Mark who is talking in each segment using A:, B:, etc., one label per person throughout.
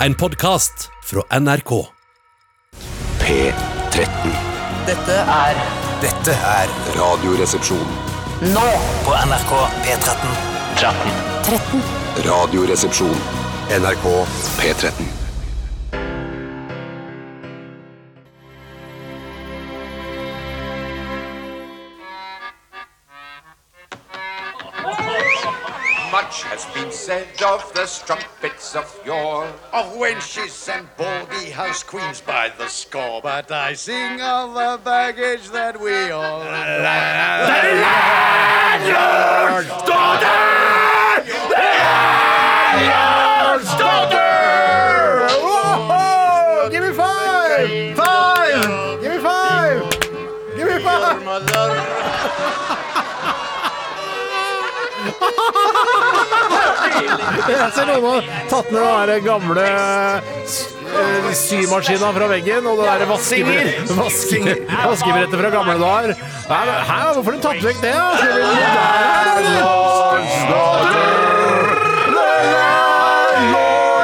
A: En podkast fra NRK.
B: P13.
C: Dette er
B: Dette er Radioresepsjon.
C: nå på NRK P13.
B: Radioresepsjon. NRK P13.
D: Much has been said of the strumpets of yore.
E: of wenches and baldy house queens by the score. But I sing of the baggage that we all. Give me five! Five! Give me five! Give me five! Jeg ser noen har tatt ned den der gamle eh, symaskina fra veggen og det der vaskebrett- vaske- vaskebrettet fra gamle dager. Nei, men Hæ, hvorfor har de tatt vekk det? da? Skal vi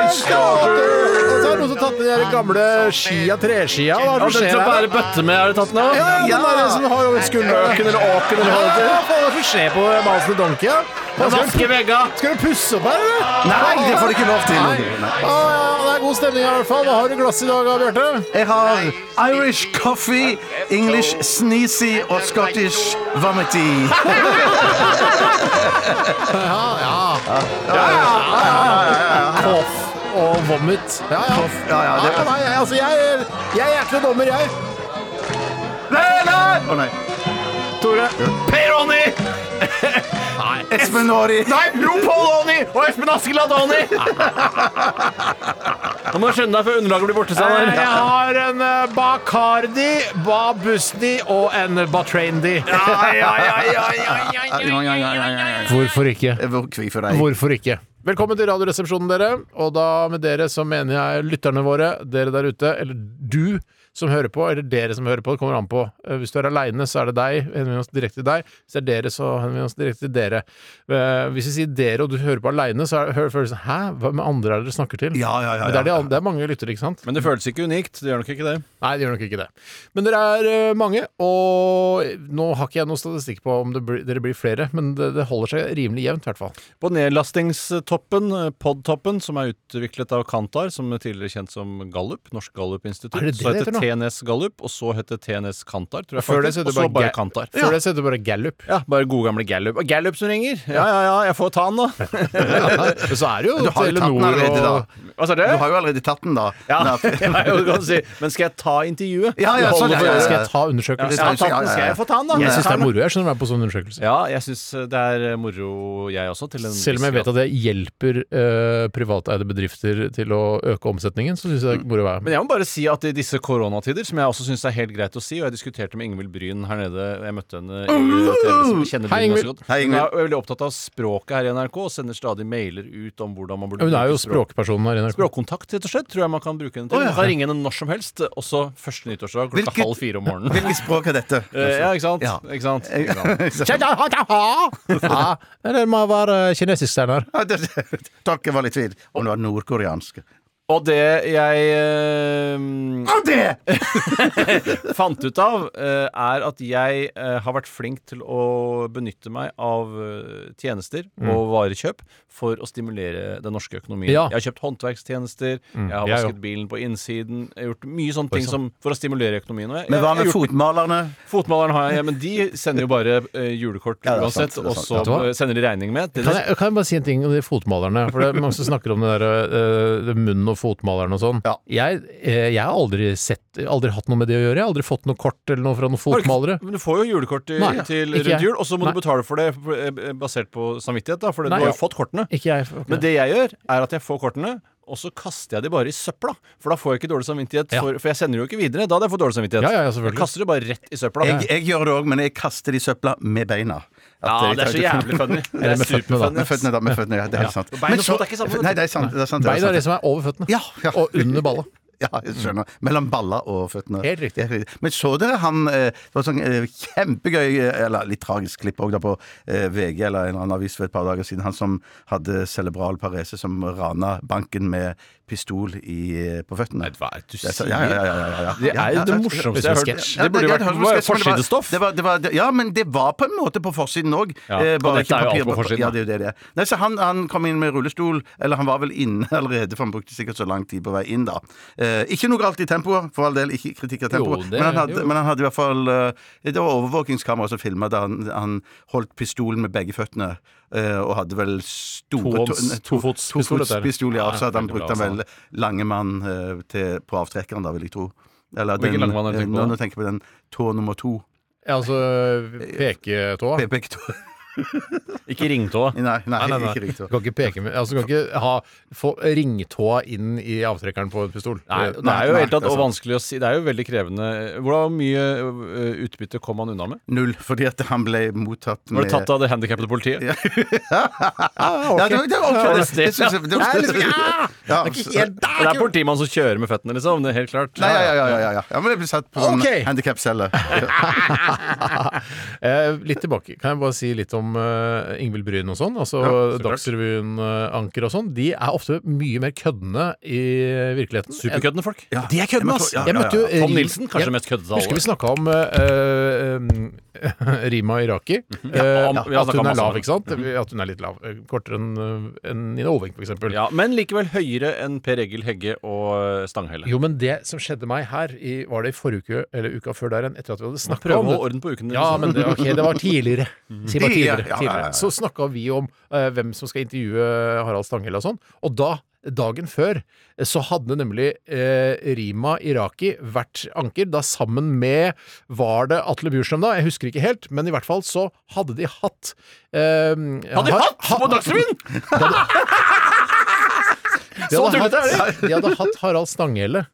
E: Og så er det noen som har tatt ned de der gamle skia, treskia. Hva er det som skjer her?
A: bøtte med er det tatt nå?
E: Ja, den der som har over skulderen eller åken eller hva det heter. Hva faen er det som skjer på Mouse the Donkey? ja? Hva skal de- skal du pusse opp her, eller?
F: Nei, det får du ikke lov til.
E: Ja, ja, ja, det er god stemning her i hvert fall. Hva har du i glasset i dag, Bjarte?
F: Jeg har Irish coffee, English sneezy og Scottish vomity.
E: Koff og vomit. Ja, ja.
F: Koff, ja, ja, det-
E: nei, nei, altså, jeg, jeg er ikke noen dommer, jeg.
F: Å nei.
E: Tore.
A: Peroni!
F: Espen Nori.
A: Nei, Poloni og Espen Askeladd Oni! Du må skjønne deg før underlaget blir borte.
E: Eh,
A: Steinar.
E: Jeg har en eh, Bacardi, Babusti og en Batrandy. Hvorfor ikke?
F: Hvor kvik for deg.
E: Hvorfor ikke? Velkommen til Radioresepsjonen, dere. Og da med dere så mener jeg lytterne våre, dere der ute, eller du som hører på, eller dere som hører på, det kommer an på. Eh, Hvis du er aleine, så er det deg, henvend oss direkte til deg. Hvis det er dere, så henvend oss direkte til dere. Eh, Hvis vi sier dere, og du hører på aleine, så er- hører- føles det sånn Hæ, hva med andre er det dere snakker til?
F: Ja, ja, ja,
E: Men det er, de,
F: ja.
E: an- det er mange lyttere, ikke sant?
A: Men det føles ikke unikt. Det gjør nok ikke det.
E: Nei, det gjør nok ikke det. Men dere er eh, mange, og nå har ikke jeg noen statistikk på om det blir, dere blir flere, men det, det holder seg rimelig jevnt, i hvert fall.
A: På nedlastingstoppen, eh, podtoppen, som er utviklet av Kantar, som er tidligere kjent som Gallup, Norsk Gallup-institutt,
E: Er det det det
A: så het
E: heter nå?
A: TNS Gallup, og så het det TNS Kantar, tror jeg
E: Før det
A: faktisk,
E: så het
A: og
E: det
A: så
E: bare,
A: bare
E: Ga-
A: Kantar.
E: Før
A: Ja.
E: det så het det bare Gallup.
A: ja, bare gode gamle Gallup. Og Gallup som ringer! Ja, ja, ja, jeg får ta den, da.
E: Men så er det jo
F: Du har jo tatt den
E: Telenor
F: allerede, da.
E: og
A: Hva sa du?
F: Du har jo allerede tatt den, da.
A: Ja,
F: Nei.
A: ja, du kan si. Men skal jeg ta intervjuet?
F: Ja, ja,
A: Det holder
F: sånn, ja,
A: for
F: ja,
A: øvrig.
E: Skal jeg ta undersøkelse?
A: Ja, ta den. Skal jeg få ta den, da?
E: Jeg syns det
A: Ta den,
E: er
A: da.
E: moro jeg skjønner å være på sånn undersøkelse.
A: Ja, jeg syns det er eh, moro, jeg også. Til en
E: Selv om jeg vet at det hjelper eh, privateide bedrifter til å øke omsetningen, så syns jeg det er moro å være med.
A: Men jeg må bare si at i disse koronatider, som jeg også syns er helt greit å si, og jeg diskuterte med Ingvild Bryn her nede Jeg møtte henne i TV, som kjenner
E: Hei,
A: Bryn ganske
E: Ingvild.
A: godt.
F: Hei, Ingvild.
A: Hun er veldig opptatt av språket her i NRK og sender stadig mailer ut om hvordan man burde
E: Hun er jo
A: bruke språk.
E: språkpersonen her i NRK.
A: Språkkontakt, rett og slett, tror jeg man kan bruke henne til. Man kan ringe henne når som helst, også første nyttårsdag klokka
F: Hvilket-
A: halv fire om morgenen.
F: Hvilket språk er dette?
A: Eh, ja, ikke sant?
F: Ja.
A: Ikke sant? Ikke sant?
E: Ja, det må være kinesisk, Steinar.
F: Tolken var litt tvil om det var nordkoreansk.
A: Og det jeg eh,
F: Og det!
A: fant ut av, eh, er at jeg eh, har vært flink til å benytte meg av eh, tjenester og varekjøp for å stimulere den norske økonomien.
E: Mm. Ja.
A: Jeg har kjøpt håndverkstjenester, jeg
E: jeg
A: har vasket
E: jo. sånn.
A: bilen på innsiden, jeg har gjort mye sånne ting som, for å stimulere økonomien. Og jeg,
F: Men hva med
A: jeg, jeg, har gjort-
F: fotmalerne?
A: Fotmaleren har jeg, ja, men de sender jo bare eh, julekort
F: Ja, det er sant,
A: uansett,
F: det er
A: og
F: sant.
A: så
E: Vet du hva?
A: eh, sender de regning med. Det,
E: Kan jeg, kan jeg bare si en ting om de fotmalerne? For det er mange som snakker om det der, eh, det munnen og fotmalerne og sånn.
F: Ja.
E: Jeg, eh, jeg har aldri, sett, aldri hatt noe med det å gjøre. Jeg har aldri fått noe kort eller noe fra noen
A: Har du ikke-
E: fotmalere.
A: Men du får jo julekort i,
E: Nei,
A: til
E: ikke jeg.
A: rundt jul, og så må
E: Nei.
A: du betale for det eh, basert på samvittighet, da, for
E: Nei,
A: du har
E: ja.
A: jo fått kortene.
E: Ikke jeg. ok.
A: Men det jeg gjør, er at jeg får kortene, og så kaster jeg de bare i søpla. For da får jeg ikke dårlig samvittighet,
E: Ja.
A: for, for jeg sender det jo ikke videre. Da hadde jeg fått dårlig samvittighet.
E: Ja, ja, ja, selvfølgelig.
A: Jeg kaster det bare rett i søpla.
F: Jeg, jeg gjør det òg, men jeg kaster det i søpla med beina. At jeg
A: ja, det er så
F: tar ikke-
A: jævlig funny. Det
E: Eller
A: er
E: med føttene, da.
A: superfunny.
F: Med føttene, da. Med føttene, ja, det er helt sant.
A: Bein og
F: Men
A: fot
F: så-
A: er ikke sammen, vet du.
F: Nei, det er sant. Det er sant, det er
E: Beina er
F: sant.
E: det som er over føttene.
F: Ja, ja.
E: Og under balla.
F: Ja, jeg skjønner. Mellom baller og føttene.
E: Helt riktig.
F: Men så dere han eh, Det var sånn eh, kjempegøy, eh, eller litt tragisk klipp også da, på eh, VG eller en eller annen avis for et par dager siden. Han som hadde cerebral parese, som rana banken med pistol i, eh, på føttene.
A: Nei, hva er det du
F: Det er så-
A: sier?
F: ja, ja, ja, ja, ja, ja.
A: Det
F: Ja,
A: er jo
F: ja,
A: det
F: ja,
A: morsomste
E: det
A: jeg
E: er
A: har
E: sketsj.
A: hørt.
F: Ja,
A: Det
F: er
A: burde vært
F: greit,
A: det var
F: men
A: jo
F: det var-
A: forsidestoff.
F: det var- det var- det- Ja, men det var på en måte på forsiden eh, òg.
A: Ja, og dette er jo alt på forsiden,
F: Ja,
A: da.
F: det er jo det det er. Nei, så han, han kom inn med rullestol, eller han var vel inne allerede, for han brukte sikkert så lang tid på vei inn, da. Eh, ikke noe galt i tempoet, for all del, ikke kritikk av tempoet,
A: Jo, det-
F: men, han hadde-
A: jo.
F: men han hadde i hvert fall eh, Det var overvåkingskamera som filma da han, han holdt pistolen med begge føttene. eh, og hadde vel store
E: Tohånds-
F: nei,
E: tofotspistol, dette er.
F: tofotspistol, ja.
A: Ja,
F: Så hadde han
A: veldig bra,
F: brukt den
A: altså.
F: vel lange mann eh, til, på avtrekkeren, da, vil jeg tro. Eller
A: Hvilken
F: den-
A: Langemann er det du tenker på
F: eh, Nå,
A: da?
F: nå tenker jeg på den tå nummer to.
E: Ja, altså peketåa.
F: Pepekto.
A: Ikke ringtåa.
F: Nei, nei,
E: Nei, nei, nei.
F: ikke
E: Du
F: riktig.
E: kan ikke peke med Altså, du kan ikke ha, få ringtåa inn i avtrekkeren på en pistol.
A: Nei,
E: Det-
A: det er jo
F: nei,
A: helt tatt
F: det er
A: og
F: sant.
A: vanskelig å si. Det er jo veldig krevende. Hvor mye ø, utbytte kom han unna med?
F: Null, fordi at han ble mottatt med
A: Var det tatt av det handikappede politiet?
E: Ah, ok.
F: Ja, det var- det var
A: Ja,
F: ok.
A: det-
F: Det synes jeg- det var-
E: Nei, liksom, ah!
F: Ja,
E: Det er ikke
F: så-
E: helt
A: Det er
E: der!
A: politimannen som kjører med føttene, liksom. Det er helt klart.
F: Nei, ja, ja, ja, ja, ja. ja men det ble satt på sånn
E: Ok.
F: handikapcelle.
E: Eh, litt tilbake. Kan jeg bare si litt om eh, Ingvild Bryn og sånn? Altså
A: Ja, så klart.
E: Dagsrevyen-anker og sånn. De er ofte mye mer køddende i virkeligheten.
A: Superkøddende folk.
F: Ja.
E: De er køddende, ass!
F: Ja, ja,
E: Jeg møtte jo
F: ja,
A: Tom
E: Rim-
A: Nilsen, kanskje
E: jeg-
A: mest køddete av
E: Husker vi
A: alle.
E: snakka om eh, eh, Rima Iraki. Eh,
A: om- vi har
E: at
A: snakket
E: hun
A: om
E: er
A: masse om
E: lav,
A: det.
E: ikke sant? At hun er litt lav. eh, Kortere enn eh, enn Nina Olving, for eksempel.
A: Ja, men likevel høyere enn Per Egil Hegge og eh, Stanghelle.
E: Jo, men det som skjedde meg her, i, var det i forrige uke eller uka før der igjen, etter at vi hadde snakka
A: Prøv å
E: om det.
A: holde orden på ukene.
E: Ja,
A: liksom.
E: men det, ok, det var tidligere. Si bare tidligere.
F: Ja, ja, ja, ja, ja.
E: tidligere. Så snakka vi om eh, hvem som skal intervjue Harald Stanghelle og sånn, og da Dagen før eh, så hadde nemlig eh, Rima Iraki vært anker, da sammen med Var det Atle Bjurstrøm, da? Jeg husker ikke helt, men i hvert fall så hadde de hatt eh,
A: Hadde de
E: har-
A: hatt
E: ha-
A: på Dagsrevyen?!
E: de
A: Så
E: hadde
A: tullete er det!
E: hatt- De hadde hatt Harald Stanghelle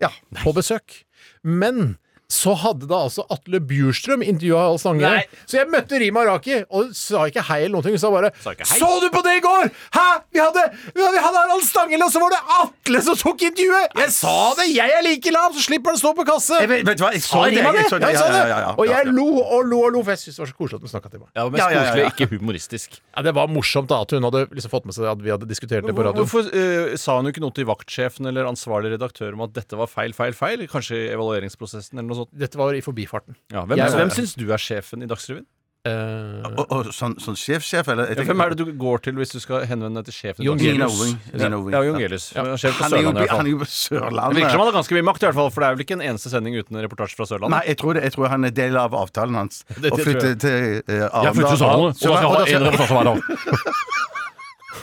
E: på besøk. Men så hadde da altså Atle Bjurstrøm intervjua Harald Stanghelle.
A: Nei.
E: Så jeg møtte Rima Raki og sa ikke hei eller noen ting. Hun sa bare
A: Sa ikke hei.
E: Så du på det i går?! Hæ?! Vi hadde, vi hadde Harald Stanghelle, og så var det Atle som tok intervjuet! Jeg sa det! Jeg er like lav, så slipper han å stå på kasse!
F: Jeg vet, vet du hva, jeg så det!
E: Rima det!
F: Jeg så
E: Ja,
F: det.
E: jeg sa
F: Ja, ja, ja,
E: det.
F: ja.
E: Og
F: Ja,
E: jeg
F: ja.
E: lo og lo og lo, for jeg syntes det var så koselig at hun snakka til meg.
A: Ja, men
F: Ja, ja, ja,
A: koselig,
F: ja.
A: ikke humoristisk.
E: Ja, det var morsomt da at hun hadde liksom fått med seg at vi hadde diskutert det på radioen.
A: Hvorfor ø, sa hun jo ikke noe til vaktsjefen eller ansvarlig redaktør om at dette var feil, feil, feil? Kanskje i evalueringsprosessen eller noe sånt?
E: Dette var i forbifarten.
A: Ja, hvem
E: Jeg-
A: hvem syns du er sjefen i Dagsrevyen?
E: Eh,
F: Og, og sånn, sånn sjef-sjef, eller? Jeg
A: Ja,
F: tenker-
A: Hvem er det du går til hvis du skal henvende deg til sjefen? i
E: Jon
A: Dagsrevyen?
F: Lina
E: Gelius.
F: Oving. Lina Oving.
A: Ja, Jon Gelius.
E: Ja.
A: Sjef på
F: Han er jo-
A: Sørlandet, i hvert
F: han
A: fall.
F: er jo på
A: Det virker som
F: Sørlandet.
A: han har ganske mye makt, i hvert fall, for det er vel ikke en eneste sending uten en reportasje fra Sørlandet?
F: Nei, jeg tror, det, jeg tror han er del av avtalen hans.
A: det
F: Å
A: tror
F: flytte
A: jeg.
F: til eh,
A: Ja, for
F: Arendal.
A: ikke Sørlandet. Så da skal jeg ha en reportasje hver dag.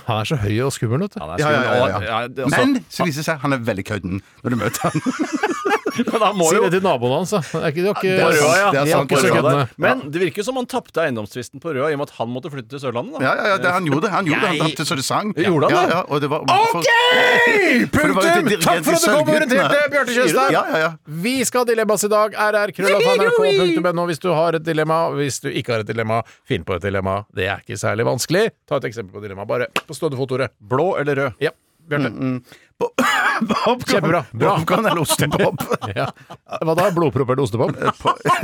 E: han er så høy og skummel, vet du.
A: Ja,
F: Ja, ja, ja,
A: det er
F: ja,
A: skummelt.
F: ja.
A: Ja, det- altså,
F: Men så viser det seg han er veldig kødden når du møter han.
A: men Altså, da må
E: Si
A: jo
E: det til naboen hans, da. Det er ikke, det er ikke,
F: På Røa, ja.
E: de er
F: Det er sant,
E: ikke
F: på
E: så
F: Røa
E: køddende.
F: der.
A: Men det virker jo som han tapte eiendomstvisten på Røa i og med at han måtte flytte til Sørlandet. da
F: Ja, ja, ja, det, han gjorde det. Han gjorde det, han
A: Jeg-
F: tapte så det sang.
A: Gjorde han
F: ja,
A: det?
F: ja, og det var,
E: OK!
F: For det var jo
E: Punktum!
F: dirigent
E: Takk for at du kom og
F: i Sølvguttene.
E: orienterte, Bjarte Tjøstheim.
F: Ja, ja, ja.
E: Vi skal ha dilemmas i dag. rr.nrk.no hvis du har et dilemma. Hvis du ikke har et dilemma, finn på et dilemma. Det er ikke særlig vanskelig. Ta et eksempel på dilemma. Bare på stående fot, Tore.
A: Blå eller rød?
E: Ja, Bjarte.
F: Popcorn.
E: Kjempebra. Bra.
F: Popcorn eller ostepop.
E: Ja. Hva da? Blodpropp eller ostepop?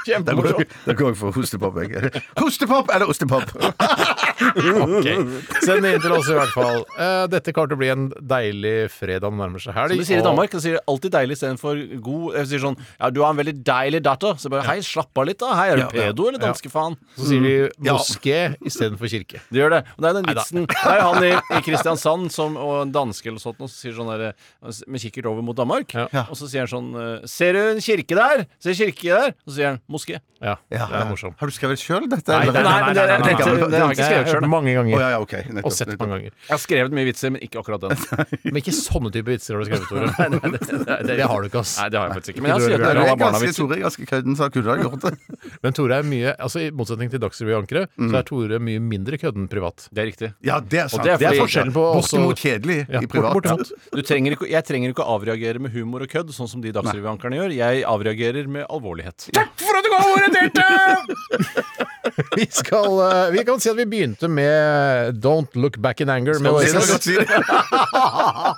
F: Da går, da går jeg for hostepop. Jeg. Hostepop eller ostepop?
E: Ok. Send det inn til oss, i hvert fall. Eh, Dette kommer til å bli en deilig fredag. Det nærmer seg helg.
A: Som de sier i
E: og-
A: Danmark, de sier alltid deilig istedenfor god. De sier sånn Ja, du har en veldig deilig datter. Så bare hei, slapp av litt, da. Hei, er du
F: Ja, ja.
A: pedo eller danske faen?
E: Så sier de
F: Ja.
E: moské istedenfor kirke.
A: Det gjør det. Og det er den
E: Neida.
A: vitsen Det er jo han i, i Kristiansand som, og en danske eller sånt, og så sier sånn der, med kikkert over mot Danmark.
E: Ja.
A: Og så sier han sånn eh, Ser du en kirke der? Ser du kirke der? Og så sier han moské.
E: Ja,
F: Ja.
E: det er morsomt.
F: Har du skrevet sjøl dette?
E: Nei,
F: eller?
E: nei, nei, nei, nei,
A: men det,
E: nei,
A: det,
E: nei,
A: det, det har jeg
E: Jeg
A: ikke skrevet
E: har hørt
A: sjøl.
E: mange
F: Å,
E: ganger.
F: ja, ja, ok. Nettopp,
E: Og sett
F: nettopp.
E: mange ganger.
A: Jeg har skrevet mye vitser, men ikke akkurat den.
E: Men ikke sånne type vitser har du skrevet, Tore. Det har du ikke, ass.
A: Nei, det har jeg faktisk
E: Ikke du heller.
A: ikke. Men jeg har skrevet en
F: Nei,
A: del
F: jeg
A: av
F: er
A: barna
F: ganske,
A: vitser.
F: Tore, jeg er ganske kødden, så kunne du ha gjort det.
E: Men Tore er mye Altså I motsetning til Dagsrevy-ankere, så er Tore mye mindre kødden privat.
A: Det er riktig.
F: Ja, det er sant.
A: det er fordi-
E: forskjellen på også-
F: Bortimot kjedelig
E: Ja,
F: i privat.
E: bortimot.
A: Du trenger ikke, jeg trenger ikke å avreagere med humor og kødd, sånn som de Dagsrevyankerne gjør. Jeg avreagerer med alvorlighet.
E: Vi skal eh, Vi kan si at vi begynte med Don't Look Back in Anger med
F: Det
E: Oasis.
F: er godt å si det.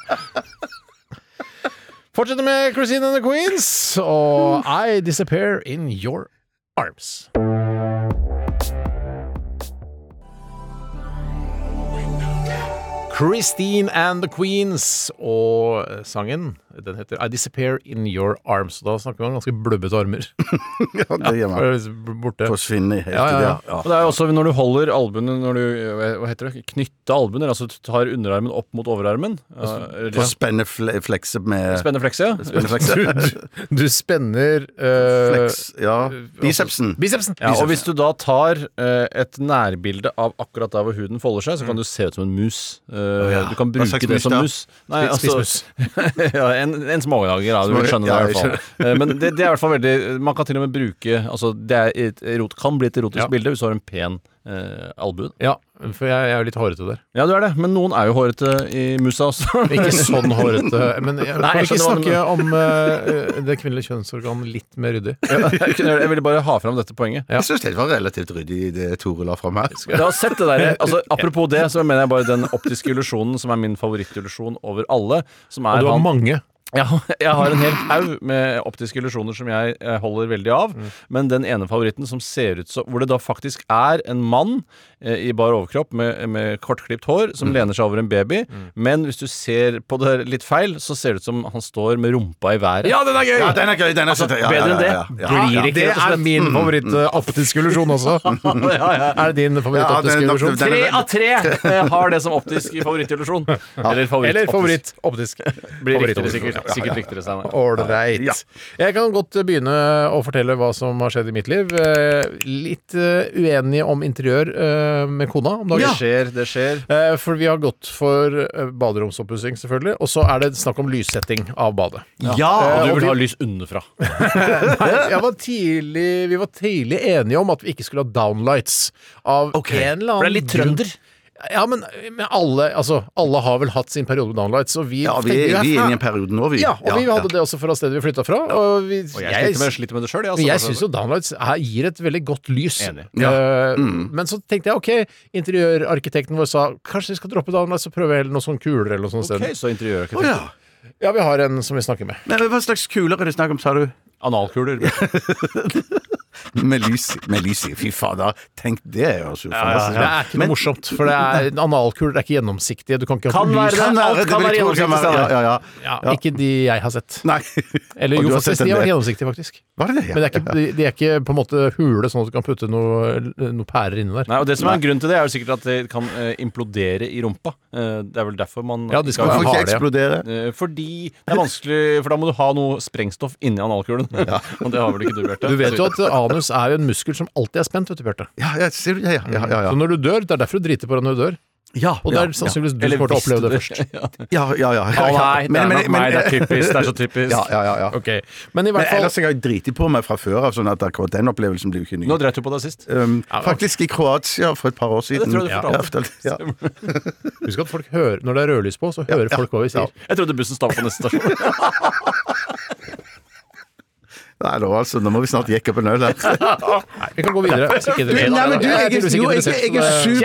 E: Fortsetter med Christine and the Queens og I Disappear in Your Arms. Christine and the Queens. Og eh, sangen den heter I Disappear In Your Arms. Og da snakker vi om ganske blubbete armer.
F: Ja, det gjør man.
E: Bare liksom Borte.
F: Forsvinner helt
E: Ja, ja, ja.
F: i det. Ja.
A: Og det er jo også når du holder albuene når du, Hva heter det? Knytte albuene, altså du tar underarmen opp mot overarmen. eh,
F: Og
A: eller
F: spenne fle flekse med
A: Spenneflekse, ja.
F: Spenneflekse.
E: Du spenner eh, altså,
F: Flex, ja. Bicepsen.
E: bicepsen.
A: Ja, og hvis du da tar eh, et nærbilde av akkurat der hvor huden folder seg, så kan du se ut som en mus. Eh, Du kan
F: Mm. Hva
A: bruke
F: slags
A: det
F: mus
A: som
F: da?
A: mus. Nei, altså,
E: Spiss-
A: ja, en, en småjager, da. Du
F: Småjager,
A: vil skjønne
F: ja,
A: det. i
F: jeg
A: hvert fall. Eh, Men det, det er i hvert fall veldig Man kan til og med bruke Altså, det er et erot, kan bli et erotisk
E: Ja.
A: bilde hvis du har en pen eh, albue.
E: Ja, for jeg, jeg er jo litt hårete der.
A: Ja, du er det, men noen er jo hårete i musa også.
E: Ikke sånn hårete. Men jeg,
A: Nei,
E: kan vi ikke
A: jeg skjønner hva du
E: snakke om eh, det kvinnelige kjønnsorgan litt mer ryddig?
A: Jeg kunne- jeg ville bare ha fram dette poenget.
F: Jeg syns det var relativt ryddig, det Tore la fram her.
A: Jeg har sett det der, altså Apropos det, så mener jeg bare den optiske illusjonen som er min favorittillusjon over alle. Som er
E: Og du har
A: han-
E: mange.
A: Ja, jeg har en hel haug med optiske illusjoner som jeg eh, holder veldig av. Men den ene favoritten som ser ut som Hvor det da faktisk er en mann eh, i bar overkropp med, med kortklipt hår som lener seg over en baby. Men hvis du ser på det litt feil, så ser det ut som han står med rumpa i været.
E: den er gøy!
F: Ja, den er gøy. Den er
E: Altså,
F: så- ja, ja,
A: Bedre enn det
F: ja, ja, ja.
A: blir det ikke,
E: Det
A: rett og
E: er
A: slett.
E: min favoritt-optiske illusjon også. Er det din favoritt-optiske
F: Ja, den-
E: illusjon?
F: den-
A: Tre av tre eh, har det som optisk favorittillusjon. Eller favoritt.
E: Eller favoritt-optisk.
A: Blir riktigere,
E: Favoritt-optisk.
A: sikkert. Sikkert riktigere, Steinar.
E: Ålreit.
F: Ja.
E: Jeg kan godt begynne å fortelle hva som har skjedd i mitt liv. Eh, Litt eh, uenige om interiør eh, med kona om dagen.
A: Det skjer, det skjer.
E: Eh, For vi har gått for eh, baderomsoppussing, selvfølgelig. Og så er det snakk om lyssetting av badet.
F: Ja,
A: Eh, Og
E: og
A: du vil
E: vi-
A: ha lys underfra.
E: Jeg var tidlig, vi var tidlig enige om at vi ikke skulle ha downlights. Av en eller annen
A: For det er litt
E: grunn.
A: trønder.
E: Ja, men, men alle, altså, alle har vel hatt sin periode med downlights, og vi
F: ja vi,
E: tenkte,
F: vi er inne i en
E: "Hæ?"
F: periode nå, vi.
E: Ja, og vi
F: Ja,
E: hadde det også fra stedet vi flytta fra. Og, vi,
A: Og jeg sliter med, sliter med det altså, sjøl.
E: men jeg syns jo downlights er, gir et veldig godt lys.
A: Enig.
E: Eh, Men så tenkte jeg ok, interiørarkitekten vår sa kanskje vi skal droppe downlights og prøve heller noen sånne kuler eller noe sånt.
A: Ok,
E: sted.
A: så interiørarkitekt.
F: Å, ja.
E: Ja, vi har en som vi snakker med.
F: Men hva slags kuler er det snakk om, sa du?
A: Analkuler.
F: Med lys, med lys i. Fy fader. Tenk det, høres jo fantastisk
E: Altså, Det er ikke noe morsomt, for det er, analkuler er ikke gjennomsiktige. Du kan ikke ha
A: Kan
E: lys.
A: være det.
F: Kan være,
A: Alt
F: det
A: kan
F: vil
A: være
F: jeg tro kan være.
A: gjennomsiktig,
F: Ja,
A: Steinar.
F: ja, ja.
E: Ja, ikke de jeg har sett.
F: Nei.
E: Eller
F: Og
E: jo,
F: du har sett
E: faktisk,
F: en
E: de har vært
F: del.
E: gjennomsiktige, faktisk.
F: Var det det?
E: Men det er ikke, de, de er ikke på en måte hule, sånn at du kan putte noen noe pærer inni der.
A: Nei, og det som er Grunnen til det er jo sikkert at det kan eh, implodere i rumpa. Eh, det er vel derfor man
E: Ja, de skal være
A: ikke
F: Hvorfor
A: har-
E: har
F: ikke
E: det, ja.
F: eksplodere?
A: Eh, Fordi det er vanskelig For da må du ha noe sprengstoff inni analkulen. og det har vel ikke du, Bjarte?
E: Du vet jo at anus er jo en muskel som alltid er spent, vet du, Bjarte.
F: Ja, ja, ser du- ja, ja, ja, ja, ja.
E: Så når du dør, det er derfor du driter på deg når du dør.
F: ja.
E: Og det er sannsynligvis du som kommer til å oppleve det først.
F: Ja, ja, ja. ja,
A: Å
F: ja.
A: nei, det
F: Men-
A: er
F: men-
A: nok meg. Det er
F: men-
A: typisk. Det er så typisk.
F: Ja, ja, ja, ja.
E: Ok, Men i
F: Men
E: hvert fall
F: ellers jeg har jeg driti på meg fra før av, sånn at akkurat den opplevelsen blir jo ikke ny.
A: Nå dreit du på deg sist.
F: Um, faktisk i Kroatia for et par år siden.
A: tror jeg du
F: Ja,
A: fortalte.
F: jeg fortalte, ja.
E: Husk at folk hører, når det er rødlys på, så hører folk hva vi sier.
A: Jeg trodde bussen stoppa på neste stasjon.
F: Nei, nå, altså, nå må vi snart jekke opp en øl her.
E: Nei, vi kan gå videre. Hvis ikke dere
F: Nei, men du, jeg,
E: er tydeligvis ikke
F: jo, jeg,
E: interessert,
F: jeg, jeg er
E: så det-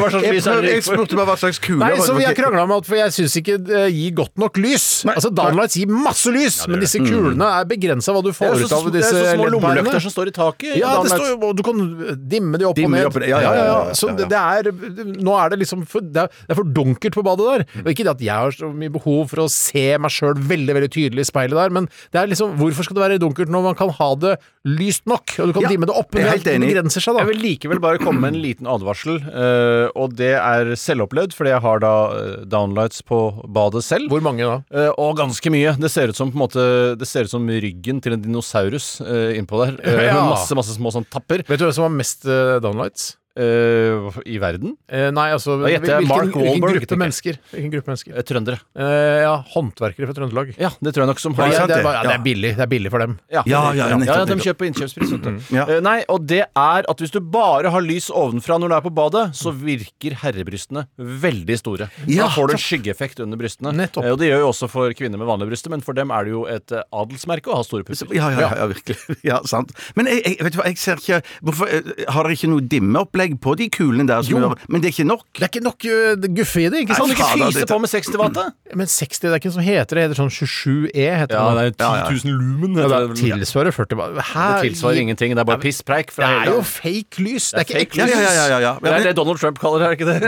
F: superinteressert.
A: Hva slags
F: Jeg,
A: lys er det
F: prøver- jeg
A: for?
F: spurte bare hva slags kuler
E: Nei, som vi har
F: det var-
E: krangla om, at for jeg syns ikke det gir godt nok lys. altså, Downlights gir masse lys, men disse
F: Mm.
E: kulene er begrensa hva du
A: Det er
E: får
A: jo
E: ut
A: så,
E: av
A: det er
E: disse
A: så små
E: LED-pærene.
A: lommelykter som står i
E: Ja,
A: taket.
E: det
A: Downlights.
E: står jo, og du kan eh, dimme de opp
F: Dimme
E: og
F: de opp og
E: ned.
F: ned. Ja, ja, ja, ja, ja,
E: Så
F: ja,
E: det, det er Nå er det liksom for, det, er, det er for dunkert på badet der. Og ikke det at jeg har så mye behov for å se meg sjøl veldig veldig tydelig i speilet der, men det er liksom Hvorfor skal det være dunkert når man kan ha det lyst nok? Og du kan
F: Ja,
E: dimme det opp, men
F: jeg er
E: det
F: helt enig.
E: begrenser seg,
A: Jeg
E: da.
A: vil likevel bare komme med en liten advarsel, eh, og det er selvopplevd, fordi jeg har da eh, downlights på badet selv.
E: Hvor mange da?
A: Eh, og ganske mye. Det ser ut som på en måte Det ser ut som ryggen til en dinosaurus eh, innpå der. Eh,
E: Ja.
A: Med masse masse små sånn tapper
E: Vet du hvem som har mest eh, downlights?
A: eh, i verden.
E: Eh, nei, altså
A: Da gjetter jeg
E: hvilken,
A: Mark
E: hvilken
A: Wahlberg,
E: gruppe
A: tenker jeg.
E: mennesker? Hvilken gruppe mennesker?
A: Eh, trøndere.
E: Eh, ja, håndverkere fra Trøndelag.
A: Ja, det tror jeg nok som
E: Det
A: har
E: er,
F: sant,
E: det, er,
F: det.
E: bare- ja, det
F: Ja.
E: er billig Det er billig for dem.
A: Ja,
F: Ja, ja, nettopp,
A: ja, de
F: nettopp.
A: kjøper innkjøpspris. vet du.
F: Ja.
A: Eh, nei, og det er at hvis du bare har lys ovenfra når du er på badet, så virker herrebrystene veldig store.
F: Ja,
A: da får du en skyggeeffekt under brystene.
E: Nettopp.
A: Eh, og det gjør jo også for kvinner med vanlige bryster, men for dem er det jo et eh, adelsmerke å ha store pupper.
F: Ja, ja, ja, ja, virkelig. Ja, sant. Men jeg, jeg, vet du hva, jeg ser ikke hvorfor, eh, Har dere ikke noe tillegg på de kulene der. Som
E: Jo.
F: gjør, men det er ikke nok.
E: Det er ikke nok ø, guffe i det, ikke
A: Kan
E: sant?
A: du ikke
F: fader,
A: fyse
F: dette-
A: på med 60 watt, da?
E: Men 60, det er ikke noe som heter det. Det heter sånn 27E. heter
A: Ja,
E: det.
A: det er 10 000 lumen.
E: Ja,
A: heter
E: det
A: det vel.
E: tilsvarer 40 watt. Her-
A: Det tilsvarer ingenting. Det er bare pisspreik.
E: Det
A: Fra
E: er
A: hele
E: jo
A: dagen.
E: fake lys. Det er ikke
A: fake
E: ekte
A: lys.
E: lys.
F: Ja, ja, ja, ja, ja.
A: Det er det Donald Trump kaller det, er ikke det?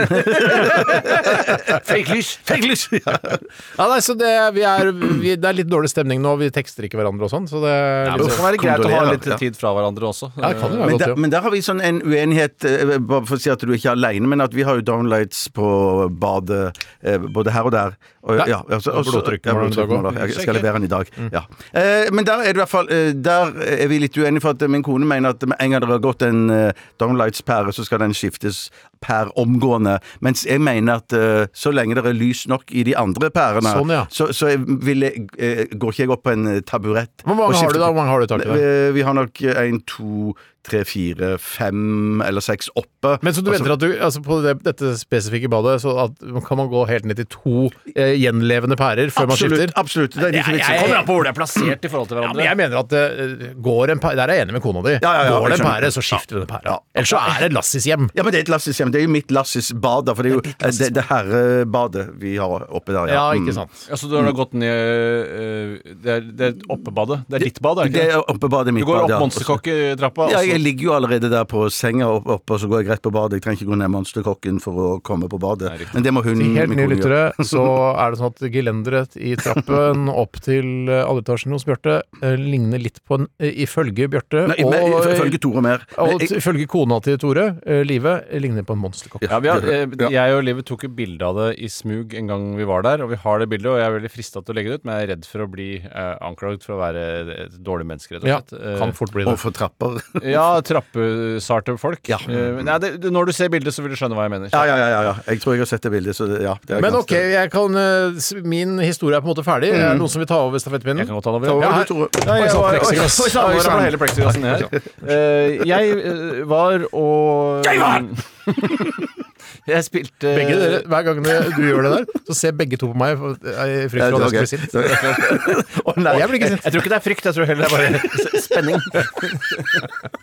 A: fake lys! Fake lys!
E: Ja, nei, så det, vi er, vi, det er litt dårlig stemning nå. Vi tekster ikke hverandre og sånn, så det er
A: Det
E: litt-
A: kan være greit å ha
F: kondolerer,
A: litt
F: ja.
A: tid fra hverandre også.
E: Ja, det kan jo være
F: Men
E: godt,
F: der,
E: jo.
F: men der har vi sånn en uenighet, eh, bare for å si at du ikke er aleine, men at vi har jo downlights på badet eh, både her og der. Og, ja, altså,
E: og blodtrykk
F: ja,
E: må du
F: blodtrykk
E: gå.
F: må du- Jeg skal levere den i dag.
E: Mm.
F: Ja. Eh, men der er det i hvert fall eh, Der er vi litt uenige, for at min kone mener at med en gang det har gått en eh, downlights-pære, så skal den skiftes per omgående. Mens jeg mener at eh, så lenge det er lys nok i de andre pærene,
E: Sånn, ja.
F: så, så jeg vil jeg, eh, går ikke jeg opp på en eh, taburett
E: Hvor mange har du da? Hvor mange har du tak i? da?
F: eh, vi, vi har nok en, to, tre, fire, fem eller seks oppe.
E: Men så du venter at du, altså på det, dette spesifikke badet, så at, kan man gå helt ned til to eh, gjenlevende pærer før man
F: absolutt,
E: skifter?
F: absolutt. Det er liksom ikke vits i.
A: kommer an på hvor det er plassert i forhold til
E: Ja, men jeg mener
A: hverandre.
E: at eh, går en pære, Der er jeg enig med kona di.
F: Ja, ja, ja,
E: går det
F: jeg
E: en
F: skjønner.
E: pære, så skifter du den pæra. Ellers så er det Lassis hjem.
F: Ja, men det er et Lassis hjem. Det er jo mitt Lassis bad, da, for det er jo eh, det, det herrebadet vi har oppe der.
E: Ja,
F: Mm.
E: ikke sant.
A: Ja, så du har da gått ned eh, Det er, det er oppebadet. Det er ditt bad, er det
F: Det
A: ikke det?
F: er oppe badet mitt.
A: Du går
F: bad,
A: opp altså.
F: ja.
A: monsterkokketrappa.
F: Ja,
A: og så-
F: jeg ligger jo allerede der på senga oppe, opp, og så går jeg rett på badet. Jeg trenger ikke gå ned monsterkokken for å komme på badet. Men det må hun
E: Til Mm. helt
F: min
E: nye
F: kone gjøre.
E: lyttere så er det sånn at gelenderet i trappen opp til eh, alleetasjen hos Bjarte eh, ligner litt på en eh, Ifølge Bjarte
F: Nei, men,
E: og
F: Ifølge Tore Mer.
E: og
F: Men jeg-
E: ifølge kona til Tore, eh, Live, eh, ligner på en monsterkopp.
A: Ja, vi har,
F: Ja.
A: eh, jeg og Livet tok jo bilde av det i smug en gang vi var der, og vi har det bildet, og jeg er veldig frista til å legge det ut, men jeg er redd for å bli eh, anklaget for å være et dårlig menneske, rett og
E: Ja,
A: slett.
E: kan fort bli det.
F: Og for trapper.
A: Eh, ja trappesarte folk. Eh, men nei, det, du- når du ser bildet, så vil du skjønne hva jeg mener.
F: Ja, ja, ja, ja, ja. Jeg tror jeg har sett det bildet, så det- ja. det er
E: Men
F: ganske-
E: ok, jeg kan, eh, s- min historie er på en måte ferdig. Er det noen som vil ta over stafettpinnen?
A: Mm. Jeg kan godt ta den over.
E: Ta
A: Ja,
E: over du,
A: her-
E: Tore.
A: Nei, jeg
E: Oi,
A: var-
E: sann,
A: oi,
E: plexiglass.
A: oi, sann,
E: Oi,
A: hvor
E: sann.
A: ble hele plexiglassen her? Eh, jeg eh, var og Jeg var! jeg spilte
E: Begge dere, eh, Hver gang du du gjør det der, så ser begge to på meg for- eh, i frykt
F: Ja,
E: for at jeg
F: det
E: skal bli sint.
F: var gøy.
E: Å, nei, Jeg blir ikke sint.
A: Jeg tror ikke det er frykt, jeg tror heller det er bare spenning.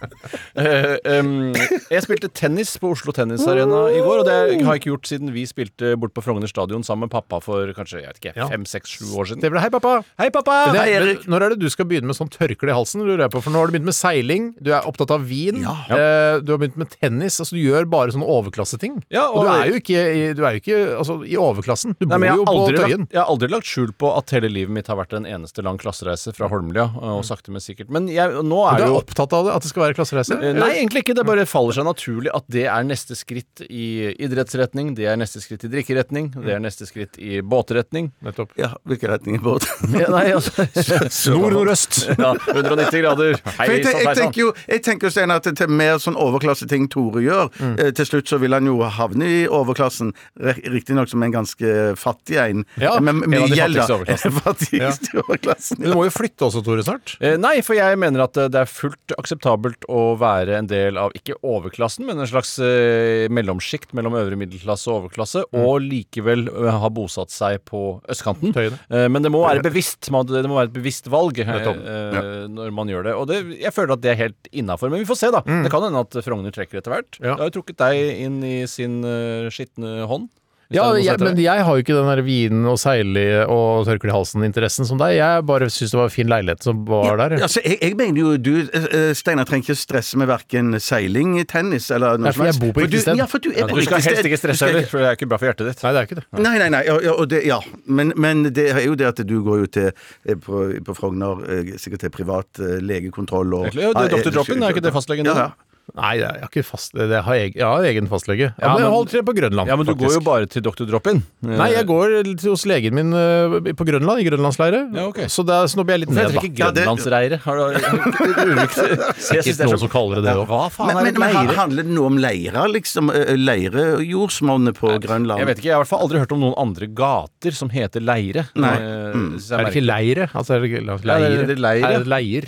A: Eh, um, jeg spilte tennis på Oslo Tennis Arena i går, og det har jeg ikke gjort siden vi spilte bort på Frogner stadion sammen med pappa for kanskje jeg vet ikke,
E: Ja.
A: fem, seks, sju år
E: Det
A: siden.
E: ble, hei, pappa.
A: Hei, pappa!
E: Men
A: Hei,
E: det, men,
A: Erik.
E: når er det du skal begynne med sånn tørkle i halsen? lurer jeg på, For nå har du begynt med seiling, du er opptatt av vin, eh, du har begynt med tennis. altså Du gjør bare sånne overklasseting.
A: Ja,
E: og,
A: og-
E: du er jo ikke, i, du er jo ikke altså, i overklassen. Du
A: Nei,
E: bor
A: men jeg,
E: jo
A: har
E: på
A: aldri
E: Tøyen.
A: lagt, jeg har aldri lagt skjul på at hele livet mitt har vært en eneste lang klassereise fra Holmlia. Og sakte, men sikkert. Mm. Men jeg, nå
E: Du
A: er
E: er
A: jo
E: opptatt av det, at det skal være klassereise?
A: Eh, Nei, egentlig ikke. Det bare faller seg naturlig at det er neste skritt i idrettsretning, det er neste skritt i drikkeretning, det er neste skritt i båtretning.
E: Nettopp.
F: Ja, hvilken retning er båt?
A: Ja, nei, altså
E: Nord-nordøst.
A: Ja, 190 grader. Hei,
F: For jeg, tenk,
A: sann,
F: jeg
A: hei, sann.
F: tenker jo jeg tenker jo, Steinar, at til mer sånn overklasseting Tore gjør,
E: Mm.
F: eh, til slutt så vil han jo havne i overklassen, riktignok som en ganske fattig en, Eh,
E: Ja,
F: men
A: en av
F: mye
A: de
F: gjeld, da.
A: fattigste
F: Fattigste overklassen.
E: Men du må jo flytte også, Tore, snart.
A: Eh, Nei, for jeg mener at eh, det er fullt akseptabelt å være en del av ikke overklassen, men en slags eh, mellomsjikt mellom øvre middelklasse og overklasse, og likevel eh, ha bosatt seg på østkanten.
E: Tøyene.
A: Eh, men det må være bevisst man, det må være et bevisst valg eh,
E: Nettopp.
A: eh, når man gjør det. Og det, jeg føler at det er helt innafor. Men vi får se, da. Det kan hende at Frogner trekker etter hvert.
E: Ja.
A: Det har jo trukket deg inn i sin uh, skitne hånd. hvis
E: Ja,
A: det er noe som
E: jeg,
A: heter
E: men
A: det.
E: jeg har jo ikke den der vin og seile og tørkle i halsen-interessen som deg. Jeg bare syns det var en fin leilighet som var der.
F: Altså, jeg, jeg mener jo du, eh, eh, Steinar, trenger ikke stresse med verken seiling, tennis eller
E: Nei,
F: noe
E: for jeg bor på
F: For
E: riktig
F: du-
E: sted.
F: Ja, for du er på
A: Du
F: riktig
A: skal
F: sted.
A: helst ikke
F: Du
A: stresse
F: skal
A: heller, for det er ikke bra for hjertet ditt.
E: Nei, det er jo ikke det.
F: Nei, nei, nei. Ja, ja, og det, ja. Men, men det er jo det at du går jo til eh, på, på Frogner eh, sikkert til privat eh, legekontroll og
A: Egentlig, ja, det er Dr. Dropin, er ikke det fastlegen
F: Ja,
A: din?
F: ja.
E: Nei, jeg har ikke fast Jeg har egen, jeg har egen fastlege. Ja, men
A: men-
E: jeg holder til på Grønland,
A: Ja, men du
E: faktisk.
A: går jo bare til Dr. Drop-in.
E: Nei, jeg går til- hos legen min ø, på Grønland, i grønlandsleire.
A: Ja, ok.
E: Så der snobber
A: Eh,
E: jeg litt ned, da.
A: ikke grønlandsreire. Har du
E: Ikke noen som kaller det det. også.
A: Hva faen
F: Men,
A: er
F: men,
A: et
F: men han-
A: leire?
F: handler det noe om leire, liksom? Eh, Leirejordsmonnet på Grønland?
A: Jeg vet ikke, jeg har i hvert fall aldri hørt om noen andre gater som heter leire.
F: Nei. Mm.
A: Eh, synes jeg
E: Er det ikke
A: merker.
E: leire? Altså, er det, ikke-
A: Ja, det er-
E: leire.
A: det er leire, ja.
E: Er det leir?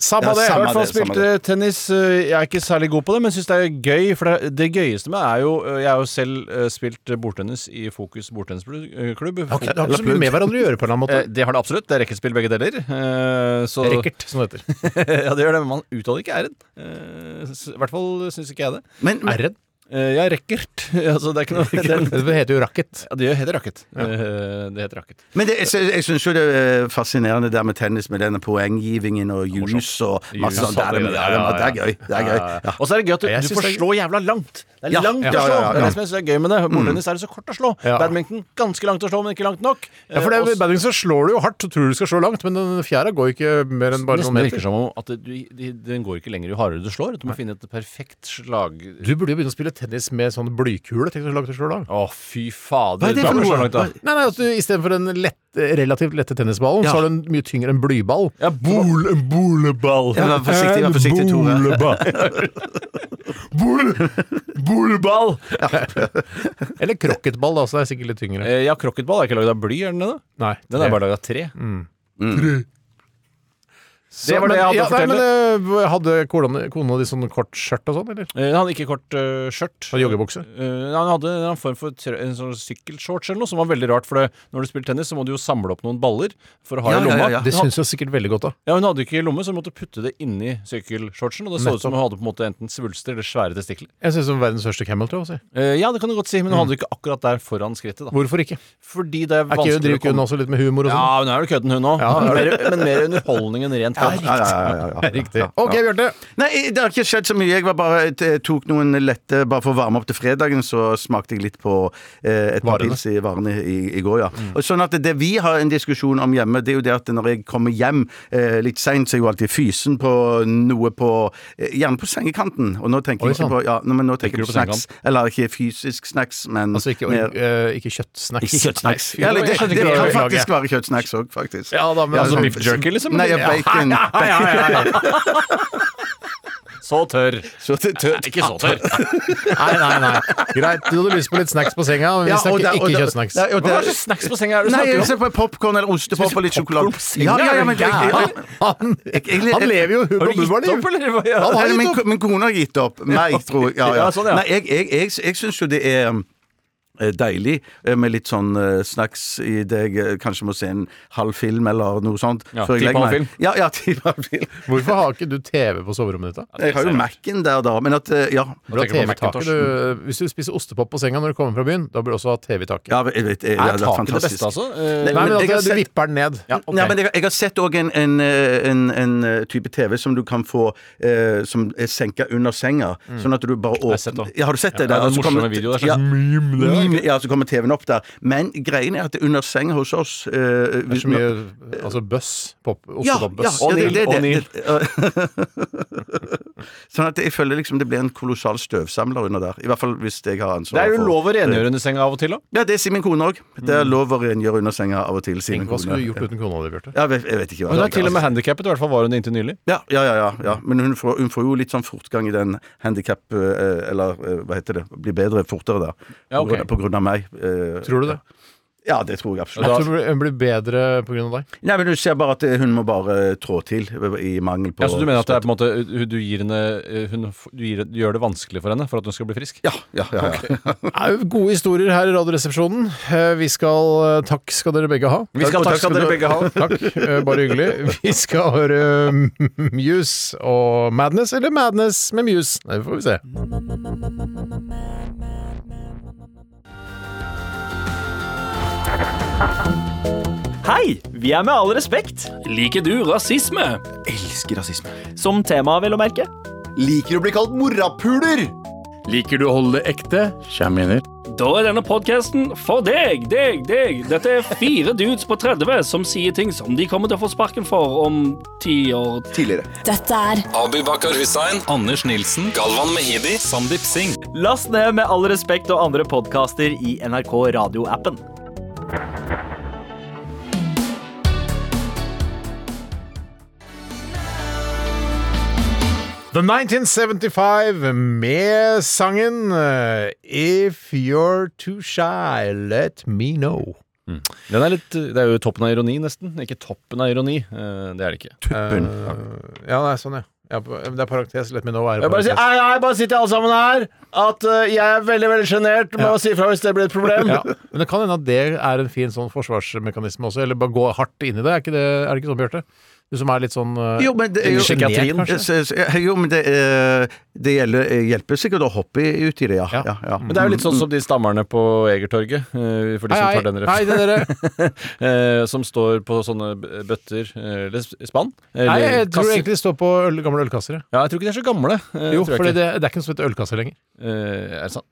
E: Samme
F: Ja,
E: det.
A: Jeg har
F: samme
A: i hvert fall
F: det, samme
A: spilt eh, tennis. eh, Jeg er ikke særlig god på det, men syns det er gøy. For det, det gøyeste med er jo eh, Jeg har jo selv eh, spilt eh, bordtennis i Fokus bordtennisklubb.
E: Ok, Det har ikke så mye med hverandre å gjøre på en eller annen måte.
A: Eh, Det har det absolutt. Det er rekkespill begge deler. Eh, Så,
E: Rekkert, som det heter.
A: ja, det gjør det, men man uttaler ikke r-en. Eh, s- I hvert fall syns ikke jeg det.
F: Men, men
E: R-en.
A: Eh, Jeg er rekkert. Altså, det er ikke noe den,
E: Det heter jo racket.
A: ja, Det heter racket. Eh, Det heter racket.
F: Men det, jeg, sy- jeg syns jo det er fascinerende der med tennis, med denne poenggivingen og jus og masse
A: Jus,
F: sånt. Det er, det,
A: ja, ja, ja.
F: er gøy. Det er gøy. Ja.
A: Og så er det gøy at du,
E: Jeg
A: du
E: synes
A: får
E: det er-
A: slå jævla langt. Det er
F: Ja,
A: langt
F: ja,
A: å
F: ja,
A: slå.
F: ja,
A: Det
F: ja.
A: er det som jeg synes er gøy med det. Bordtennis er det så kort å slå.
E: Ja.
A: Badminton ganske langt å slå, men ikke langt nok.
E: Ja, for det,
A: Eh, og
E: er- I badminton så slår du jo hardt og tror du skal slå langt, men den fjæra går jo ikke mer enn bare noen
A: Nesten virker
E: meter.
A: som om at du, de- den går ikke lenger jo hardere du slår. Du må finne et perfekt slag
E: Du burde jo begynne å spille tennis med sånn blykule. Tenk så langt du slår langt.
A: Å, fy fader.
F: Hva er det
A: Da
F: for
A: blir
F: noe?
A: så langt, da.
E: Nei, nei, altså, Istedenfor den lett, relativt lette tennisballen,
F: Ja.
E: så har du en mye tyngre enn blyball.
A: Ja, bol, en boleball.
F: Ja, vær forsiktig, vær forsiktig, Tore.
A: boleball!
E: Eller krokketball, da, så det er sikkert litt tyngre.
A: Eh, ja, krokketball er ikke laget av bly, er den det? da?
E: Nei,
A: Den er bare laget av tre.
E: det var det jeg hadde
A: å fortelle.
E: Men, eh, hadde kona, kona di sånn kort skjørt og sånn, eller?
A: Eh, han hadde ikke kort eh, skjørt.
E: Og joggebukse?
A: Eh, han hadde en eller annen form for trø- en sånn sykkelshorts eller noe, som var veldig rart. For det, når du spiller tennis, så må du jo samle opp noen baller for å ha
F: Ja,
A: i
F: ja,
A: lomma.
F: ja, ja.
E: Det
A: Hun had-
E: syns jeg sikkert veldig godt av.
A: ja, Hun hadde jo ikke i lomme, så hun måtte putte det inni sykkelshortsen. Og det så ut som hun hadde på en måte enten svulster eller svære testikler.
E: Jeg syns hun er verdens største cameltoe. si.
A: Eh, ja, det kan du godt si, men hun
F: Mm.
A: hadde det ikke akkurat der foran skrittet. da
E: altså. Hvorfor ikke?
A: Fordi det er
E: Er ikke hun
A: vanskelig
E: driver
A: å
E: ikke hun
A: komme
E: også litt med humor og sånn?
A: Ja, hun er vel kødden, hun òg.
E: Ja,
A: men, mer- men mer underholdning enn rent kødd.
F: Ja, ja, ja, ja, ja.
E: Riktig. Ok, Bjarte.
F: Nei, det har ikke skjedd så mye. Jeg var bare, t- tok noen lette Bare for å varme opp til fredagen, så smakte jeg litt på eh, et par
E: Varene.
F: pils i varene i, i går, ja. Og sånn at det vi har en diskusjon om hjemme, det er jo det at når jeg kommer hjem eh, litt seint, så er jeg jo alltid fysen på noe på eh, Gjerne på sengekanten. Og nå tenker
E: Oi,
F: jeg ikke
E: sann.
F: på Ja, nei, men nå tenker
A: du
F: jeg på
A: på
F: snacks. Eller ikke fysisk snacks, men
E: Altså ikke,
F: mer-
E: eh, ikke kjøttsnacks.
F: ikke kjøttsnacks.
E: Nei, fy,
F: Ja, eller det,
E: jeg skjønte
F: det
E: ikke hva
F: kan
E: jeg laget.
F: faktisk være kjøttsnacks òg, faktisk.
E: Ja da, men altså
A: sånn
F: sånn-
A: beef jerky, liksom?
F: Nei, ja, bacon.
A: Så tørr.
F: Så det-
A: Ikke så tørr.
E: Nei, nei, nei. Greit, du hadde lyst på litt snacks på senga, men vi
F: Ja, og
E: snakker
F: der-
E: ikke
F: og der-
E: kjøttsnacks.
F: Nei, og
A: Hva
F: der-
A: slags snacks på senga er det du
F: Nei, jeg
A: snakker om?
F: ser på popkorn eller ostepop og litt sjokolade.
A: popcorn på senga?
F: men,
A: Er du
E: Han,
A: gæren?
F: jeg-
E: han lever jo
A: Har du
E: hubba
A: gitt opp,
E: bubba-liv!
A: eller? hva? Ja.
E: Han har
F: Nei,
E: gitt
F: min,
E: opp.
F: min kone har gitt opp. Meg, tror jeg. Ja, ja.
A: Ja, sånn, ja.
F: Nei, jeg, jeg, jeg, jeg syns jo det er eh, Deilig eh, med litt sånn eh, snacks i det jeg eh, kanskje må se en halv film eller noe sånt.
A: Ja,
F: før jeg
A: ti
F: legger
A: på halv
F: meg.
A: film.
F: Ja, ja, ti på halv film.
E: Hvorfor har ikke du TV på soverommet ditt, da?
F: Jeg har jo Mac-en der, da. Men at eh, Ja.
E: Du har
A: tenker
E: TV
A: på
E: i taket.
A: Macintosh.
E: Du, hvis du spiser ostepop på senga når du kommer fra byen, da bør du også ha TV i taket.
F: ja jeg vet, jeg, ja, det
A: Er
F: er
A: taket det
F: fantastisk.
A: beste, altså? Eh,
E: Nei, men
F: men jeg har
E: at du
F: sett-
E: vipper den ned.
F: Nei, men jeg, jeg har sett òg en, en, eh, en, en eh, type TV som du kan få eh, som er senka under senga. Sånn at du bare
A: Mm. har sett
F: åpner
A: det.
F: ja, Har du sett det? Der,
A: Ja, det er
F: og så
A: morsomme
F: kommer-
A: videoer, det er
F: Ja,
A: slags
F: meme, ja, så kommer TV-en opp der. Men greien er at det er under senga hos oss eh,
E: Det er
F: hvis
E: så mye
F: man-
E: altså bøss. pop-
F: ja, ja,
E: Ostepop-bøss.
F: ja, det, det,
A: Og
F: det,
A: Neil,
F: Sånn at jeg føler liksom det blir en kolossal støvsamler under der. I hvert fall hvis jeg har ansvar
A: Det er jo
F: for-
A: lov å rengjøre Mm. under senga av og til, da.
F: Ja, det sier min kone òg. Det er lov å rengjøre under senga av og til, sier min
E: Hva skulle du
F: kone.
E: gjort uten kona di, Bjarte?
F: Ja, jeg, vet- jeg vet ikke hva
A: Hun
F: det
A: er til og med
E: altså.
A: handikappet, i hvert fall var hun det inntil nylig.
F: Ja, ja, ja, ja, ja. men hun får, hun får jo litt sånn fortgang i den handikap... Eller eh, hva heter det? Blir bedre fortere der.
A: Ja, ok.
F: på, grunn av, på grunn av meg. eh,
E: Tror du det?
F: Ja, det tror jeg
E: Jeg
F: absolutt.
E: tror hun blir bedre pga. deg.
F: Nei, men Du ser bare at eh, hun må bare eh, trå til eh, i mangel på
A: Ja, så du mener at det er på en måte eh, du, gir henne, eh, hun, f- du, gir, du gjør det vanskelig for henne for at hun skal bli frisk?
F: Ja, ja, ja. ja.
E: Det er jo gode historier her i Radioresepsjonen. Eh, Vi skal Takk skal dere begge ha.
A: Vi skal takk skal dere begge ha.
E: Takk. eh, Bare hyggelig. Vi skal høre eh, Muse og Madness, eller Madness med Muse. Det får vi se.
G: Hei! Vi er med all respekt. Liker du rasisme?
H: Elsker rasisme.
G: Som tema, vel å merke.
H: Liker å bli kalt morapuler.
G: Liker du å holde det ekte?
F: Kjem inn
G: Da er denne podkasten for deg, deg, deg. Dette er fire dudes på 30 som sier ting som de kommer til å få sparken for om ti år.
H: Tidligere.
I: Dette er
J: Abibakar Hussein, Anders Nilsen, Galvan Mehidi, Sandeep Singh.
G: Last ned med all respekt og andre podkaster i NRK radioappen.
E: The 1975 med sangen eh, If You're Too Shy, Let Me Know.
A: Den er litt, det er jo toppen av ironi, nesten. Ikke toppen av ironi. eh, Det er det ikke.
F: Tuppen.
E: Eh, ja, nei, sånn, ja. ja. på- Det er parentes. Let me know. Er
A: Jeg bare, sier,
E: parentes.
A: nei, nei, bare si til alle sammen her at eh, jeg er veldig veldig sjenert med å si fra hvis det blir et problem.
E: ja. Men det kan hende at det er en fin sånn forsvarsmekanisme også. Eller bare gå hardt inn i det. Er, ikke det. er det ikke sånn, Bjarte? Du som er litt sånn eh,
F: Jo, men det, er jo,
E: Psykiatrien, kanskje?
F: s- s- jo, men det, eh, det gjelder, hjelper sikkert å hoppe i- ut i det, ja.
E: Ja.
F: ja, ja.
A: Men det er jo litt sånn som de stammerne på Egertorget, eh, for de som
E: Hei,
A: tar den
E: hei, hei, det
A: referansen.
E: dere.
A: Eh, som står på sånne b- bøtter eh, eller s- spann. Eller
E: Nei, jeg tror
A: kasser.
E: egentlig det står på øl, gamle ølkasser. ja.
A: Ja, jeg tror ikke de er så gamle. eh,
E: Jo,
A: tror jeg
E: for det,
A: ikke.
E: det er ikke noe som heter ølkasser lenger.
A: Eh, er det sant?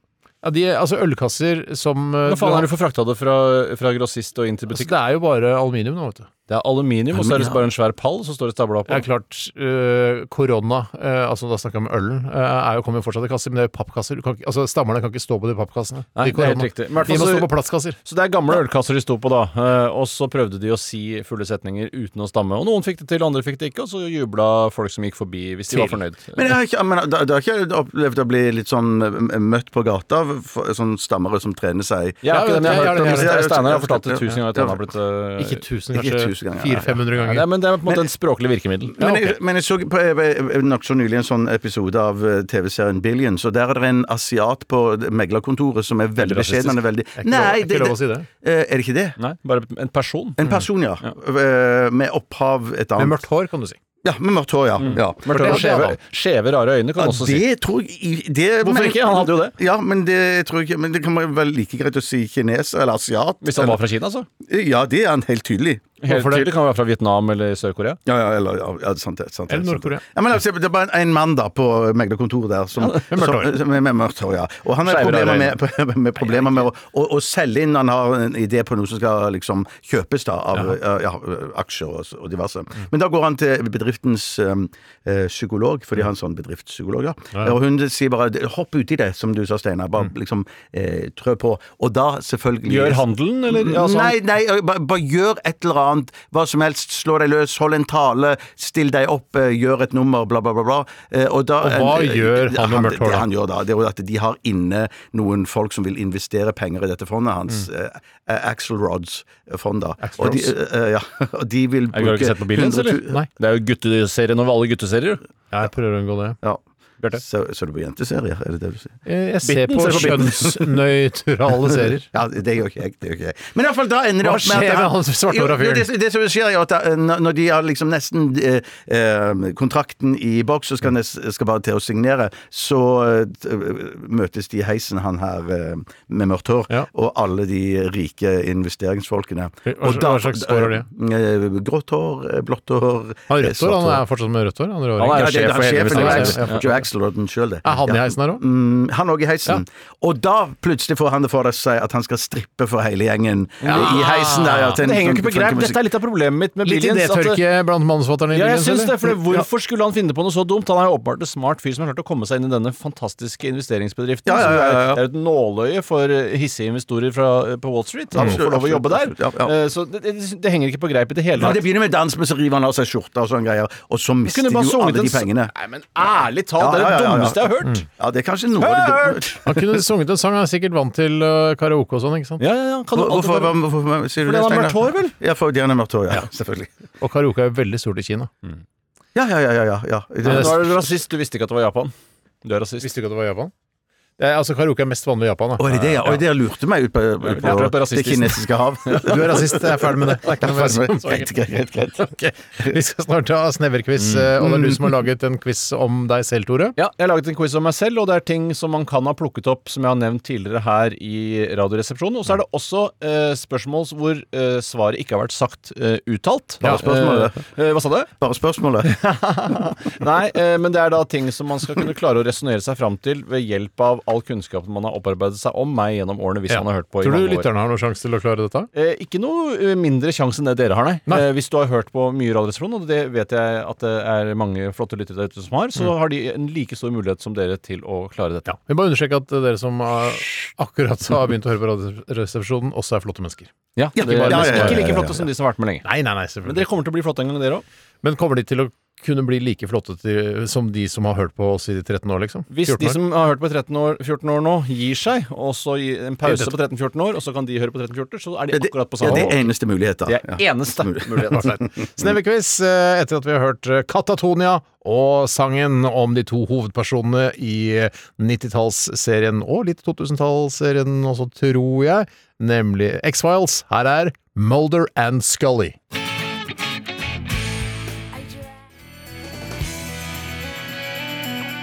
E: Ja, de, altså ølkasser som eh,
A: Hva faen
E: du
A: er det du får frakta det fra, fra grossist og inn til
E: altså,
A: butikk?
E: Det er jo bare aluminium nå, vet du.
A: Det er aluminium, og så er det bare en svær pall, så står det stabla
E: Det
A: på.
E: er klart, eh, korona, eh, altså da snakker jeg om ølen, eh, er jo, kommer jo fortsatt i kasser, men det er jo pappkasser. Du kan ikke, altså Stammerne kan ikke stå på de pappkassene.
A: Nei,
E: de
A: det er helt
E: korona.
A: riktig. Men i hvert
E: De
A: fall
E: må
A: så-
E: stå på plastkasser.
A: Så det er gamle ølkasser de sto på, da. eh, Og så prøvde de å si fulle setninger uten å stamme. Og noen fikk det til, andre fikk det ikke, og så jubla folk som gikk forbi, hvis de var fornøyd.
F: Men jeg har ikke, men, da, da har ikke jeg opplevd å bli litt sånn eh, møtt på gata av f- sånn stammere som trener seg
A: Jeg
E: Ja,
A: har ikke det, men jeg har
E: jeg-
A: hørt om
E: jeg- jeg-
A: det.
F: jeg-
A: Steinar har fortalt det
F: jeg- jeg-
A: tusen ganger at han har blitt eh,
E: Ikke tusen,
F: ikke
E: kanskje
F: tusen ganger, nei,
E: 400-500
A: ja,
E: ganger.
A: det er- Men det er på en måte en språklig virkemiddel.
F: Men, jeg, Eh, men jeg så på eh, nokså nylig en sånn episode av eh, TV-serien Billions, og der er det en asiat på meglerkontoret som er veldig
A: rasistisk.
F: beskjeden. Han er veldig
E: ikke lov- det er ikke lov å si det.
F: Eh, Er det ikke det?
A: Nei, bare en person.
F: En person, ja. Eh, Med opphav
E: Med
F: et annet
E: mørkt hår, kan du si.
F: Ja, med mørkt hår, ja. ja.
A: Mm. Mørkt hår og skjeve, skjeve, rare øyne, kan
F: Ja,
A: man også si.
F: det tror jeg i- det,
A: Hvorfor
F: men-
A: ikke? Han hadde jo det.
F: Ja, men det tror jeg ikke Men det kan være vel like greit å si kineser eller asiat.
A: Hvis han var fra Kina, så.
F: Eller- Ja, det er han helt tydelig.
A: Helt
E: Hvorfor det?
A: tydelig kan han være fra Vietnam eller Sør-Korea.
F: Ja, ja, eller ja, ja, sant det. Sant, det,
E: Eller
F: sant
E: Nord-Korea.
F: det. Ja, men la oss si, det er bare en mann da på meglerkontoret der som,
E: med mørkt hår.
F: som- med, med mørkt hår. Ja. Og han har
A: Skeive
F: problemer
A: rare
F: med, med, problemer med å, å, å selge inn. Han har en idé på noe som skal liksom kjøpes da av ja. Ja, aksjer og, og diverse. Men da går han til bedriftens um, eh, psykolog, fordi han er sånn bedriftspsykolog, ja. Og hun sier bare 'hopp uti det', som du sa, Steinar. Bare liksom eh, trø på. Og da selvfølgelig
A: Gjør handelen, eller? Ja, altså,
F: Nei, nei, bare, bare gjør et eller annet. Hva som helst. Slå deg løs, hold en tale, still deg opp, eh, gjør et nummer, bla, bla, bla. bla. Eh, Og, da,
E: Og hva
F: eh,
E: gjør han med mørkt hår,
F: Det
E: da?
F: han gjør da, det er jo at de har inne noen folk som vil investere penger i dette fondet hans.
A: Mm.
F: eh, Axel Rods fond, da.
E: Axl
F: Og de,
E: Rods.
F: eh, ja, og de vil
A: Jeg har
F: bruke
A: ikke sett på Billions,
F: 100 000
A: eller?
E: Nei.
A: Det er jo gutteserien over alle gutteserier.
E: Jeg prøver å unngå det.
F: Ja.
A: Bjarte?
F: Så, så du på jenteserier, er det det du sier?
E: Eh, Jeg ser
A: Bitten
E: på
A: ser på bitten.
E: kjønnsnøytrale serier.
F: Ja, det gjør ikke jeg. det gjør ikke jeg. Men i hvert fall da ender det
E: Hva
F: opp med at
E: skjer med han svarthåra
F: Jo, jo,
E: fyren?
F: Det, det som skjer, er jo at eh, når- når de har liksom nesten eh, eh, kontrakten i boks og
E: Mm.
F: skal, nes- skal bare til å signere, så eh, møtes de i heisen, han her eh, med mørkt hår,
E: Ja.
F: og alle de rike investeringsfolkene.
E: Hva-
F: Og da-
E: hva slags hår har de?
F: Eh, Grått hår, eh, blått hår
E: Han har
F: eh,
E: rødt
F: svart
E: hår, han er fortsatt med rødt hår. Han er
A: Han
E: rødhåring.
A: jo
F: ja, det,
A: sjef
F: er
A: for hele
F: sjefen,
E: Investeringsbanken.
F: Joe Axel-
E: Ja, ja.
F: Joe Axelrod sjøl, det.
E: Er han i
F: Ja.
E: heisen her òg?
F: Mm, han òg i heisen. Og da plutselig får han det for seg at han skal strippe for hele gjengen eh, i heisen der. Ja, til en
A: Det henger jo ikke på
F: funky
A: greip.
F: musikk.
A: Dette er litt av problemet mitt med
E: sånn Litt
A: Billions. at- eh,
E: idétørke blant mannsfatterne i
A: Ja, jeg
E: Billions,
A: syns
E: eller?
A: det, for hvorfor skulle han finne på noe så dumt? Han er jo åpenbart en smart fyr som har klart å komme seg inn i denne fantastiske investeringsbedriften.
F: Ja, ja, ja, ja, ja.
A: som er- Det er et nåløye for eh, hissige investorer fra, eh, på Wall Street. Han
F: Absolutt,
A: får lov å jobbe der.
F: absolutt, ja, ja.
A: Eh, Så det, det, det henger ikke på greip i det hele
F: Ja, det
A: tatt.
F: begynner med dans, men så river han av seg skjorta og sånne greier, og så mister
A: Kunne
F: de
A: bare
F: jo
A: sunget
F: alle
A: en
F: de
A: s-
F: pengene.
A: Nei, men ærlig talt,
F: Ja,
A: det er
F: ja,
A: det
F: ja, ja, ja.
A: dummeste jeg har
E: Mm.
A: hørt!
F: Ja, det er kanskje noe av det dumme.
E: Han kunne sunget en sang, han er sikkert vant til øh, karaoke og sånn, ikke sant?
A: Ja, ja, ja. Kan du
F: Hvorfor,
A: alltid
F: hvorfor,
A: bare-
F: hvorfor sier du
A: Fordi
F: det,
A: han har
F: Steinar?
A: mørkt hår, vel?
F: Ja, fordi han har mørkt hår, ja. Selvfølgelig.
E: Og karaoke er jo veldig stort i Kina.
F: Ja, ja, ja. ja, ja, ja.
A: Nå
F: Det-
A: er du rasist. Du visste ikke at det var Japan. Du er rasist.
E: Visste du ikke at det var Japan? Det er, altså, Karaoke er mest vanlig i Japan.
F: Å,
E: Da.
F: er det det, ja? Oi, dere lurte meg ut på, ut
A: Ja,
F: på
A: du er på
F: det
A: rasistisen.
F: kinesiske hav.
E: Du er rasist, jeg er ferdig med det. Det er ikke noe mer å si om saken.
F: Greit, greit, greit.
E: Ok, Vi skal snart ha
A: Mm.
E: sneverquiz, øh, og det er du som har laget en quiz om deg selv, Tore.
A: Ja, jeg har laget en quiz om meg selv, og det er ting som man kan ha plukket opp, som jeg har nevnt tidligere her i Radioresepsjonen. Og så er det også eh, spørsmål hvor eh, svaret ikke har vært sagt eh, uttalt.
F: Bare spørsmålet.
A: Eh, eh, hva sa du?
F: Bare spørsmålet.
A: Nei, eh, men det er da ting som man skal kunne klare å resonnere seg fram til ved hjelp av all kunnskapen man har opparbeidet seg om meg gjennom årene, hvis
E: Ja.
A: man har hørt på i
E: Tror du
A: mange år.
E: lytterne har noen sjanse til å klare dette?
A: Eh, ikke noe eh, mindre sjanse enn det dere har, nei.
E: Nei.
A: Eh, hvis du har hørt på mye Radioresepsjon, og det vet jeg at det er mange flotte lyttere der ute som har, så har de en like stor mulighet som dere til å klare dette.
E: Vi bare understreker at dere som har akkurat har begynt å høre på Radioresepsjonen, også er flotte mennesker.
A: Ja, det,
F: bare-
A: men
F: ja, ja, ja,
A: Ikke
F: ja,
A: like
F: ja,
A: flotte som de som har vært med lenge.
E: Nei, nei, nei,
A: Men
E: selvfølgelig.
A: dere kommer til å bli flotte en gang, dere òg.
E: Men kommer de til å kunne bli like flotte til, som de som har hørt på oss i 13 år, liksom?
A: Hvis
E: 14
A: de
E: år.
A: som har hørt på i 13 år, 14 år nå, gir seg, og så gir en pause
E: Dette-
A: på 13-14 år, og så kan de høre på 13-14, så er de
F: Ja, det-
A: akkurat på
F: ja,
A: samme
F: det er
A: nivå.
F: eneste mulighet, da.
A: Det er
F: Ja.
A: eneste mulighet.
E: Snevequiz eh, etter at vi har hørt eh, Katatonia og sangen om de to hovedpersonene i eh, 90-tallsserien og litt 2000-tallsserien også, tror jeg, nemlig X-Files. Her er Mulder and Scully.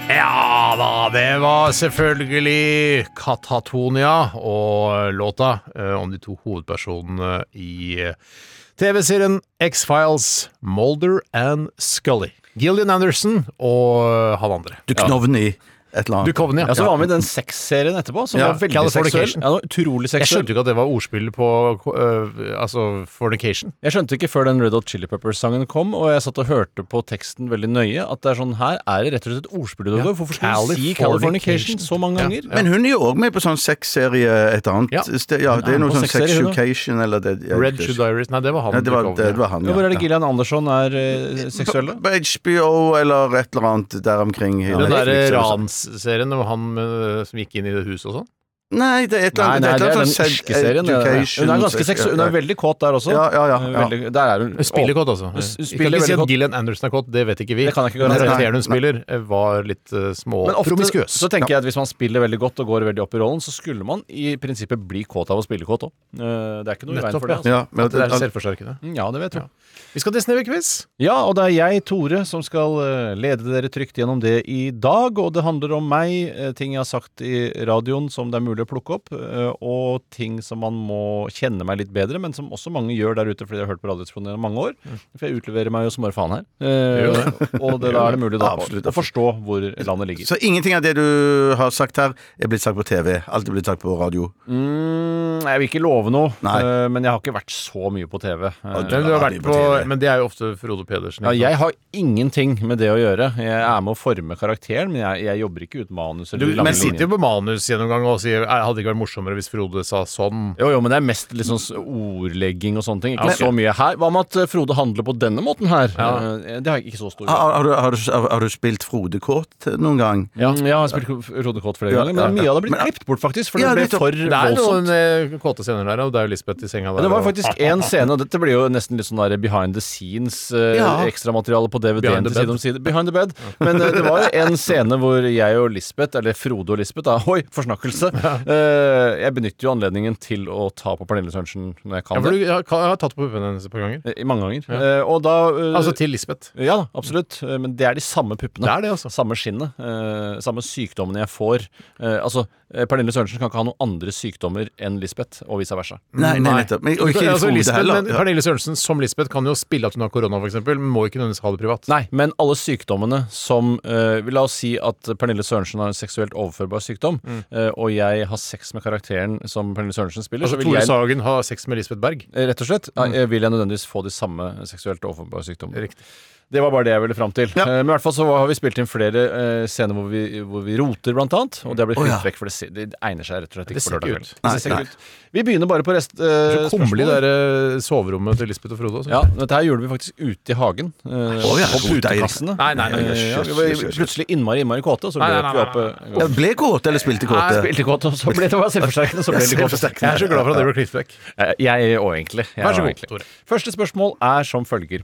E: Ja da, det var selvfølgelig Katatonia og låta eh, om de to hovedpersonene i eh, TV-serien X-Files, Molder and Scully. Gillian Anderson og eh, han andre.
F: Du knovner i et eller annet.
E: Duchovny.
A: Ja, så var vi i den sexserien etterpå, som
F: Ja,
A: var veldig
E: Californication.
A: seksuell. Ja, den var utrolig
E: Jeg skjønte
A: seksuell.
E: jo ikke at det var ordspillet på øh, altså fornication.
A: Jeg skjønte ikke før den Red Hot Chili Peppers-sangen kom, og jeg satt og hørte på teksten veldig nøye, at det er sånn her er det rett og slett et ordspill. Ja, Hvorfor skulle du si
E: Californication.
A: Californication så mange ganger?
F: Men hun er jo òg med på sånn sexserie et annet
E: Ja.
F: sted. Ja, det er
A: Hun er
F: noe
A: på
F: sånn
A: sexserie, hun da.
F: sexucation eller det jeg
E: Red
F: vet
E: Shoe
F: ikke.
E: Diaries. Nei, det var han.
F: Nei, det var,
E: Duchovny.
F: det var han,
A: Ja, hvor er
F: ja.
A: det Gillian Anderson er eh, seksuell, da?
F: På HBO eller et eller annet der omkring. i
E: Den
F: Netflix
E: derre
F: eller sånn.
E: ransserien med han øh, som gikk inn i det huset og sånn.
F: Nei, det er et eller
A: Nei,
F: annet
A: nei, det er den
F: sånn
A: irske serien. det er det.
F: education-
A: Hun er ganske seksuell. Hun er veldig kåt der også.
F: Ja, ja, ja, ja.
A: Veldig, der er hun
E: Hun spiller godt, altså.
A: Hun s- hun
E: Vi
A: spiller
E: kan ikke si
A: veldig
E: at
A: godt.
E: Gillian Anderson er kåt, det vet ikke vi.
A: Det kan jeg ikke
E: Men
A: garantere.
E: karakteren hun spiller, eh, var litt uh, små
A: Men ofte
E: promiskuøs.
A: så tenker jeg at hvis man spiller veldig godt og går veldig opp i rollen, så skulle man i prinsippet bli kåt av å spille kåt òg. Det er ikke noe i veien
E: Nettopp,
A: for
E: ja.
A: det. Altså.
F: Ja, men
E: At det er
F: at-
E: selvforsterkende.
A: Mm, Ja, det vet jeg.
E: Vi skal til Snevequiz.
A: Ja, og det er jeg, Tore, som skal eh, lede dere trygt gjennom det i dag. Og det handler om meg, eh, ting jeg har sagt i radioen som det er mulig å plukke opp, eh, og ting som man må kjenne meg litt bedre, men som også mange gjør der ute fordi de har hørt på Radioresepsjonen gjennom mange år.
F: Mm.
A: For jeg utleverer meg jo som bare faen her. Eh, og det, da er det mulig da,
F: Absolutt,
A: å forstå hvor landet ligger.
F: Så ingenting av det du har sagt her, er blitt sagt på TV. Alt er blitt sagt på radio.
A: Mm, jeg vil ikke love noe,
F: Nei.
A: eh, men jeg har ikke vært så mye på TV. Eh,
F: du-
E: Men, du har vært
F: Ja, de
E: på,
F: på TV.
E: men det er jo ofte Frode Pedersen.
A: ja,
E: ikke sant?
A: jeg har ingenting med det å gjøre. Jeg er med å forme karakteren, men jeg, jeg jobber ikke ut manus.
E: Du,
A: Eller lange
E: men sitter
A: linjer.
E: jo på manusgjennomgang og sier «Nei, hadde det ikke vært morsommere hvis Frode sa sånn.
A: jo, jo, men det er mest litt sånn s- ordlegging og sånne ting. Ikke
E: Ja,
A: så mye her. Hva med at eh, Frode handler på denne måten her? Eh, Det har jeg ikke så stor
E: Ah,
A: grunn til.
F: Har, har, du, har, du, har du spilt Frode Kåt noen gang?
A: Ja, Mm, jeg har spilt Frode Kåt flere
F: Ja,
A: ganger, men
F: ja,
A: mye
F: ja.
A: av det ble
F: Men-
A: klippet bort, faktisk. For
F: Ja,
A: det
E: ah,
F: nettopp.
A: ble for
E: Det er
A: voldsomt.
E: noen eh, kåte scener der, og det er jo Lisbeth i senga der.
A: Ja, det var
E: og-
A: faktisk én scene, og dette blir jo nesten litt sånn der behind the scenes eh,
F: Ja.
A: ekstramateriale på DVD-en
E: Behind the
A: til side
E: bed.
A: om side. Behind the bed. Men eh, det var jo en scene hvor jeg og Lisbeth, eller Frode og Lisbeth, da, oi, forsnakkelse Eh, Jeg benytter jo anledningen til å ta på Pernille Sørensen når
E: ja,
A: jeg kan
E: for
A: det.
E: du, jeg, har, jeg har tatt på puppene hennes et par ganger.
A: Eh, I mange ganger. Eh, og da eh,
E: Altså til Lisbeth.
A: ja da, absolutt. Eh, Men det er de samme puppene.
E: Det er det, altså.
A: Samme skinnet. eh, samme sykdommene jeg får. Eh, altså, eh, Pernille Sørensen kan ikke ha noen andre sykdommer enn Lisbeth, og vice versa.
F: Nei, nei, nettopp. Men, og ikke
E: altså,
F: Frode
E: Lisbeth,
F: heller.
E: men Pernille Sørensen som Lisbeth kan jo spille at hun har korona, f.eks., men må ikke nødvendigvis ha det privat.
A: Nei, men alle sykdommene som eh, La oss si at Pernille Sørensen har en seksuelt overførbar sykdom,
E: Mm.
A: eh, og jeg har sex med karakteren som Pernille Sørensen spiller,
E: Altså,
A: så vil
E: Tore
A: jeg
E: Sagen har sex med Lisbeth Berg.
A: eh, Rett og slett eh, vil jeg nødvendigvis få de samme seksuelt overførbare sykdommene.
E: Riktig.
A: Det var bare det jeg ville fram til. Eh, Men i hvert fall så har vi spilt inn flere eh, scener hvor vi, hvor vi roter, blant annet. Og det har blitt
F: Å, ja.
A: klippet vekk, for det, se- det egner seg rett og slett
E: Det
A: ikke
E: ser
A: for
E: ikke
A: lørdag
E: ut.
A: kveld. Det ser ikke ut. Vi begynner bare på rest...
E: Så
A: Uh,
E: kummerlig det der, eh, soverommet til Lisbeth og Frode. Også.
A: Ja, dette her gjorde vi faktisk ute i hagen. eh,
F: Å, ja.
A: På putekassene.
E: Nei, nei, nei,
A: Eh,
F: jøss,
A: ja, vi var
F: jøss, jøs, jøs.
A: plutselig innmari, innmari kåte, og så
E: Nei,
A: ble
E: nei,
A: vi
E: nei,
A: oppe.
F: Ja, ble kåt, eller spilte
A: Nei,
F: kåte?
A: spilte kåt, og så ble det var selvforsterkende, så ble det kåt.
E: Jeg er så glad for at det ble klippet vekk.
A: Eh, Jeg òg, egentlig. Jeg
E: Vær så
A: og
E: god,
A: egentlig.
E: Tore.
A: Første spørsmål er som følger.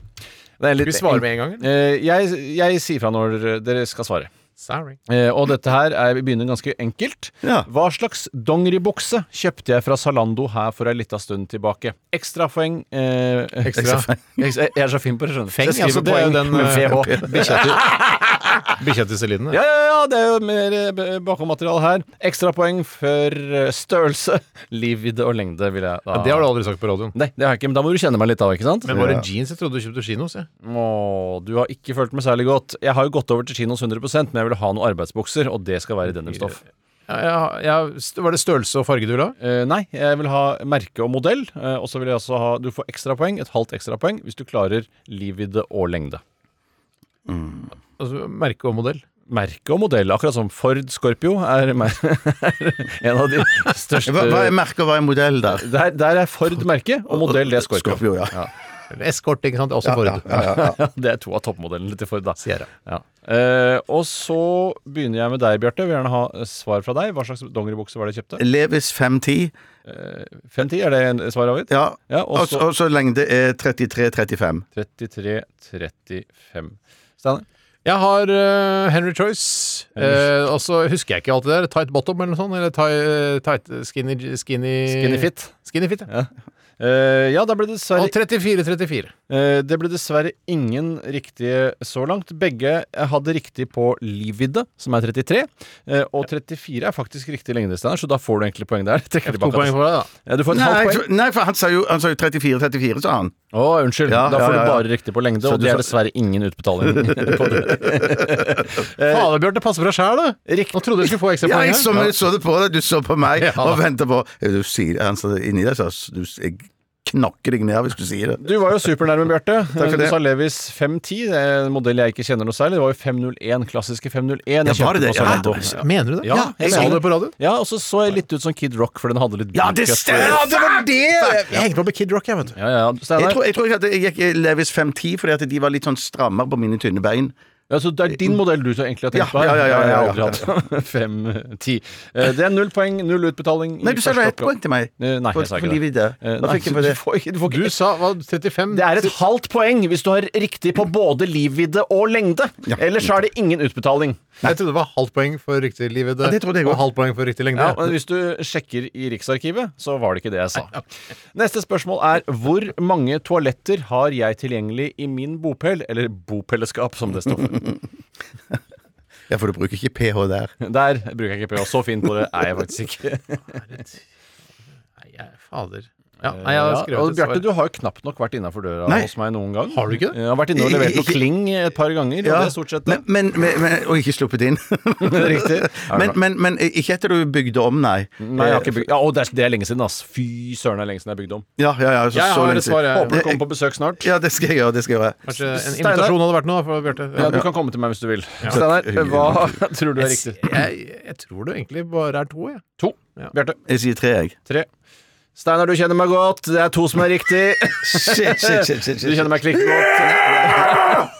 A: Det er litt-
E: Vi svarer med en gang. eller?
A: Eh, Jeg, jeg sier fra når dere skal svare.
E: Sorry.
A: Eh, Og dette her er, vi begynner ganske enkelt.
F: Ja.
A: Hva slags dongeribukse kjøpte jeg fra Zalando her for ei lita stund tilbake? Ekstrapoeng. Eh,
E: Ekstra.
A: Jeg, jeg er så fin på det, skjønner du.
E: Feng,
A: Så jeg
E: altså,
A: skriver
E: det er jo
A: poeng
E: den,
A: med
E: eh,
A: VH.
E: Bikkja til- Bikkja til Celine.
A: Ja, ja, ja, det er jo mer eh, b- bakommateriale her. Ekstrapoeng for eh, størrelse, livvidde og lengde, vil jeg da
E: Det har du aldri sagt på radioen.
A: Nei, det har jeg ikke, men da må du kjenne meg litt, da, ikke sant?
E: Men var det jeans jeg trodde du kjøpte kinos? Jeg.
A: Åh, du har ikke følt meg særlig godt. Jeg har jo gått over til kinos 100 men jeg ville ha noen arbeidsbukser, og det skal være i denimstoff.
E: Ja, ja, ja, st- var det størrelse og farge du la?
A: Eh, nei, jeg vil ha merke og modell, eh, og så vil jeg også ha Du får ekstrapoeng, et halvt ekstrapoeng, hvis du klarer livvidde og lengde.
E: Altså, merke og modell.
A: Merke og modell, akkurat som Ford Scorpio er, mer- er en av de største
F: Hva, hva er merke og hva er modell der?
A: Der, der er Ford merke, og modell det er Scorpio.
F: Scorpio, ja.
E: Eskort, ikke sant. Også Ford.
A: Ja, det er to av toppmodellene til Ford, da.
E: Sierra.
A: Ja. Eh, og så begynner jeg med deg, Bjarte. Jeg vil gjerne ha eh, svar fra deg. Hva slags dongeribukse var det jeg kjøpte?
F: Levis 510.
A: 510, er det en svar avgitt?
F: Ja.
A: Ja, og
F: Og
A: så-
F: så- og så lengde er 33-35.
A: 33-35. Steinar?
E: Jeg har eh, Henry Choice. eh, og så husker jeg ikke alltid det. der. Tight bottom eller noe sånt. Eller eh, tight, tight skinny, skinny
A: Skinny fit.
E: Skinny fit, ja.
A: Eh, ja, da ble det dessverre
E: Og 34-34.
A: Eh, Det ble dessverre ingen riktige så langt. Begge eh, hadde riktig på livvidde, som er 33. eh, Og 34 er faktisk riktig lengde, Steinar, så da får du egentlig poeng der. Jeg
E: To
A: Trekker tilbake.
E: poeng
A: at-
E: for deg, da.
A: Ja, du får et
F: Nei,
A: halvt
F: så-
A: poeng.
F: nei, for han sa jo 34-34, sa han.
A: Å, unnskyld.
F: Ja,
A: da
F: ja, ja,
A: får du
F: ja.
A: bare riktig på lengde, og
F: du
A: det er
F: sa-
A: dessverre ingen utbetaling. på det. Eh,
E: Fader, Bjarte, passe på deg sjæl, du! Nå trodde jeg skulle få ekstra
F: Ja,
E: poeng.
F: jeg
E: her.
F: så, jeg så det på deg, du så på meg
E: Ja.
F: og venta på Ja, Du sier Han sa det inni deg, så du, jeg knakker deg ned hvis du sier det.
A: Du var jo supernærme, Bjarte.
F: for
A: Du
F: det.
A: sa Levis 510. Det er en modell jeg ikke kjenner noe særlig. Det var jo 501, klassiske 501. Jeg
F: Ja, altså. var det
A: kjøpte
F: det?
A: på Zalando.
E: Ja. Mener du det?
A: Ja, jeg
E: sa
A: mener
E: det på radio.
A: Ja, og så så jeg litt ut som Kid Rock, for den hadde litt
F: Ja, det
A: big cut.
F: stemmer! Det var det!
E: Jeg hengte på med Kid Rock, jeg, vet du.
A: Ja, ja, ja. Steinar.
F: Jeg tror, jeg tror ikke at jeg gikk i Levis 510 fordi at de var litt sånn strammere på mine tynne bein.
A: Ja, så det er din modell du så egentlig har
F: Ja,
A: tenkt på her?
F: ja, ja, ja, ja,
A: Jeg har aldri hatt fem, eh, ti. Eh, Det er null poeng, null utbetaling. i
F: Nei, du sa det
A: første
F: var ett
A: oppgave.
F: poeng til meg.
A: Eh, Nei,
F: For-
A: jeg sa
F: for
A: ikke det.
F: livvidde.
A: Eh,
F: Hva
A: nei,
F: fikk jeg for det?
A: Du får ikke, du får
E: Du
A: ikke.
E: sa hva, 35?
A: Det er et halvt poeng hvis du har riktig på både livvidde og lengde. Ellers så er det ingen utbetaling.
E: Jeg trodde det var halvt poeng for riktig liv i det,
F: Ja, det trodde jeg
E: og
F: også.
E: halvt poeng for riktig lengde.
A: Ja, men Hvis du sjekker i Riksarkivet, så var det ikke det jeg sa. Neste spørsmål er hvor mange toaletter har jeg tilgjengelig i min bopel, eller bopellesskap, som det står for.
F: Ja, for du bruker ikke ph der.
A: Der bruker jeg ikke PH. Så fin på det er jeg faktisk ikke.
E: Nei, jeg, fader. Ja, nei, jeg har
A: Ja,
E: skrevet
A: og
E: et
A: Bjarte,
E: svar.
A: du har jo knapt nok vært innafor døra
F: Nei.
A: hos meg noen gang.
E: Har du ikke det?
A: Jeg har vært inne og levert noe
F: Ikke-
A: kling et par ganger, og det er stort sett det.
F: men, men, men, men, og ikke sluppet inn.
A: Riktig.
F: men, men, men ikke etter du bygde om, nei.
A: Nei, jeg har ikke bygd Ja, og det er, det er lenge siden, ass. Fy søren, det er lenge siden jeg bygde om.
F: Eh, Ja, ja, ja, så,
E: Jeg
F: så
E: har
F: lenge
E: et svar,
F: siden.
E: jeg.
A: Håper du kommer på besøk snart.
F: Ja, det skal jeg gjøre. det skal jeg gjøre
E: Kanskje en
A: Steinar?
E: invitasjon hadde vært noe for Bjarte.
A: Ja, du kan komme til meg hvis du vil. Steinar, hva tror du er riktig?
E: Jeg, jeg tror det egentlig bare er to, jeg.
A: To. Bjarte.
F: Jeg sier tre, jeg.
A: Tre. Steinar, du kjenner meg godt. Det er to som er riktig.
F: Shit, shit, shit, shit,
A: Du kjenner meg klikk godt.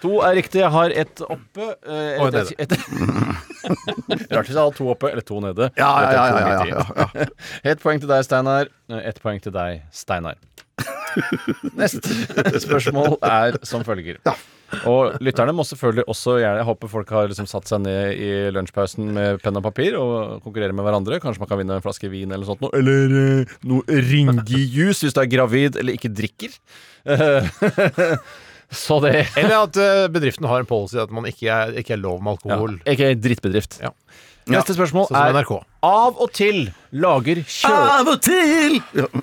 A: To er riktig. Jeg har ett oppe. eh,
E: Og et
A: ett- ett- Rart hvis jeg hadde to oppe, eller to nede.
F: Ja, ja, ja.
A: Dette er
F: ja,
A: to
F: ja,
A: riktige.
F: ja, ja.
A: Ett poeng til deg, Steinar. Eh, Ett poeng til deg, Steinar. Neste spørsmål er som følger. Og lytterne må selvfølgelig også gjerne Jeg håper folk har liksom satt seg ned i lunsjpausen med penn og papir og konkurrerer med hverandre. Kanskje man kan vinne en flaske vin eller noe sånt. noe. Eller eh, noe ringejus hvis du er gravid eller ikke drikker. Eh, Så det
E: Eller at eh, bedriften har en policy at man ikke er, ikke er lov med
A: ja,
E: alkohol.
A: Ikke drittbedrift.
E: Ja.
A: Neste spørsmål
E: Sånn som
A: er
E: NRK.
A: Av og til lager kjøl...
F: Av og til! Ja.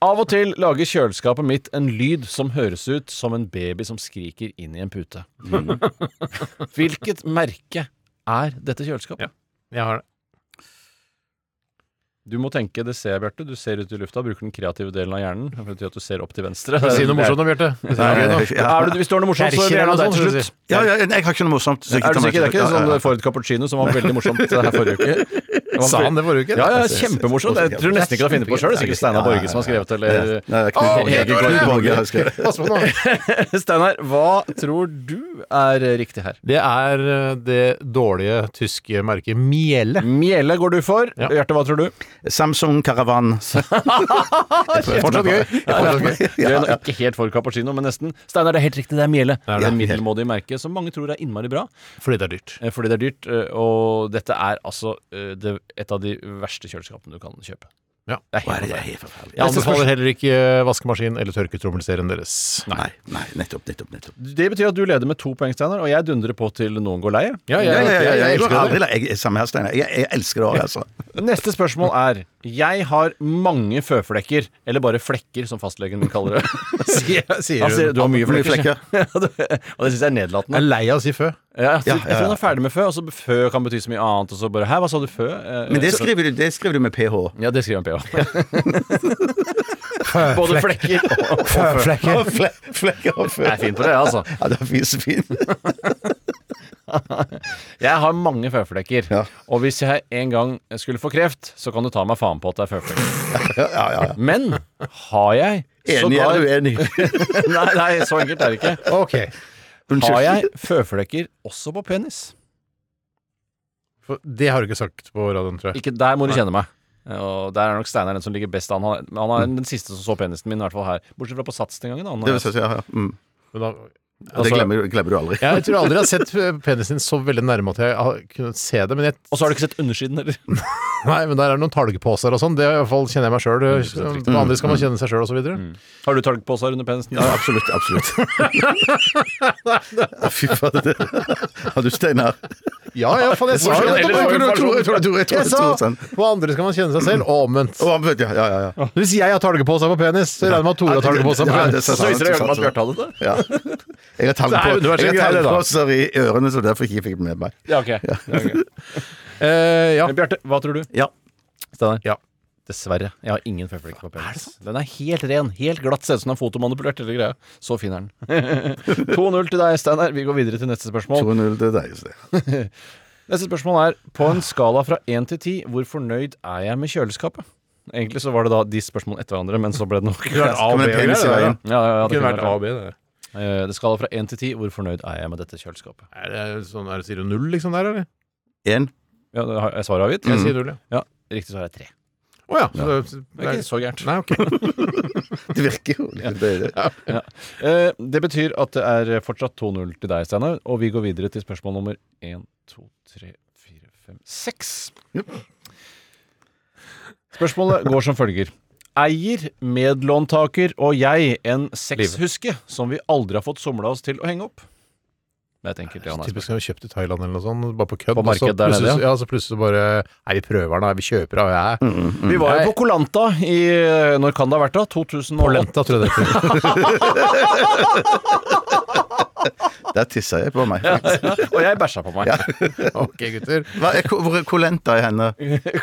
A: Av og til lager kjøleskapet mitt en lyd som høres ut som en baby som skriker inn i en pute.
E: Mm.
A: Hvilket merke er dette kjøleskapet?
E: Jeg har det.
A: Du må tenke, det ser jeg, Bjarte. Du ser ut i lufta, bruker den kreative delen av hjernen. Det betyr at du ser opp til venstre.
E: Si noe morsomt nå, Bjarte. Si noe gøy nå.
A: Ja. Er du, hvis du har noe morsomt, så vil jeg gjerne ha deg til slutt.
F: Ja, ja, nei, jeg har ikke noe morsomt. så jeg
A: Er du
F: tar meg
A: sikker? Det er
F: til
A: ikke
F: slutt. Ja, ja,
A: sånn Ford Cappuccino som var veldig morsomt eh, her forrige uke? Det var
E: Sa han det forrige uke?
A: Ja, ja, kjempemorsomt. Jeg tror nesten ikke du har funnet på det sjøl. Det er sikkert Steinar Borge som har skrevet det, eller
F: Nei, det er Knut Borge.
A: Hege Gård
F: Knut Borge har skrevet.
E: Pass på nå.
A: Steinar, hva tror du er riktig her?
E: Det er eh, det dårlige tyske merket Miele.
A: Mjele går du for.
E: Ja.
A: Hjerte, hva tror du?
F: Samsung Caravan.
E: Fortsatt gøy. Fortsatt gøy.
A: Gøy, nå, ikke helt for cappuccino, men nesten. Steinar, det er helt riktig, det er mjele. Det er
E: det.
A: det middelmådige merket som mange tror er innmari bra,
E: Fordi det er dyrt.
A: eh, fordi det er dyrt. eh, Og dette er altså eh, det, et av de verste kjøleskapene du kan kjøpe.
E: Ja.
A: Det er helt forferdelig.
E: Jeg
A: Neste
E: anbefaler
A: spørsmål.
E: heller ikke vaskemaskin eller tørketrommelserien deres.
F: Nei, nei, nettopp, nettopp. nettopp.
A: Det betyr at du leder med to poeng, Steinar, og jeg dundrer på til noen går lei.
F: Ja, ja, ja, jeg
E: elsker
F: går
E: det.
F: aldri lei. Jeg- Samme her, Steinar. Jeg, jeg elsker det òg, altså.
A: Neste spørsmål er Jeg har mange føflekker, eller bare flekker, som fastlegen min kaller det.
E: Sier, sier
A: Han sier
E: hun.
A: du har mye
F: Mye
A: flekker.
F: flekker.
A: Ja, det- og det syns jeg er nedlatende.
E: Jeg er lei av å si fø.
A: Ja, jeg,
F: ja,
A: tror- jeg tror han
F: ja.
A: er ferdig med fø, og så fø kan bety så mye annet, og så bare Hæ, hva sa du fø? Eh,
F: Men det
A: så-
F: skriver du, det skriver du med ph.
A: Ja, det skriver han PH. Både flekker og
E: Føflekker.
F: Fle- Flekker og fø.
A: Jeg er fin på det, altså.
F: Ja, det er fint, fint.
A: Jeg har mange føflekker.
F: Ja.
A: Og hvis jeg en gang skulle få kreft, så kan du ta meg faen på at det er føflekker.
F: Ja, ja, ja.
A: Men har jeg
F: Enig
A: Sågar-
F: eller uenig?
A: nei, nei, så enkelt er det ikke.
E: Ok.
F: Unnskyld.
A: Har jeg føflekker også på penis?
E: For det har du ikke sagt på radioen, tror jeg.
A: Ikke der må du kjenne meg. Og der er nok Steinar den som ligger best an. Han, han er den siste som så penisen min, i hvert fall her. Bortsett fra på Sats den gangen. da. Han,
F: Det, vil si, ja, ja. Mm.
E: Men da,
F: det
A: altså,
F: glemmer, glemmer du aldri.
E: jeg tror aldri jeg har sett eh, penisen din så veldig nærme at jeg har kunnet se det. Men, jeg,
A: og så har du ikke sett undersiden heller.
E: nei, men der er det noen talgposer og sånn. Det er i hvert fall kjenner jeg meg sjøl. Med andre skal man kjenne seg sjøl osv.
A: Har du talgposer under penisen?
F: Ja, absolutt. absolutt. Å, Fy fader. Har du, Steinar?
E: Ja, ja, faen, jeg sa jo
F: Jeg tror- jeg tror- jeg tror- jeg tror- jeg tror- jeg tror-
E: Jeg sa
F: jeg tror-
E: på andre skal man kjenne seg selv, og omvendt.
F: Å, vet du, ja, ja, ja, ja.
E: Hvis jeg har talgepose på penis, så regner jeg med at Tore har talgepose på
F: Ja, det er
E: penis.
F: sant,
A: Så viser det
F: sant,
A: seg at
F: sant,
A: Bjarte hadde det.
F: ja.
E: Det
F: Jeg har
E: er
F: tallpå-
E: universelt
F: jeg
E: greie,
F: har
E: det, da.
F: tallpåser i ørene, så derfor ikke jeg fikk det med meg.
A: Ja, ok. Ja, ok.
E: Eh, ja.
A: Men Bjarte, hva tror du?
F: Ja.
A: Steinar?
E: Ja.
A: Dessverre. Jeg har ingen føflekker på penis. Den er helt ren. Helt glatt. Ser ut som den er fotomanipulert. Eller greia. Så fin er den. 2-0 til deg, Steinar. Vi går videre til neste spørsmål.
F: 2-0 til deg. så det.
A: Neste spørsmål er På en skala fra 1 til 10, hvor fornøyd er jeg med kjøleskapet? Egentlig så var det da de spørsmålene etter hverandre, men så ble det nok
E: vært A og
F: Kommer
E: B,
F: en penis i
E: det er det,
F: veien.
A: Ja, ja, ja, det
E: Kunne
A: kunne
E: vært A
A: vært
E: og B, det.
A: det. Eh, Det skala fra 1 til 10, hvor fornøyd er jeg med dette kjøleskapet?
E: Er det sånn, er det sier du null, liksom, der, eller?
F: En.
A: Ja, det har- er svaret avgitt?
F: Mm.
E: Jeg sier null, ja.
A: Ja, riktig svar er 3.
E: Å ja. så det-
A: Det er ikke så gærent.
E: Nei, ok.
F: Det virker jo litt bedre.
A: Eh, Det betyr at det er fortsatt 2-0 til deg, Steinar. Og vi går videre til spørsmål nummer 1, 2, 3, 4, 5, 6. Spørsmålet går som følger. Eier, medlåntaker og jeg en sexhuske som vi aldri har fått somla oss til å henge opp? Det er et enkelt ja nei
E: Typisk har vi kjøpt i Thailand eller noe sånt, bare på kødd.
A: På
E: og så
A: marked der nede,
E: plutselig-
A: ja.
E: ja. så plutselig bare Nei, vi prøver den, nei, vi kjøper den, ja.
F: Mm.
A: Vi var jo på Kolanta i Når kan det ha vært, da? 2008?
E: Polenta, tror jeg det heter.
F: Der tissa jeg på meg. faktisk.
A: Og jeg bæsja på meg.
E: Ok, gutter.
F: Hva er, hvor hvor lenta er henne?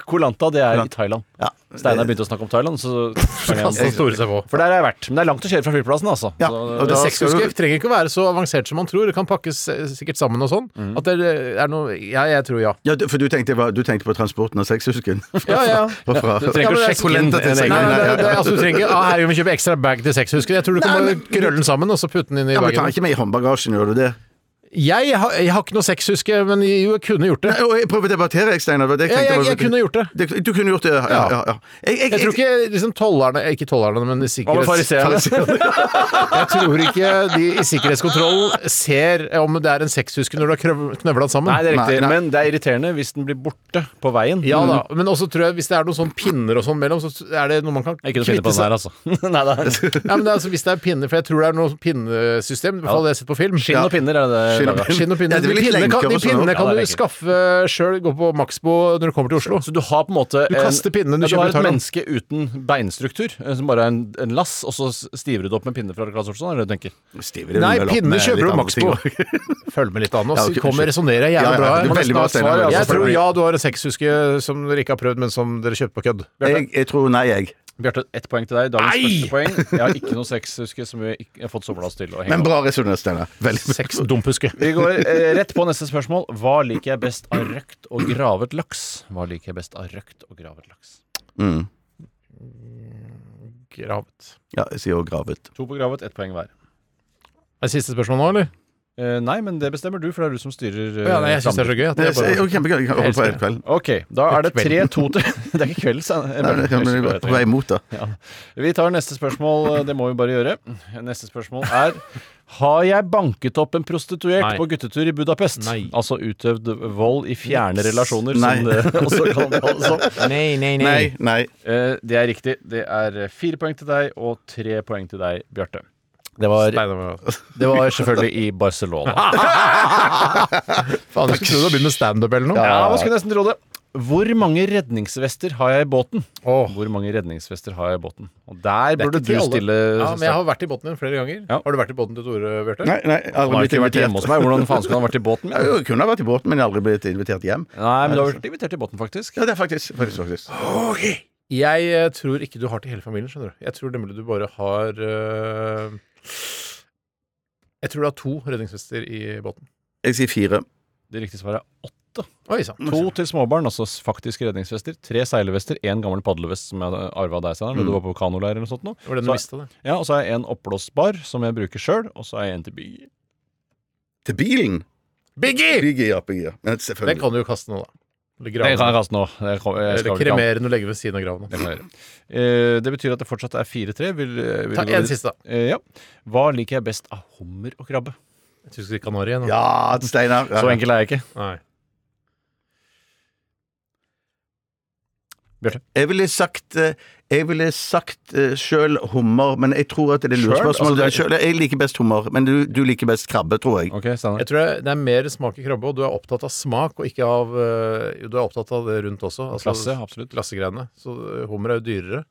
A: Kolanta, det er i Thailand.
F: Ja.
A: Steinar begynte å snakke om Thailand, så
E: Kasta Tore seg på.
A: For der har jeg vært. Men det er langt å kjøre fra flyplassen, altså.
F: Eh, Ja,
A: Så-
F: og da skal
E: Sexhuske
F: du
E: trenger ikke å være så avansert som man tror. Det kan pakkes eh, sikkert sammen og sånn. At det er noe Ja, jeg tror ja.
F: ja, du- for du tenkte, hva- du tenkte på transporten av sexhusken?
E: Ja, ja.
F: Fra, fra,
A: Du trenger ikke å sjekke inn
F: Polenta til
A: en
E: Nei,
A: egen
E: nei,
F: Nei,
E: nei,
F: ja,
E: det,
F: ja.
E: altså, du trenger ikke ah, Her må vi kjøpe ekstra bag til sexhusken. Jeg tror du kan bare krølle den sammen og så putte den inn i
F: Ja, men tar
E: bagen.
F: ikke med i håndbagasjen, gjør du det?
E: Jeg, har- jeg har ikke noe sexhuske, men jo, jeg kunne gjort det.
F: Nei, og jeg prøver å debattere, jeg, Steinar. det
E: Jeg,
F: tenkte
E: jeg,
F: var-
E: jeg kunne gjort det.
F: Det- Du kunne gjort det, ja. ja, ja, ja. Jeg, jeg,
E: Jeg tror ikke liksom tollerne Ikke tollerne, men i
A: Hva med
E: sikkerhets...
A: fariseerne?
E: Jeg tror ikke de i sikkerhetskontrollen ser om det er en sexhuske når du har krøv- knøvla den sammen.
A: Nei, det er riktig.
F: Nei, nei.
A: Men det er irriterende hvis den blir borte på veien.
E: Ja da, men også tror jeg hvis det er noen sånn pinner og sånn mellom, så er det noe man kan
A: Ikke noe finne på den der, altså. Nei, det er-
E: Ja, men det er, altså, hvis det er pinner, for jeg tror det er noe sånn pinnesystem, i hvert fall det jeg har sett på film.
A: Skinn og pinner er det
F: Skinn og
A: det laget.
E: Skinn og pinner.
F: Ja, det
E: de
F: blir litt
E: pinnene kan,
F: lenker
E: de
F: og sånn,
E: pinnene
A: ja.
E: kan
A: Ja, det er
E: du
A: lenker.
E: skaffe sjøl, gå på Maxbo når du kommer til Oslo.
A: Så du har på en måte
E: Du kaster pinnen du
A: ja, du
E: kjøper
A: har
E: i
A: et
E: Thailand.
A: menneske uten beinstruktur, eh, som bare er en, en lass, og så s- stiver du det opp med pinner fra Claes Olsson, er det det du tenker?
E: Nei, pinner kjøper du på Maxbo. Følg med litt an nå,
F: Ja,
E: så
F: ok,
E: kommer
F: unnskyld.
E: resonnere
F: Ja,
E: jævla
F: ja,
E: bra.
F: det er
E: her.
F: veldig bra, Steinar,
E: Svar,
F: veldig bra.
E: Jeg tror ja, du har en sexhuske som dere ikke har prøvd, men som dere kjøpte på kødd.
F: Jeg, jeg tror nei, jeg.
A: Bjarte, ett poeng til deg. Dagens
E: Nei!
A: første poeng. Jeg har ikke noe sex, husker jeg, som vi ikke har fått somla oss til å henge
F: Men
A: opp.
F: bra resonnert, Steinar. Veldig bra.
E: Sexdumphuske.
A: Vi går eh, rett på neste spørsmål. Hva liker jeg best av røkt og gravet laks? Hva liker jeg best av røkt og gravet laks?
F: Mm.
E: Gravet.
F: Ja, jeg sier også gravet.
A: To på gravet, ett poeng hver.
E: Er det siste spørsmål nå, eller?
A: Eh, nei, men det bestemmer du, for det er du som styrer eh,
E: Ja, nei, jeg syns det er
A: sammenhengen.
E: så gøy. At
F: Det
E: jeg
F: er
E: bare...
F: jo kjempegøy. Jeg kan holde på hele kvelden.
A: Ok, da er det
E: Det er
A: 3-2 til Det er ikke kveld, sa jeg.
F: Nei, det kan bli bra. På vei mot, da.
A: Ja. Vi tar neste spørsmål, eh, det må vi bare gjøre. Neste spørsmål er Har jeg banket opp en prostituert
E: Nei.
A: på guttetur i Budapest?
E: Nei.
A: Altså utøvd vold i fjerne relasjoner,
F: Nei.
A: som det også kan kalles. som.
E: Nei, nei,
F: Nei, nei.
A: Eh, Det er riktig. Det er eh, fire poeng til deg og tre poeng til deg, Bjarte. Det var, det var selvfølgelig i Barcelona.
E: Faen, jeg skulle tro du hadde begynt med standup eller noe.
A: Ja, man skulle nesten tro det. Hvor mange redningsvester har jeg i båten?
E: Åh.
A: Hvor mange redningsvester har jeg i båten? Og der
E: Det er
A: burde
E: ikke
A: du
E: til alle.
A: stille
E: Ja, men jeg har vært i båten din flere ganger.
A: Ja.
E: Har du vært i båten til Tore, Bjarte?
F: nei, nei
A: Han
F: aldri
A: har
F: blitt
A: ikke vært hjemme hos
F: invitert.
A: meg. Hvordan faen skulle han vært i båten
F: Ja,
A: min?
F: jo, jeg kunne ha vært i båten, men jeg har aldri blitt invitert hjem.
A: Nei, men du har vært invitert i båten, faktisk.
F: Ja, det er faktisk, faktisk, faktisk.
E: Jeg eh, tror ikke du har til hele familien, skjønner du. Jeg tror nemlig du bare har eh, Jeg tror du har to redningsvester i båten.
F: Jeg sier fire.
A: Det riktige svaret er åtte. åtte.
E: Oi sann.
A: To til småbarn, altså s- faktiske redningsvester. Tre seilvester, én gammel padlevest som jeg arva av deg, Steinar, da du var på kanoleir eller noe sånt. nå.
E: Det Mm. var den
A: Så-
E: du mista, det.
A: Ja, og så har jeg en oppblåsbar som jeg bruker sjøl, og så har jeg en til by.
F: Til bilen?
E: Biggie!
F: Bygge, ja, bygge. Ja,
E: Den
F: selvfølgelig.
E: kan du jo kaste nå, da. Eller
A: Det
E: grave
A: kan jeg
E: den.
A: kaste nå. Det kan- jeg skal
E: Eller
A: vel ikke ha-
E: kremere den og legge ved siden av graven.
A: Det kan jeg gjøre. Eh, Det betyr at det fortsatt er 4-3. Vil- vil
E: Ta
A: du gå
E: en
A: vid-
E: siste, da.
A: Eh, Ja. Hva liker jeg best av hummer og krabbe?
E: Jeg tror du skal kanari igjen.
F: Ja, Steinar. Ja.
A: Så enkel er jeg ikke.
E: Nei.
F: Jeg ville sagt eh, jeg ville sagt eh, sjøl hummer, men jeg tror at det er lurespørsmål.
A: Altså, det er-
F: Selv- jeg liker best hummer, men du, du liker best krabbe, tror jeg.
A: Ok, Steinar.
E: Jeg tror det- det er mer smak i krabbe, og du er opptatt av smak, og ikke av øh, Jo, du er opptatt av det rundt også. Altså,
A: Klasse, absolutt.
E: Klassegreiene. Så øh, hummer er jo dyrere.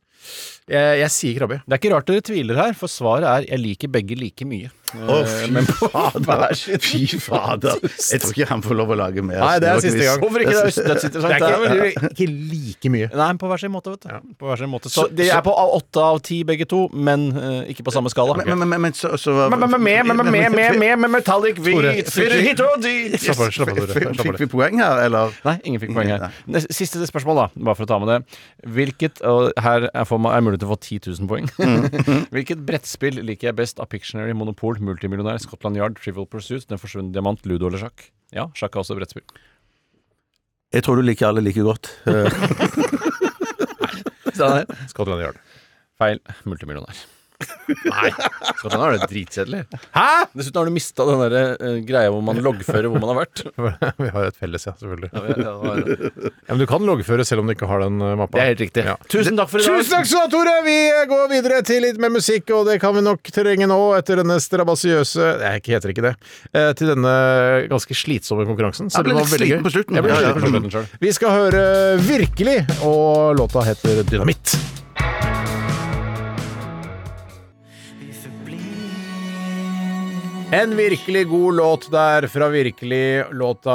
E: Jeg, jeg sier krabbe.
A: Det er ikke rart dere tviler her, for svaret er 'jeg liker begge like mye'.
F: Å, fy fader! Fy fader. Jeg tror ikke han får lov å lage mer.
E: Nei, det er
F: snørrkniss.
E: siste gang.
A: Hvorfor ikke? Det er dødsinteressant.
E: Det er
A: det
E: ikke, ikke like mye.
A: Nei, men på hver sin måte, vet du. På hver sin måte. Så,
E: Så-
A: de
E: så-
A: er på av- åtte av ti begge to, men eh, ikke på samme skala.
F: Men, men, men, men så, så var-
A: metallic
E: hvit, fyller hit
A: og dit
E: Slapp av, slapp av, Tore.
F: Fikk
E: Slapp av.
F: fikk vi poeng her, eller?
A: Nei, ingen fikk poeng her. Nes- Siste spørsmål, da, bare for å ta med det. Hvilket og Her er, for meg, er mulig til å få 10 000 poeng. Hvilket brettspill liker jeg best av Pictionary, Monopol, Multimillionær, Scotland Yard, Trivial Pursuit, Den forsvunne diamant, Ludo eller sjakk? Ja, sjakk er også brettspill.
F: Jeg tror du liker alle like godt. Eh,
E: Scotland Yard.
A: Feil. Multimillionær. Nei. Scotland Yard er dritkjedelig. Hæ?! Dessuten har du mista den der, eh, greia hvor man loggfører hvor man har vært.
E: Vi har jo et felles, ja, selvfølgelig. Ja, men du kan loggføre selv om du ikke har den øh, mappa.
A: Det er helt riktig.
E: Ja.
A: Tusen takk for i dag.
E: Tusen takk skal du ha, Tore! Vi eh, går videre til litt mer musikk, og det kan vi nok trenge nå etter denne strabasiøse Nei, jeg heter ikke det. Eh, Til denne ganske slitsomme konkurransen. Så
F: Jeg ble
E: det var
F: litt
E: veldig
F: sliten
E: gøy.
F: på slutten.
E: Jeg ble
F: Ja, ja.
E: sliten på slutten selv. Vi skal høre Virkelig, og låta heter Dynamitt. En virkelig god låt der fra Virkelig. Låta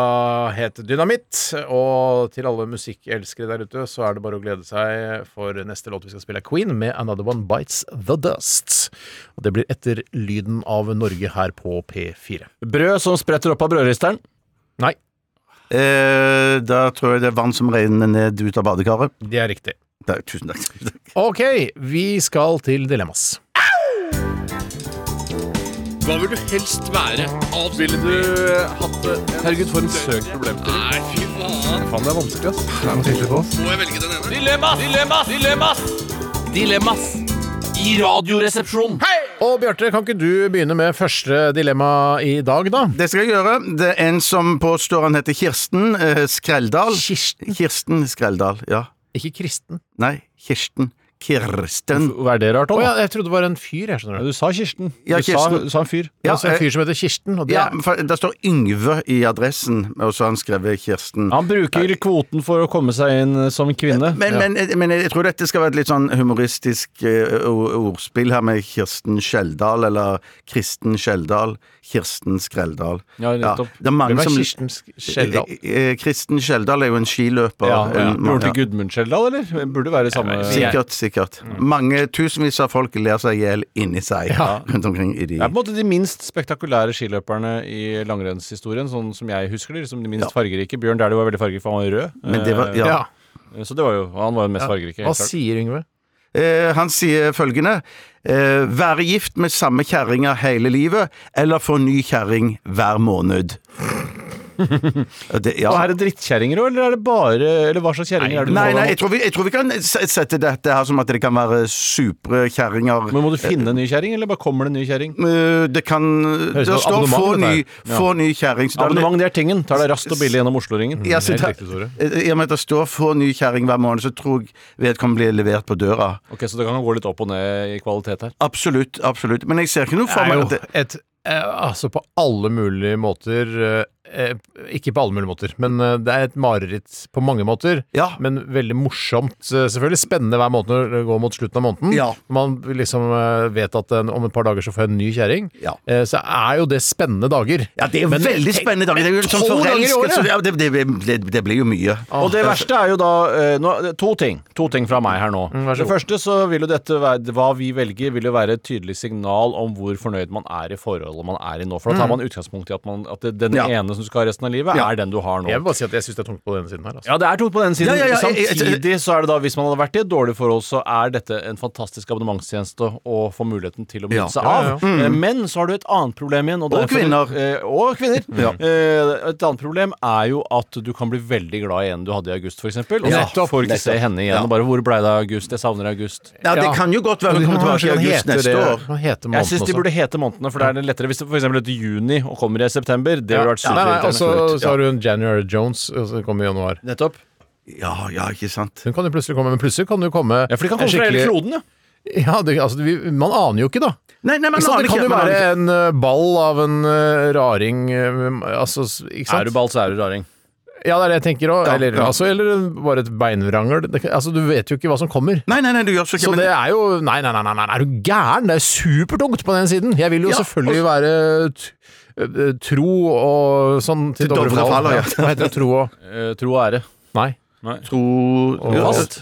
E: het Dynamitt. Og til alle musikkelskere der ute, så er det bare å glede seg, for neste låt vi skal spille, er Queen med Another One Bites The Dust. Og det blir etter lyden av Norge her på P4.
A: Brød som spretter opp av brødristeren.
E: Nei,
F: eh, da tror jeg det er vann som renner ned ut av badekaret.
E: det er riktig.
F: Nei, tusen takk.
E: OK, vi skal til dilemmas.
J: Hva vil du helst være? Ville du hatt det? Herregud, for en søk problem til. Nei, fy faen.
A: Faen, det er vanskelig, ass.
J: Må jeg velge den ene? Dilemmas! Dilemmas! Dilemmas! Dilemmas! I radioresepsjonen.
E: Og Bjarte, kan ikke du begynne med første dilemma i dag, da?
F: Det skal jeg gjøre. Det er en som påstår han heter Kirsten eh, Skreldal.
E: Kirsten?
F: Kirsten Skreldal, ja.
E: Ikke kristen.
F: Nei, Kirsten. Kirsten.
A: Hva er det rart,
E: Å
A: da?
E: ja, jeg trodde det var en fyr, jeg, skjønner du.
A: Du sa Kirsten.
F: Ja,
A: du, Sa,
F: Kirsten.
A: du sa en fyr.
F: Ja,
E: altså, en
F: eh,
E: fyr som heter Kirsten, og det
F: Ja,
E: er
F: for Der står Yngve i adressen, og så har han skrevet Kirsten.
A: Han bruker kvoten for å komme seg inn eh, som kvinne.
F: Men, men, men jeg tror dette skal være et litt sånn humoristisk eh, o- ordspill her med Kirsten Skjeldal, eller Kristen Skjeldal. Kirsten Skreldal.
A: Ja, nettopp.
F: Det er mange
E: Hvem er
F: som
E: Kirsten Sk- Skjeldal?
F: Eh, eh, Kristen Skjeldal er jo en skiløper.
A: ja, ja.
F: En-
A: Broren til Gudmund Skjeldal, eller? Burde være samme Det
F: Sikkert, sikkert.
A: Mm.
F: Mange tusenvis av folk ler seg i hjel inni seg rundt omkring i de
A: er på en måte de minst spektakulære skiløperne i langrennshistorien, sånn som jeg husker de. Liksom de minst fargerike. Bjørn Dæhlie var veldig fargerik, for han var rød.
F: Men det var, ja.
E: Ja.
A: Eh, Så det var jo Han var jo den mest fargerike.
E: Hva
A: helt klart.
E: sier Yngve?
F: Eh, han sier følgende eh, Være gift med samme kjerringa hele livet, eller få ny kjerring hver måned. det, ja.
A: Og er det drittkjerringer òg, eller er det bare Eller hva slags kjerringer er det? du
F: Nei,
A: holder
F: nei,
A: mot?
F: jeg tror, vi, jeg tror vi kan s- sette dette her som at det kan være supre kjerringer.
A: Men må du finne en ny kjerring, eller bare kommer det en ny kjæring?
F: Eh, Det kan Det
E: Høres ut som
F: står 'få
E: abonnement,
F: ny,
E: dette
A: her.
F: få ny kjerring'. så da-
A: Abonnement, det er tingen. Tar deg raskt og billig gjennom Oslo-ringen.
F: Ja, så
E: Helt
F: da-
E: riktig, Tore.
F: eh, I og med at det står 'få ny kjerring hver måned', så tror jeg vedkommende blir levert på døra.
A: Ok, Så det kan gå litt opp og ned i kvalitet her.
F: Absolutt, absolutt. Men jeg ser ikke noe for meg at det,
E: et eh, Altså på alle mulige måter eh, eh, Ikke på alle mulige måter, men eh, det er et mareritt på mange måter.
F: Ja.
E: Men veldig morsomt. eh, Selvfølgelig spennende hver måned når det går mot slutten av måneden.
F: Ja.
E: Man liksom eh, vet at en, om et par dager så får jeg en ny kjerring.
F: Ja.
E: Eh, Så er jo det spennende dager.
F: Ja, det er
E: Men
F: veldig
E: tenk-
F: spennende dager. Det er jo sånn
E: tolv dager i året!
F: forelsket, så det, ja, det, det, det, det blir jo mye.
A: Og det verste er jo da eh, nå, To ting To ting fra meg her nå.
E: vær så
A: det
E: god.
A: første så vil jo dette være Hva vi velger, vil jo være et tydelig signal om hvor fornøyd man er i forholdet man er i nå. For da tar man utgangspunkt i at, man, at det, den
F: Ja.
A: ene som du skal ha resten av livet, er den du har nå.
E: Jeg vil bare si at jeg syns det er tungt på denne siden her. Altså.
A: Ja, det er tungt på den siden.
F: Ja, ja, ja, jeg- jeg-
A: Samtidig så er det da, hvis man hadde vært i et dårlig forhold, så er dette en fantastisk abonnementstjeneste å få muligheten til å benytte
F: Ja.
A: seg
E: Ja, ja, Mm.
A: av. Eh, Men så har du et annet problem igjen. Og,
F: Og
A: derfor-
F: kvinner.
A: Eh, Og kvinner.
F: Ja.
A: Eh, Et annet problem er jo at du kan bli veldig glad i en du hadde i august, f.eks. Og
F: Ja,
A: så får du ikke se
F: nettopp.
A: henne igjen.
F: Ja.
A: Og bare 'Hvor blei det av august? Jeg savner august'.
F: Ja, det
E: Ja.
F: kan jo godt være
E: Men
F: vi
E: kan
F: kommer
E: man
F: tilbake i
E: kanskje
F: august
E: hete
F: neste
E: det-
F: år.
E: kan man hete måneden
A: Jeg syns de
E: også?
A: burde hete månedene, for det er litt lettere. Hvis det f.eks. heter juni og kommer i september, det ville vært
E: Ja, nei, nei, Og så
A: superirriterende.
E: så har du en January Jones og så kommer i januar.
A: Nettopp.
F: Ja, ja, ikke sant.
E: Hun kan jo plutselig komme, men plutselig kan du komme
A: Ja, for de kan komme fra hele kloden, ja.
E: Ja, det, altså, vi, man aner jo ikke, da.
F: Nei, nei, man
E: Ikke sant?
F: aner
E: Det kan
F: ikke,
E: jo
F: man aner
E: være
F: ikke.
E: en eh, ball av en eh, raring eh, altså, s- ikke sant?
A: Er du ball, så er du raring.
E: Ja, det er det jeg tenker òg.
F: Ja,
E: eller,
F: ja.
E: altså, eller bare et beinvrangel. Det, kan- altså, du vet jo ikke hva som kommer.
F: Nei, nei, nei, du gjør så
E: Så det
F: ikke men-
E: er jo Nei, nei, nei, nei, nei, er du gæren? Det er supertungt på den siden. Jeg vil jo
F: Ja,
E: selvfølgelig være t eh, tro og sånn til,
F: Til
E: Dovre
F: Dovre
E: Fall.
F: faller, ja.
E: Hva heter det? Tro og
A: Eh, Tro og ære.
E: Nei.
F: Tro
E: Ja.
A: Fast.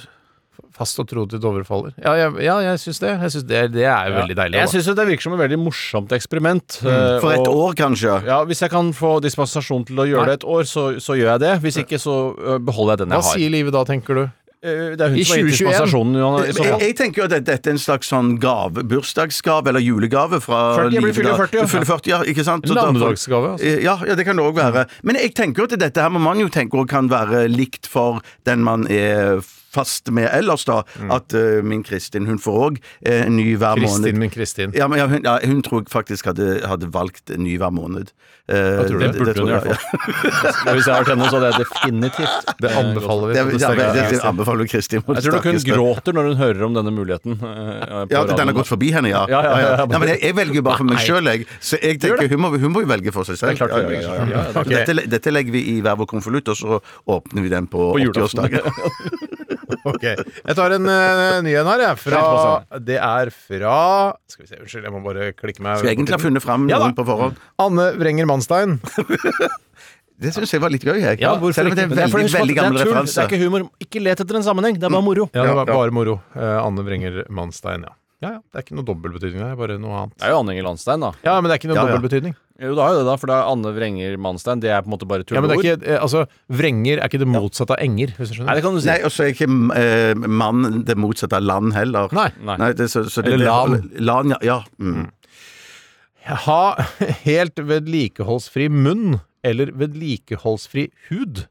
E: Fast og tro til Dovre faller. Ja, jeg, ja, jeg syns det. Jeg synes det. Det er jo veldig deilig.
A: Jeg
E: da.
A: syns det virker som et veldig morsomt eksperiment. eh,
F: For et år,
A: og-
F: kanskje.
A: Ja, Hvis jeg kan få dispensasjon til å
E: Nei.
A: gjøre det et år, så, så gjør jeg det. Hvis ikke, så eh, beholder jeg den
E: Hva
A: jeg har.
E: sier livet da, tenker du?
A: Eh, det er hun
E: I
A: som har gitt
E: 2021?
A: dispensasjonen, Johan. i så
F: Jeg,
A: fall.
F: jeg tenker jo at dette er en slags sånn gave, bursdagsgave eller julegave fra
A: 40, jeg blir fyller altså. 40, ja.
F: Du fyller 40, ja, ikke sant? Så da- Eh,
E: Navnedagsgave, altså.
F: Ja, ja, det kan det òg være.
A: Mm.
F: Men jeg tenker jo at dette her må man jo tenke også kan være likt for den man er fast med ellers, da.
A: Mm.
F: At eh, min Kristin, hun får òg en ny hver måned.
E: Kristin, min Kristin.
F: Ja, men ja, hun, ja, hun tror jeg faktisk hadde, hadde valgt en ny hver måned. Eh,
E: tror du? Det burde
F: tror
A: hun
F: jeg,
A: i hvert Hvis jeg har vært henne, så hadde jeg definitivt
E: Det anbefaler vi.
F: Ja,
E: på Eh, det
F: ja, men det,
E: sterkeste.
F: det anbefaler jo Kristin. på det
A: Jeg tror nok hun
F: sterkeste.
A: gråter når hun hører om denne muligheten. eh, på
F: Ja, at den har
A: radioen.
F: gått forbi henne, ja.
A: Ja, ja, ja, ja.
F: Nei, men jeg, jeg velger jo bare for meg sjøl, jeg. Så jeg tenker hun må, hun må jo velge for seg selv.
A: Det er klart hun
F: Ja, ja,
A: velger
F: ja,
A: selv.
F: ja.
A: Ja, ja,
F: Så Dette, dette legger vi i hver vår konvolutt, og så åpner vi den på,
A: På julaften.
F: 80-årsdagen.
E: Ok, Jeg tar en eh, ny en her, jeg. Fra, det er fra Skal vi se, Unnskyld, jeg må bare klikke meg.
F: Skulle egentlig ha funnet fram
E: Ja da.
F: noen på forhånd.
E: Anne Vrenger Manstein.
F: Det syns jeg var litt gøy, jeg.
A: Ja, hvorfor
F: Selv om det er
A: ikke?
F: en
A: Men for
F: veldig,
A: husk at
F: veldig gammel
A: det er tull, Det
F: referanse.
A: er ikke humor. Ikke let etter en sammenheng, Mm. det er bare moro.
E: Ja, det var
F: ja.
E: bare moro. Eh, Anne Vrenger Manstein, ja. ja. Ja, Det er ikke noe dobbeltbetydning der, bare noe annet.
A: Det er jo Anne Inger Landstein, da.
E: Ja, men det er ikke noe
F: Ja, ja.
E: dobbeltbetydning.
A: Jo, det er jo det, da, for det er Anne Vrenger Manstein. Det er på en måte bare
E: Ja, men det er
A: tulleord.
E: ikke, eh, altså, Vrenger er ikke det motsatte av enger, hvis du
A: Nei,
E: skjønner.
A: det kan du si.
F: Nei, og så er ikke eh, mann det motsatte av land heller.
E: Nei.
F: det, så, så det,
E: Eller lan.
F: Lan, ja. ja. Mm.
E: Ha helt vedlikeholdsfri munn eller vedlikeholdsfri hud.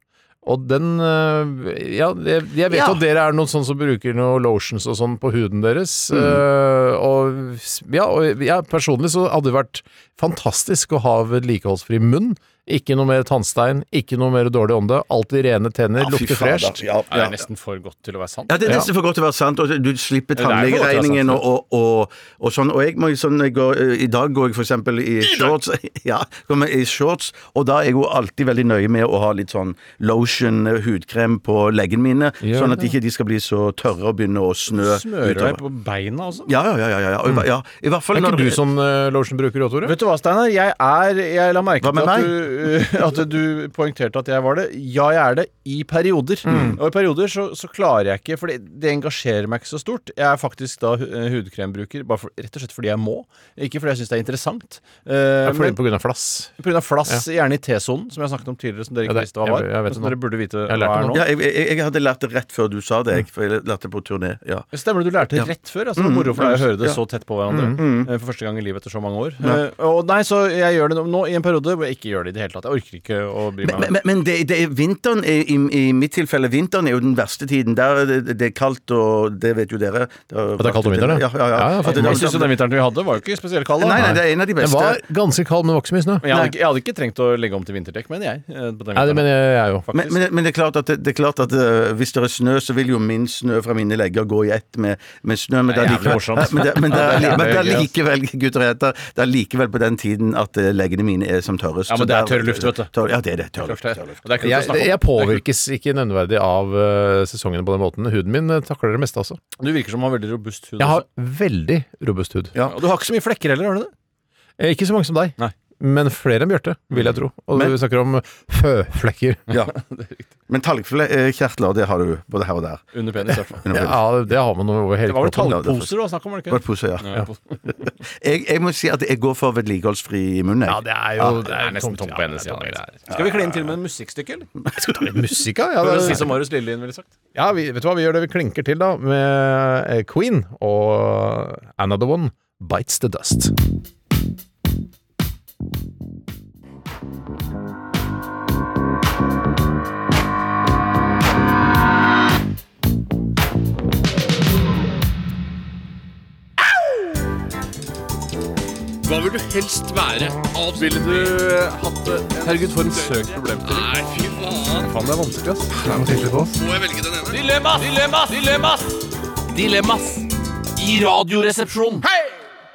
E: Og den eh, Ja, jeg, jeg vet
F: Ja.
E: at dere er noen sånn som bruker noe lotions og sånn på huden deres.
F: Mm.
E: eh, og s- ja, og ja, personlig så hadde det vært fantastisk å ha vedlikeholdsfri munn. Ikke noe mer tannstein, ikke noe mer dårlig ånde. Alltid rene tenner,
F: Ja, fy
E: lukter
F: fader.
E: fresht.
F: Ja,
A: Det
F: ja.
A: er nesten for godt til å være sant.
F: Ja, det er nesten for godt til å være sant, og du slipper
A: er for godt til å være
F: tannlegeregningen
A: sant,
F: og, og, og, og sånn. Og jeg må jo sånn, jeg går, i dag går jeg for eksempel i shorts, ja, kommer i shorts, og da er jeg jo alltid veldig nøye med å ha litt sånn lotion, eh, hudkrem på leggene mine,
E: Gjør
F: sånn at
E: det.
F: ikke de skal bli så tørre og begynne å snø
A: Smører deg
F: utover.
A: på Mm. beina altså. også.
F: Ja, ja, ja, ja, ja, ja. Og i hva- ja. I hvert fall
E: Er
F: når
E: ikke du sånn eh, lotion-bruker òg, Tore?
A: Vet du hva, Steinar? Jeg er Jeg la merke
F: Hva med
A: til at du, eh, at du poengterte at jeg var det. Ja, jeg er det i perioder.
E: Mm.
A: Og i perioder så, så klarer jeg ikke, for det, det engasjerer meg ikke så stort. Jeg er faktisk da hu- eh, hudkrembruker bare for, rett og slett fordi jeg må, ikke fordi jeg syns det er interessant. Eh,
E: Ja, fordi
A: men
E: på grunn av flass.
A: på grunn av flass, gjerne i T-sonen, som jeg snakket om tidligere, som dere
E: Ja,
A: ikke
E: det-
A: visste hva
E: jeg-
A: var.
E: jeg vet
A: men
E: det
A: som
E: nå.
A: dere burde vite
E: Jeg lærte
A: hva er
E: det nå.
A: nå.
F: ja, jeg, jeg, jeg hadde lært det rett før du sa
A: Mm.
F: det, jeg, for jeg lærte det på turné. Ja.
A: Stemmer det, du lærte det rett før? Altså, det var moro for deg å høre det
F: Ja.
A: så tett på hverandre. eh, For første gang i livet etter så mange år. Eh, og nei, så jeg gjør det nå- nå i en periode hvor jeg ikke gjør det i det hele tatt. Jeg orker ikke å bry meg. om det.
F: Men, men, men det, det er vinteren er, i, I mitt tilfelle vinteren er jo den verste tiden. Der er det, det er kaldt, og det vet jo dere.
E: At det er kaldt om vinteren,
F: ja? Ja, ja.
E: Ja, ja, for-
F: At det-
A: Jeg synes jo den vinteren vi hadde, var jo ikke spesielt kald. da.
F: altså, Nei, nei, det er en av de
E: Den
F: beste.
E: var ganske kald, men det var ikke så mye snø.
A: Men jeg, hadde, ikke- jeg hadde ikke trengt å legge om til vinterdekk, mener jeg. eh, På den
E: Nei, det
A: vinteren.
E: mener jeg, jeg jo.
F: Men, men, men det er klart at, det, det er klart at eh, hvis det er snø, så vil jo min snø fra mine legger gå i ett med, med snø. Men det er
A: Det er jævlig
F: likevel,
A: morsomt.
F: men det, men det,
A: Ja,
F: er,
A: det er
F: men det er
A: jævlig
F: likevel, gutter og jenter, det er likevel på den tiden at eh, leggene mine er som tørrest.
A: Ja,
F: Så
A: men det er
F: der-
A: tørr luft, vet du.
F: Tørr, ja, det er det. Tørr luft. Tørr luft.
A: Og det er kult å
E: Jeg,
A: snakke om.
E: jeg påvirkes ikke nevneverdig av eh, sesongene på den måten. Huden min eh, takler det meste, altså.
A: Du virker som å ha veldig robust hud.
E: Jeg har
A: også.
E: veldig robust hud.
A: Ja, og du har ikke så mye flekker heller, har du det?
E: Eh, Ikke så mange som deg.
A: Nei.
E: men flere enn Bjarte, vil jeg tro. Og
F: Men-
E: vi snakker om føflekker.
F: Ja. Men talgkjertler, det har du både her og der.
A: Under penis, i hvert fall.
F: Under
E: Ja, det, det har man over hele
A: Det var vel
E: kroppen.
A: tallposer det var snakk om, var det
F: Godt
A: ikke?
F: pose, ja.
A: Ja.
F: Jeg, jeg må si at jeg går for vedlikeholdsfri munn. Jeg.
E: Ja, det er jo det er
A: Ah, Nesten tomt på hennes
E: Ja, det er
A: greier. Skal vi kline til med en musikkstykke, eller?
E: tomt. Musikka? Ja,
A: For å si
E: det,
A: som Marius Lillelien ville sagt.
E: ja vi, vet du hva, vi gjør det vi klinker til, da, med eh, Queen og Another One Bites The Dust.
J: Hva vil du helst være? Ville du
A: Herregud, for en søk problemstilling.
J: Nei, fy faen.
A: Faen, det er vanskelig, ass.
J: Må jeg velge den ene? Dilemmas! Dilemmas! Dilemmas! Dilemmas i Radioresepsjonen.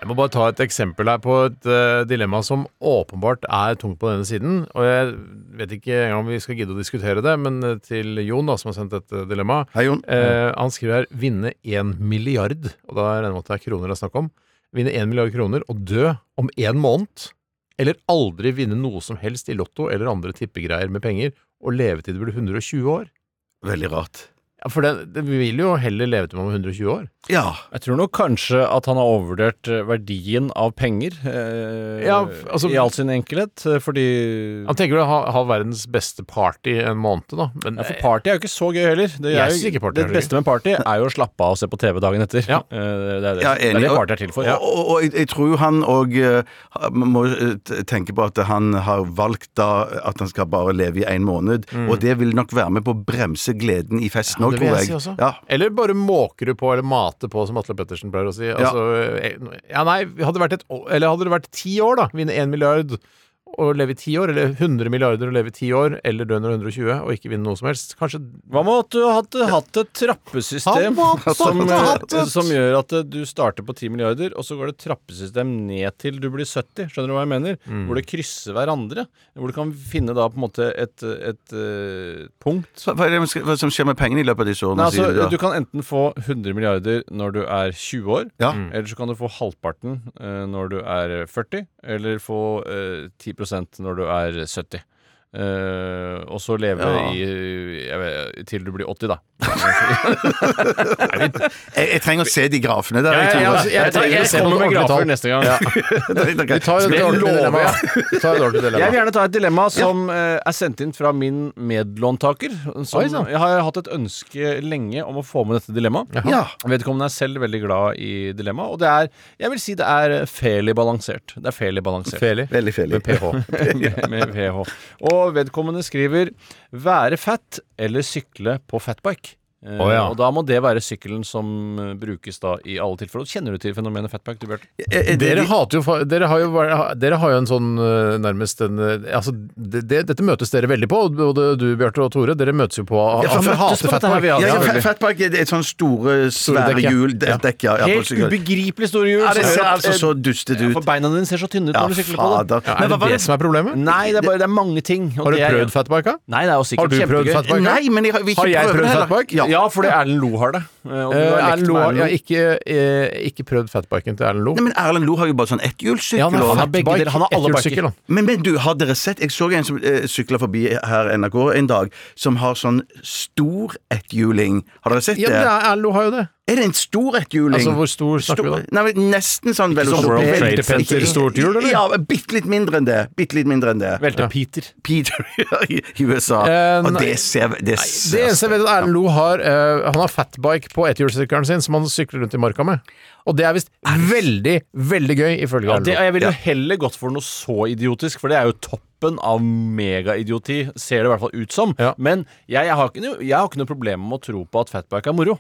E: Jeg må bare ta et eksempel her på et eh, dilemma som åpenbart er tungt på denne siden. Og jeg vet ikke engang om vi skal gidde å diskutere det, men eh, til Jon, da, som har sendt dette dilemmaet.
F: Hei, Jon.
E: Eh, han skriver her 'vinne én milliard', og da regner jeg med at det er kroner det er snakk om. Vinne én milliard kroner og dø om én måned. Eller aldri vinne noe som helst i Lotto eller andre tippegreier med penger, og leve til du blir 120 år.
F: Veldig rart.
E: Ja, For det, det vil jo heller leve til man er 120 år.
F: Ja.
A: Jeg tror nok kanskje at han har overvurdert eh, verdien av penger eh,
E: Ja, f- altså-
A: i all sin enkelhet, eh, fordi
E: Han tenker vel å ha, ha verdens beste party en måned, da. Men
A: ja, for party er jo ikke så gøy heller. Det,
E: Jeg
A: er
E: synes
A: jo,
E: ikke party er
A: det
E: så gøy.
A: beste med party er jo å slappe av og se på TV dagen etter.
E: Ja.
A: Eh, Det er det,
F: Ja,
A: det, er
F: enig.
A: det party er til for.
F: Og, og, og jeg, jeg tror jo han òg må eh, t- tenke på at han har valgt da at han skal bare leve i én måned. Og det vil nok være med på å bremse gleden i festen òg,
E: Mm. det vil
F: tror
E: jeg
F: jeg.
E: si også.
F: Ja.
E: Eller bare måker du på, eller mater på, som Atle Pettersen pleier å si. Altså, eh, ja, nei, hadde det vært, et, å- eller hadde det vært ti år, da, vinne én milliard og leve i ti år, eller 100 milliarder og leve i ti år, eller dø under 120 og ikke vinne noe som helst, kanskje
A: Hva med at du hadde hatt et
E: Han
A: trappesystem
E: må ha hatt-
A: som,
E: han må ha hatt
A: eh,
E: et-
A: som gjør at eh, du starter på 10 milliarder, og så går det trappesystem ned til du blir 70, skjønner du hva jeg mener?
E: Mm.
A: Hvor det krysser hverandre. Hvor du kan finne da på en måte et, et, eh, punkt
F: Så Hva er det man skal- hva som skjer med pengene i løpet av disse årene?
A: Nei,
F: sier du
A: altså,
F: da?
A: du kan enten få 100 milliarder når du er 20 år,
F: Ja.
E: Mm.
A: eller så kan du få halvparten eh, når du er 40, eller få eh, 10 når du er 70. Eh, og så leve
F: Ja.
A: i jeg vet, Til du blir 80, da.
F: jeg, jeg trenger å se de grafene der.
E: Ja,
F: Jeg,
E: ja,
F: tror
E: altså,
F: det.
E: jeg- trenger å se noen ordentlige tall.
A: neste gang.
E: Vi tar et
A: Det
E: dårlig
A: lover
E: dilemma. Vi tar et dårlig
A: Jeg vil
E: dilemma.
A: gjerne ta et dilemma som eh, er sendt inn fra min medlåntaker.
E: Oi,
A: Som,
E: sann.
A: jeg har hatt et ønske lenge om å få med dette dilemmaet.
F: Ja.
A: Vedkommende er selv veldig glad i dilemma, og det er Jeg vil si det er eh, fairly balansert. Det er fairly balansert.
E: Feli.
F: Veldig felig.
A: Med ph. med, med ph. Og vedkommende skriver 'være fat eller sykle på fatbike'. Eh,
E: Å, ja.
A: Og da må det være sykkelen som eh, brukes da i alle tilfeller. Kjenner du til fenomenet fatbike, du Bjarte?
F: Er- er det-
E: Dere hater jo fa- Dere har jo, vært- dere har jo en sånn eh, nærmest en eh, Altså, det, det, dette møtes dere veldig på, både du, Bjarte, og Tore. Dere møtes jo på
F: Ja, for
E: Dere
F: møtes
E: hater
A: på dette her,
E: fatbike.
A: vi har-
F: Ja, ja,
A: Ja,
F: fat- Fatbike er et sånn store, svære
E: dekk, ja.
F: hjul de- dekk, ja. ja, på
A: Helt
F: sykkel.
A: ubegripelig store hjul!
F: Ja, det
A: som
F: ser
A: gjør at,
F: altså
A: eh,
F: så dustet
A: Ja,
F: ut.
A: for beina dine ser så tynne ut
F: Ja,
A: når du sykler på det.
F: fader.
E: Ja, er det det som er problemet?
A: Nei, det er, bare, det er mange ting. og
E: Har du
A: det er-
E: prøvd fatbike?
A: Nei, det er jo sikkert
E: Har du prøvd
A: kjempegøy.
E: fatbike?
F: Nei, men jeg, har- vi ikke
E: Har jeg
F: prøver
E: prøvd
F: det heller.
E: fatbike?
A: Ja,
F: Ja.
A: fordi Erlend Lo har det. Eh, og du har
E: Eh,
A: lekt
E: Erlend Lo
A: med
E: har
A: Erlend
E: ja,
A: Lo.
E: ikke, eh, ikke prøvd fatbiken til Erlend Lo.
F: Nei, men Erlend Lo har jo bare sånn
E: Ja, han
F: etthjulssykkel.
E: har
F: og-
A: har begge
E: fatbike,
A: deler. Han har alle
E: etthjulssykkel,
A: biker.
E: han.
F: men, men du, har dere sett Jeg så en som eh, sykla forbi her i NRK en dag, som har sånn stor etthjuling. Har dere sett
E: Ja, men det
F: det?
E: er, Erlend Lo har jo det.
F: Er det en stor etthjuling?
E: Altså, hvor stor snakker vi da?
F: Stor- Nei, men Nesten sånn
E: sånn World
F: velociped-
E: Trade Center
F: Ikke-
E: stort hjul, eller?
F: Ja, bitte litt mindre enn det. Bitte litt mindre enn det.
A: Veltepeter.
F: Peter i USA.
E: Eh,
F: og
E: nei.
F: det ser Det,
E: Det
F: ser,
E: eneste jeg vet at Erlend Lo har eh, Han har fatbike på etthjulssykkelen sin, som han sykler rundt i marka med. Og det er visst veldig, veldig gøy, ifølge
A: Ja,
E: Erlend
A: det,
E: Lo.
A: jeg ville
F: Ja.
A: heller gått for noe så idiotisk, for det er jo toppen av megaidioti, ser det i hvert fall ut som.
E: Ja.
A: Men jeg, jeg, har ikke, noe- jeg har ikke noe problem med å tro på at fatbike er moro.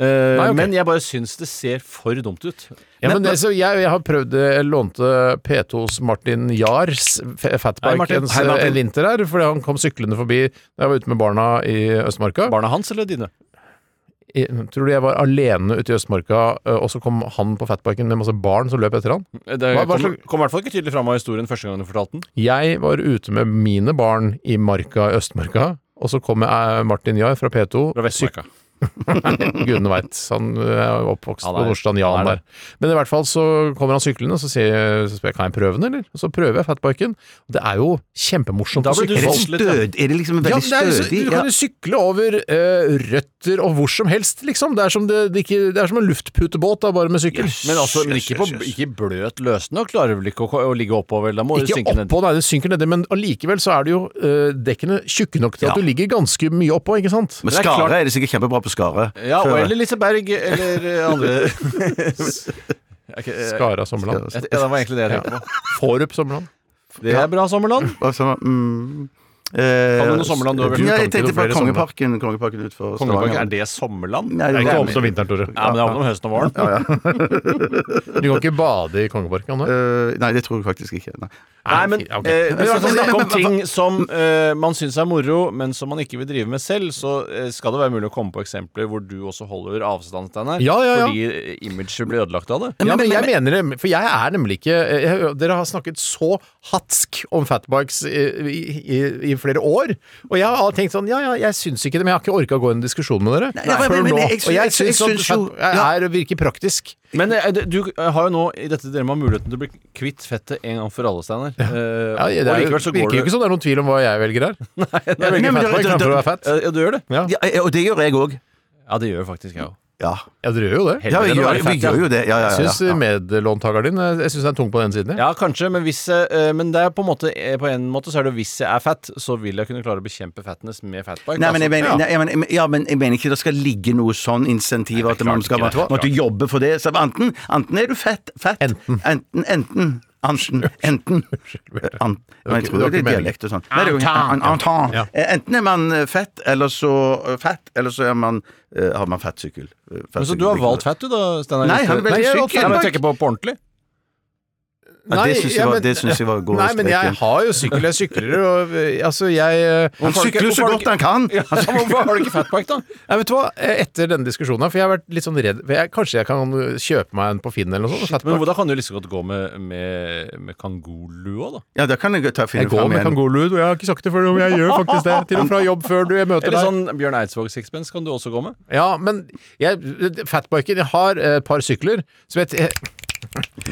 A: Eh,
E: Nei, ok.
A: Men jeg bare syns det ser for dumt ut.
E: Ja, men, det- så jeg, jeg har prøvd det. Jeg lånte P2s Martin Jars f-
A: Hei,
E: fatbike
A: Martin.
E: en, s-
A: Hei, Martin.
E: en vinter her, fordi han kom syklende forbi da jeg var ute med barna i Østmarka.
A: Barna hans eller dine?
E: I, tror du jeg var alene ute i Østmarka, ø, og så kom han på fatbiken med masse barn som løp etter han?
A: Det
E: Hva- hva
A: kom,
E: slags-
A: kom i hvert fall ikke tydelig fram av historien første gang du fortalte den.
E: Jeg var ute med mine barn i marka i Østmarka, og så kom jeg, eh, Martin Jahr fra P2
A: Fra Vestmarka.
E: Gudene veit. Han eh, er oppvokst
A: Han
E: på
A: er-
E: Nordstrand Jan
A: han er
E: der. Men i hvert fall så kommer han syklende, så sier jeg, så spør jeg kan jeg prøve den, eller? Og så prøver jeg fatbiken. Det er jo kjempemorsomt
A: Da
E: å
A: blir du
E: sykle.
F: Er det
E: over.
A: Voldelig, ja.
F: stød? Er det liksom
E: Ja,
F: veldig
E: det er, liksom-
F: stødig?
E: du
F: Ja.
E: kan jo sykle over eh, røtter og hvor som helst, liksom. Det er som, det, det ikke, det er som en luftputebåt, da, bare med sykkel.
A: Men altså, men ikke, på, ikke bløt løssnø klarer du vel ikke å, å ligge oppover? Da må du
E: Ikke
A: synke ned.
E: oppå, nei, det synker nedi, men allikevel så er det jo eh, dekkene tjukke nok til at
F: Ja.
E: du ligger ganske mye oppå, ikke sant?
F: Men
A: Det er klart-
F: Skare er det sikkert kjempebra på Skare.
A: Ja, og
F: Før-
A: eller Lise Berg, eller eh, andre Ok, eh,
E: Skara Sommerland.
A: Ja, det var egentlig det jeg tenkte på.
E: Forup Sommerland.
A: Det er bra sommerland.
F: Og så, mm, eh,
A: Kan du noe sommerland du har vært-
F: Ja,
E: Kan
F: jeg
E: ikke
F: tenkte
E: noe
F: på
E: flere
F: Kongeparken, Kongeparken utenfor
A: Kongeparken, er
F: Stavanger.
A: det sommerland?
F: Nei,
E: Det er
F: det
E: ikke
F: er-
E: åpent om vinteren, Tore.
A: Ja, men det er åpent om høsten og våren.
E: Du kan ikke bade i Kongeparken. Anne.
F: Eh, nei, det tror jeg faktisk ikke. Nei.
A: Nei, men
E: Ja, ok.
A: eh, hvis
F: Men-
A: man skal
F: men-
A: snakke om
F: men-
A: ting som eh, man syns er moro, men som man ikke vil drive med selv, så eh, skal det være mulig å komme på eksempler hvor du også holder avstand, Steinar.
E: Ja, ja, ja.
A: Fordi eh, imaget blir ødelagt av det.
E: Ja, men jeg mener det, for jeg er nemlig ikke eh, jeg, Dere har snakket så hatsk om fatbikes i, i, i flere år. Og jeg har tenkt sånn Ja, ja, jeg syns ikke det, men jeg har ikke orka å gå i en diskusjon med dere.
F: nei, men-
E: før
F: men-
E: nå.
F: men jeg syns-
E: Og jeg
F: jeg
E: syns at
F: syns jo-
E: fatbike er, virker praktisk.
A: Men eh, det- du eh, har jo nå i dette dilemmaet muligheten til å bli kvitt fettet en gang for alle, Steinar. Eh,
E: Ja, det
A: og
E: er,
A: likevel så går
E: virker jo
A: du
E: ikke som det er noen tvil om hva jeg velger her. jeg
F: sånn. Nei,
E: velger
F: men
E: fatbike
F: det- det-
E: framfor å være fett.
A: Eh, Ja, du gjør det?
E: Ja.
F: Ja, eh, og det gjør jeg òg.
A: Ja, det gjør faktisk jeg òg.
F: Ja.
E: Ja, dere gjør jo det.
F: ja, vi
A: enn å
F: gjør,
A: være
F: vi
A: fett, ja.
F: gjør jo det. Ja, ja, ja,
E: Jeg eh, syns
F: ja.
E: medlåntakeren din eh, Jeg syns den er tung på den siden. jeg.
A: Ja, kanskje, men, hvis, eh, men det er på en måte eh, På en måte så er det jo hvis jeg er fett, så vil jeg kunne klare å bekjempe fatness med fatbike. Altså,
F: Nei, men jeg mener,
E: Ja.
F: nei, jeg mener, ja, men jeg mener ikke det skal ligge noe sånn insentiv at man skal
A: ikke det.
F: måtte jobbe for det. Så enten, enten er du fett, fett
E: Enten.
F: Enten. Enten. Ansen, enten Ant- Men jeg
E: det var
F: tror det
E: ikke
F: er
E: meningen.
F: dialekt og sånn. Nei, det er jo-
E: Antan.
F: an- antan.
E: Ja.
F: Eh, Enten er man eh, fett, eller så eh, fett, eller så er man, eh, har man fettsykkel. Eh,
A: Men så
F: fettsykkel.
A: du har valgt fett, du da, Steinar?
F: Nei, han er veldig
A: Nei, jeg har
F: syk.
A: valgt fett, men jeg tenker på på ordentlig.
F: Ja, det syns jeg, var- det syns jeg var å gå
E: Nei,
F: over
E: men jeg
F: streken.
E: har jo sykkel, jeg sykler og eh, Altså, jeg eh,
F: Han
A: Hvorfor har du
F: sykler
A: ikke-
F: så
A: hvorfor har
F: godt
A: du
F: han kan! Han
A: ikke- Hvorfor har du ikke fatbike, da?
E: Nei, vet du hva, Eh, etter denne diskusjonen her, for jeg har vært litt sånn redd for jeg, Kanskje jeg kan eh, kjøpe meg en på Finn eller noe sånt? og sette
A: Men
E: på-
A: Da kan du like så godt gå med, med, med kangolua, da.
F: Ja, da kan jeg ta finne
E: Jeg går
F: fram
E: med
F: igjen.
E: kangolud, og jeg har ikke sagt det før, men jeg gjør faktisk det. Til og fra jobb før du jeg møter
A: Eller
E: deg.
A: sånn Bjørn Eidsvåg-sixpence kan du også gå med.
E: Ja, men jeg, eh, fatbiken, jeg har eh, et par sykler som jeg, jeg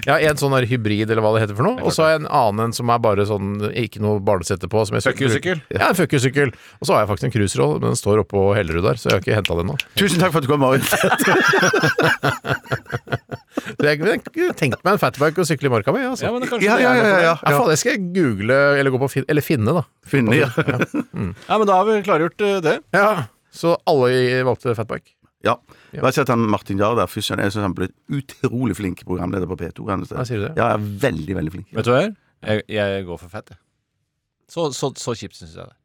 E: jeg har en sånn der hybrid, eller hva det heter for noe, og så har jeg en annen en som er bare sånn ikke noe barnesete på. som jeg
A: Fuck you-sykkel?
E: Ja, en fuck you-sykkel. Og så har jeg faktisk en cruiseroll, men den står oppå Hellerud der, så jeg har ikke henta den ennå.
F: Tusen takk for at du kom, Marit.
E: Så Jeg jeg kunne tenkt meg en fatbike og sykle i marka mi. Altså.
A: Ja, men det kanskje
F: Ja,
A: det
F: ja,
A: er
F: ja.
A: noe for deg.
F: ja,
E: Ja,
F: ja.
E: faen, det skal jeg google, eller gå på fin eller finne, da.
F: Finne, ja.
A: Ja, men da har vi klargjort eh, det.
E: Ja, Så alle i- valgte fatbike.
F: Ja. Jeg har sett han Martin Jahr der. Fy søren, jeg synes han ble utrolig flink programleder på P2. Han,
E: Ja, sier du det?
F: Ja, jeg er veldig, veldig flink.
A: Vet du hva jeg gjør? Jeg, jeg går for fett, jeg. Så, så, så kjipt syns jeg det.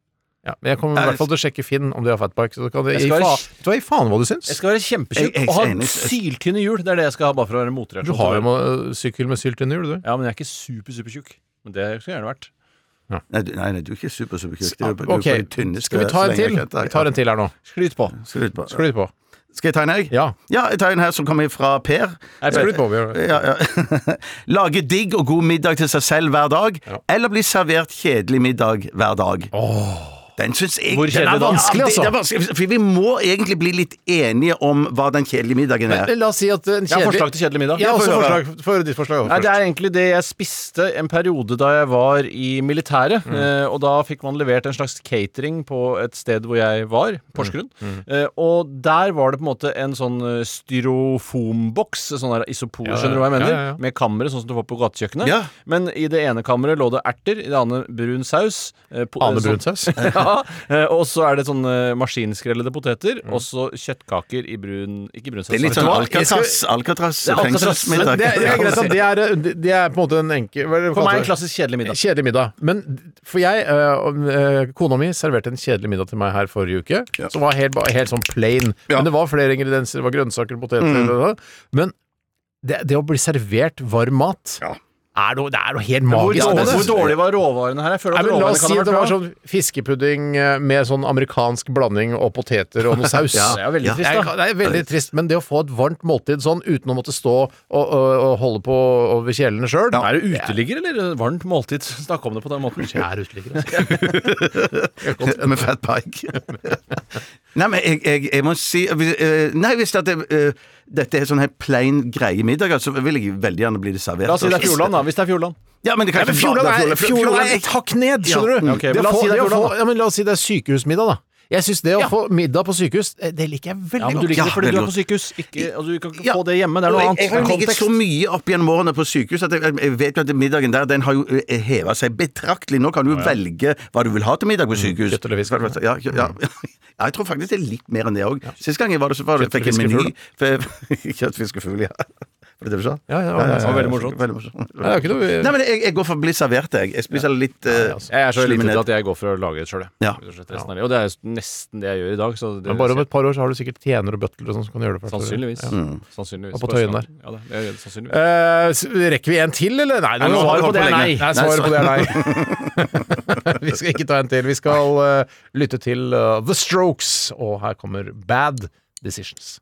E: Ja, men jeg kommer i
F: Nei,
E: hvert fall til å sjekke Finn om de har fatbike. Så kan det,
A: Jeg
E: gi
A: skal være
E: faen, vet du hva, gi faen hva du syns.
A: Jeg skal være
F: Jeg-
A: kjempetjukk
F: jeg er
A: og ha
F: enig.
A: syltynne hjul. Det er det jeg skal ha, bare for å være en motreaksjon.
E: Du har
A: til
E: jo en sykkel med syltynne hjul, du.
A: Ja, men jeg er ikke super, supertjukk. Men det skulle jeg gjerne vært.
F: Nei, du, nei, nei, du er ikke super, super kjekk. Du er på- du er
E: Ok,
F: på det tynneste
E: skal vi ta en til?
F: slengen jeg kjente.
E: Vi tar en til her nå.
A: Skryt på.
F: Ja, Skal, du ut på-
E: Skryt på.
F: skal jeg ta en, jeg?
E: Ja.
F: ja, jeg tar en her som kommer fra Per.
E: Skryt på. Bjørn.
F: Ja, ja. Lage digg og god middag til seg selv hver dag, eller bli servert kjedelig middag hver dag. Den syns jeg
A: Hvor
F: den er
A: kjedelig da?
F: vanskelig,
E: Ja, det-
F: altså. Det er vanskelig, for vi må egentlig bli litt enige om hva den kjedelige middagen er.
E: Men La oss si at en kjedelig
A: Jeg har forslag til kjedelig middag.
E: Jeg har også
F: får høre.
E: forslag. Få høre ditt forslag.
A: Nei, det
E: Også.
A: er egentlig det jeg spiste en periode da jeg var i militæret. Eh, og da fikk man levert en slags catering på et sted hvor jeg var, Porsgrunn. Eh, og der var det på en måte en sånn eh, styrofoamboks, sånn der isopor,
E: ja.
A: skjønner du hva jeg mener?
E: Ja, ja, ja.
A: Med kamre, sånn som du får på gatekjøkkenet.
F: Ja.
A: Men i det ene kammeret lå det erter, i det andre brun saus. eh, po-
E: Ane
A: eh, sånn-
E: brunsaus.
A: ja, eh, og så er det sånne maskinskrellede poteter, og så kjøttkaker i brun Ikke brun saus.
F: Det er litt sånn
E: hva? Jeg skal-
F: Alcatraz, Alcatraz
A: er Alcatraz,
F: fengselsmiddag.
E: Det, er- det er greit at det er, øh, det er på en måte en enkel hva er det
A: For meg
E: kaller
A: en
E: det?
A: klassisk kjedelig middag.
E: Kjedelig middag. Men for jeg, øh, og, øh, kona mi, serverte en kjedelig middag til meg her forrige uke. Som var helt, ba- helt sånn plain. Men det var flere ingredienser, det var grønnsaker og poteter.
A: Mm.
E: og- Men det, det å bli servert varm mat er noe, det er noe helt
A: Hvor,
E: magisk. med
A: dårlig,
E: det.
A: hvor dårlig var råvarene her? Jeg føler
E: Nei,
A: at
E: men La
A: råvarene
E: oss
A: kan
E: si at
A: ha vært
E: det
A: bra.
E: var sånn fiskepudding øh, med sånn amerikansk blanding og poteter og noe saus.
A: Det er jo veldig trist,
E: Jeg,
A: da.
E: det er veldig trist, men det å få et varmt måltid sånn uten å måtte stå og, og, og holde på over kjelene sjøl
A: Er du uteligger eller varmt måltid? Snakk om det på den måten.
E: Jeg er uteligger, altså.
F: Med fat pike. Nei, men jeg, jeg, jeg må si hvis- eh, Nei, hvis at det, eh, dette er sånn helt plain greie middag, så vil jeg veldig gjerne bli det servert.
A: La oss si det er Fjordland, da. Hvis det er Fjordland.
F: Ja, men det
E: Ja, men
F: kan ikke bare-
E: Fjordland er, Fjordland er et hakk ned, skjønner du.
A: Ja, ok, men
E: det
A: la
E: å få,
A: oss si det er
E: det å få,
A: Fjordland, da.
E: ja, men la oss si det er sykehusmiddag, da. Jeg syns det å få middag på sykehus, eh, det liker jeg veldig
A: Ja, men du
E: godt.
A: liker det fordi
F: veldig
A: du er på
F: godt.
A: sykehus. Ikke, og du kan ikke
F: Ja.
A: få det hjemme. Det
F: Og
A: er noe
F: jeg,
A: annet.
F: jeg har ligget
A: Kontekst.
F: så mye opp gjennom årene på sykehus at jeg, jeg vet jo at middagen der den har jo heva seg betraktelig. Nå kan du jo velge hva du vil ha til middag på sykehus.
E: Mm. kjøtt eller fisk.
F: Ja, ja, ja. ja, jeg tror faktisk det er litt mer enn det òg. Sist gang jeg var der, så var det,
E: Kjøtt,
F: fikk jeg en
E: fisk og
F: meny. Fe- Kjøtt, fisk og fugl, ja. Var det det du sa?
E: Ja, ja, det var
A: veldig morsomt.
F: Veldig morsomt.
E: Ja, det er ikke noe-
F: Nei, men jeg, jeg går for å bli servert, jeg. Jeg spiser litt uh,
E: altså.
A: Jeg er så liten til at jeg går for å lage det sjøl.
F: Ja.
A: Og det er jo nesten det jeg gjør i dag. Så det,
E: Men bare om et par år så har du sikkert tjener og butler og sånn som kan gjøre det. for deg.
A: Sannsynligvis.
E: Ja.
A: sannsynligvis.
E: Og på Tøyen der.
A: Ja, det, det, det, sannsynligvis.
E: Eh, s- rekker vi en til, eller? Nei,
A: nå har vi holdt på lenge.
E: Nei, svaret på det er nei. vi skal ikke ta en til. Vi skal eh, lytte til eh, The Strokes, og her kommer Bad Decisions.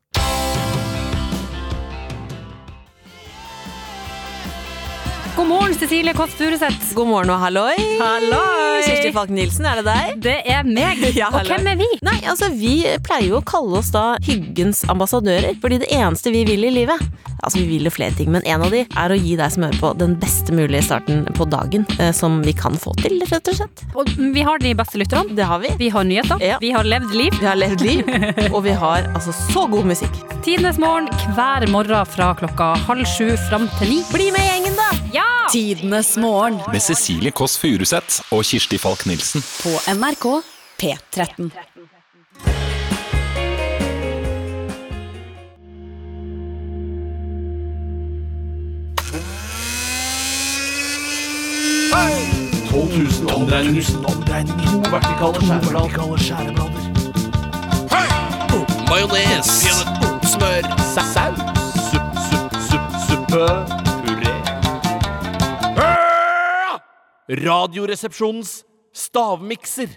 I: God morgen, Cecilie Kåss Furuseth. God morgen og halloi. Halloi. Kjersti Falk Nilsen, er det deg?
K: Det er meg. og
I: hallå.
K: hvem er vi?
I: Nei, altså vi pleier jo å kalle oss da hyggens ambassadører, fordi det eneste vi vil i livet Altså, vi vil jo flere ting, men en av de er å gi deg som hører på den beste mulige starten på dagen eh, som vi kan få til, rett og slett.
K: Og vi har de beste lytterne.
I: Det har vi.
K: Vi har nyheter.
I: Ja.
K: Vi har levd liv.
I: Vi har levd liv, og vi har altså så god musikk.
K: Tidenes morgen hver morgen fra klokka halv sju fram til ni.
I: Bli med i gjengen, da!
K: Ja!
L: Tidenes morgen
J: Med Cecilie Kåss Furuseth og Kirsti Falk Nilsen.
L: på NRK P13.
J: Majones. Smør. Saus. Supp, supp, supp, suppe. Puré. Radioresepsjonens stavmikser.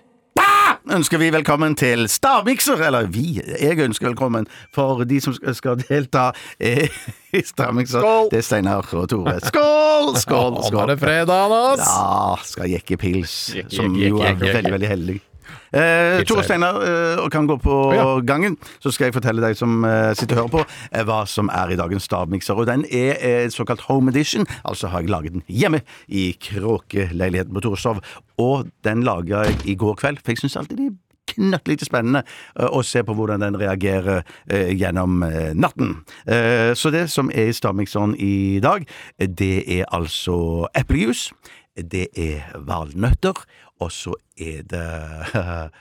F: ønsker vi velkommen til Stavmikser, eller vi, jeg ønsker velkommen for de som skal- skal delta eh, i Stavmikser.
E: Skål!
F: Det er Steinar og Tore. Skål! Skål!
E: Og nå
F: skål.
E: er det fredag, ass!
F: Ja, skal jekke pils,
A: Jekke,
F: som
A: jekke,
F: jo er
A: jekke, jekke.
F: veldig, veldig heldig. Eh, Tore Steinar eh, kan gå på
E: Ja.
F: gangen, så skal jeg fortelle deg som eh, sitter og hører på, eh, hva som er i dagens stavmikser. Og den er eh, såkalt home edition, altså har jeg laget den hjemme i kråkeleiligheten på Torshov. Og den laga jeg i går kveld, for jeg syns alltid det er knøttlite spennende eh, å se på hvordan den reagerer eh, gjennom eh, natten. Eh, Så det som er i stavmikseren i dag, eh, det er altså eplejus, det er valnøtter, og så er det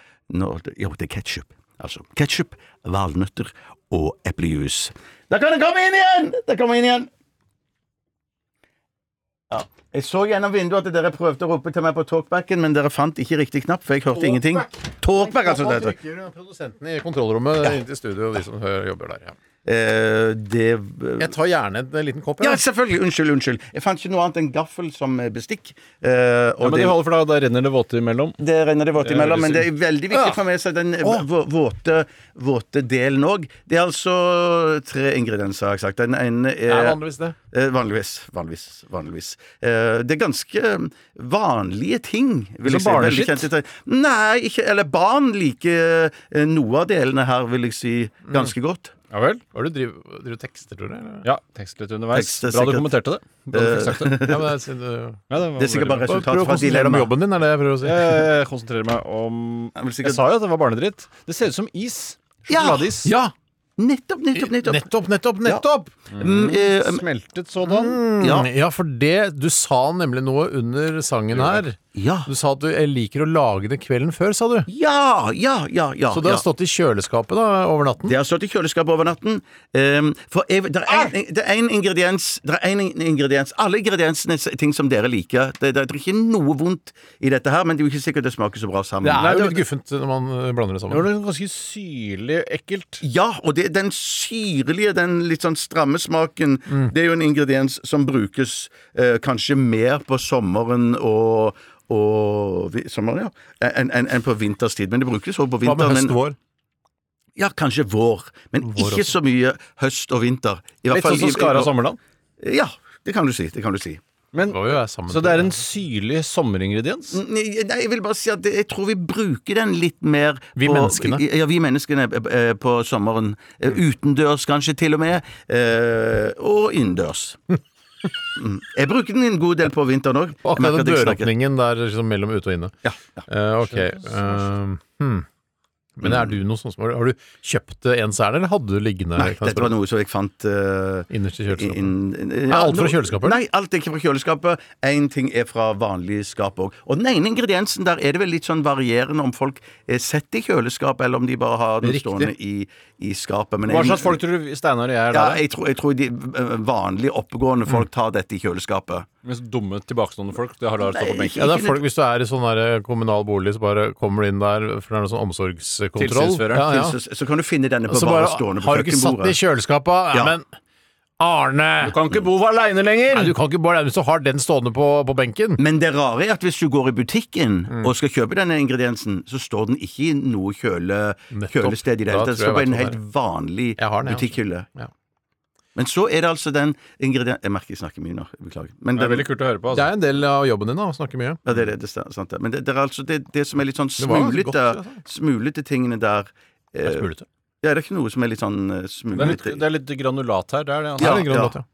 F: Nå, Jo, det er ketsjup. Altså ketsjup, valnøtter og eplejus. Da kan det komme inn igjen! Det kommer inn igjen! Ja. Jeg så gjennom vinduet at dere prøvde å rope til meg på talkbacken, men dere fant ikke riktig knapp, for jeg hørte ingenting. Talkback, altså. Det heter.
E: Produsenten i kontrollrommet inn til studio, de som hører- jobber der. Ja.
F: Eh, det
E: Jeg tar gjerne en liten kopp.
F: Ja,
E: jeg.
F: selvfølgelig. Unnskyld, unnskyld. Jeg fant ikke noe annet enn gaffel som eh, bestikk. Eh,
A: Ja,
F: og
A: men det holder, for da, da renner det våte imellom.
F: det, det renner det våte imellom, men det er veldig viktig
A: Ja.
F: å få med seg den eh, vå- våte, våte delen òg. Det er altså tre ingredienser, har jeg sagt. Den ene er
E: er vanligvis det.
F: Eh, vanligvis. Vanligvis. vanligvis. Eh, det er ganske vanlige ting. vil jeg si.
A: Som
F: Veldig
A: barneskitt?
F: kjente ting. Nei, ikke Eller barn liker eh, noe av delene her, vil jeg si, ganske godt.
A: Ja vel?
E: Hva er det du driver, driver du tekster, tror du? eller?
A: Ja, tekst litt underveis.
F: Tekst er
A: Bra du
F: sikkert-
A: kommenterte det. Bra du fikk sagt det.
E: Ja, men jeg sier du-
A: Ja, det, var
F: Det er sikkert
A: veldig
F: bare
A: bra.
E: Prøv
F: resultat
E: å
F: fra
E: konsentrere deg om
F: dilemma.
E: jobben din, er det jeg prøver å si.
A: Jeg konsentrerer meg om
F: Ja, vel, sikkert-
A: Jeg sa jo at det var barnedritt. Det ser ut som is. Sjokoladeis.
E: Ja!
F: Nettopp, nettopp, nettopp.
E: Nettopp, nettopp, nettopp!
F: Mm, eh,
A: Smeltet sådan.
E: Ja.
F: Ja.
E: for det Du sa nemlig noe under sangen her.
F: ja.
E: Du sa at du eh, liker å lage det kvelden før, sa du.
F: Ja, ja, ja, ja.
E: Så det har
F: ja.
E: stått i kjøleskapet da over natten?
F: Det har stått i kjøleskapet over natten. Ehm, for jeg, det, er en, det er en ingrediens Det er en ingrediens Alle ingrediensene er ting som dere liker. Det, det er ikke noe vondt i dette her, men det er jo ikke sikkert det smaker så bra sammen.
E: Det er jo
F: Nei,
E: litt guffent når man eh, blander det
A: Det var
E: sammen.
A: noe ganske syrlig ekkelt.
F: ja, og det, den syrlige, den litt sånn stramme smaken,
E: Mm.
F: det er jo en ingrediens som brukes eh, kanskje mer på sommeren og, og vi- Sommeren, ja. Enn enn- enn på vinterstid. Men det brukes også på
E: Hva med
F: vinteren. men-
E: høst vår?
F: Ja, kanskje vår, men ikke så mye høst og vinter. I hvert
A: Litt sånn
F: fall i-
A: som Skara Sommerland.
F: Ja, det kan du si. Det kan du si.
A: Men, så det er en syrlig sommeringrediens?
F: Nei, nei, jeg vil bare si at jeg tror vi bruker den litt mer
A: Vi
F: på,
A: menneskene. Mm.
F: Ja, vi menneskene eh, på sommeren. Eh, Utendørs kanskje til og med, eh, og innendørs. Mm. Jeg bruker den en god del på vinteren òg.
E: Og akkurat den døråpningen der liksom mellom ute og inne. Eh, ok. eh, hmm. Men er du noe sånn som har du- Har du kjøpt det en sær, eller hadde du liggende?
F: Nei,
E: kan jeg
F: dette var
E: spørre?
F: noe som jeg fant uh,
E: Innerst i kjøleskapet.
F: kjøleskapet.
E: Er alt fra kjøleskapet, eller?
F: Nei, alt er ikke fra kjøleskapet. Én ting er fra vanlig skap òg. Og den ene ingrediensen der er det vel litt sånn varierende om folk eh, setter i kjøleskap, eller om de bare har den
A: Riktig.
F: stående i, i skapet. Men
A: Hva
F: jeg-
A: slags folk tror du Steinar og jeg
F: Ja,
A: er der? da?
F: jeg tror, jeg tror de eh, vanlige oppegående
E: Mm.
F: folk tar dette i kjøleskapet.
A: Mens dumme, tilbakestående folk det har da stått på benken.
E: Ja, det er folk, Hvis du er i sånn der kommunal bolig, så bare kommer du inn der, for det er noe sånn omsorgskontroll.
A: Tilsynsfører.
E: Ja, ja.
F: Så, så kan du finne denne på
E: Og så
F: bare
E: bare
F: stående på
E: Har du ikke satt den i
F: kjøkkenbordet.
E: kjøleskapet? Ja,
F: Ja.
E: men Arne!
A: Du kan ikke bo aleine lenger!
E: Nei, du kan ikke bare hvis du har den stående på, på benken.
F: Men det rare er at hvis du går i butikken
E: Mm.
F: og skal kjøpe denne ingrediensen, så står den ikke i noe kjøle,
E: Nettopp.
F: kjølested i det
E: Da tror
F: hele tatt. Det
E: jeg
F: står på
E: jeg
F: en
E: vet
F: helt vanlig
E: Jeg har den, jeg
F: butikkhylle.
E: Ja.
F: Men så er det altså den ingrediensen Jeg merker jeg snakker mye nå, beklager. Men
A: Det er
F: den-
A: veldig kult å høre på.
E: Det
A: Altså.
E: er en del av jobben din da, å snakke mye.
F: ja, det er det, det er sant. det. Men det, det er altså det, det som er litt sånn
E: Det var ganske
F: smulete,
E: godt,
F: smulete tingene der eh,
E: Det er smulete.
F: Ja, det er ikke noe som er litt sånn eh,
A: Det er litt,
F: smulete.
A: det er litt granulat her. Det er det.
E: Det
A: Altså.
E: er en
F: ja. Mm.
E: granulat, ja.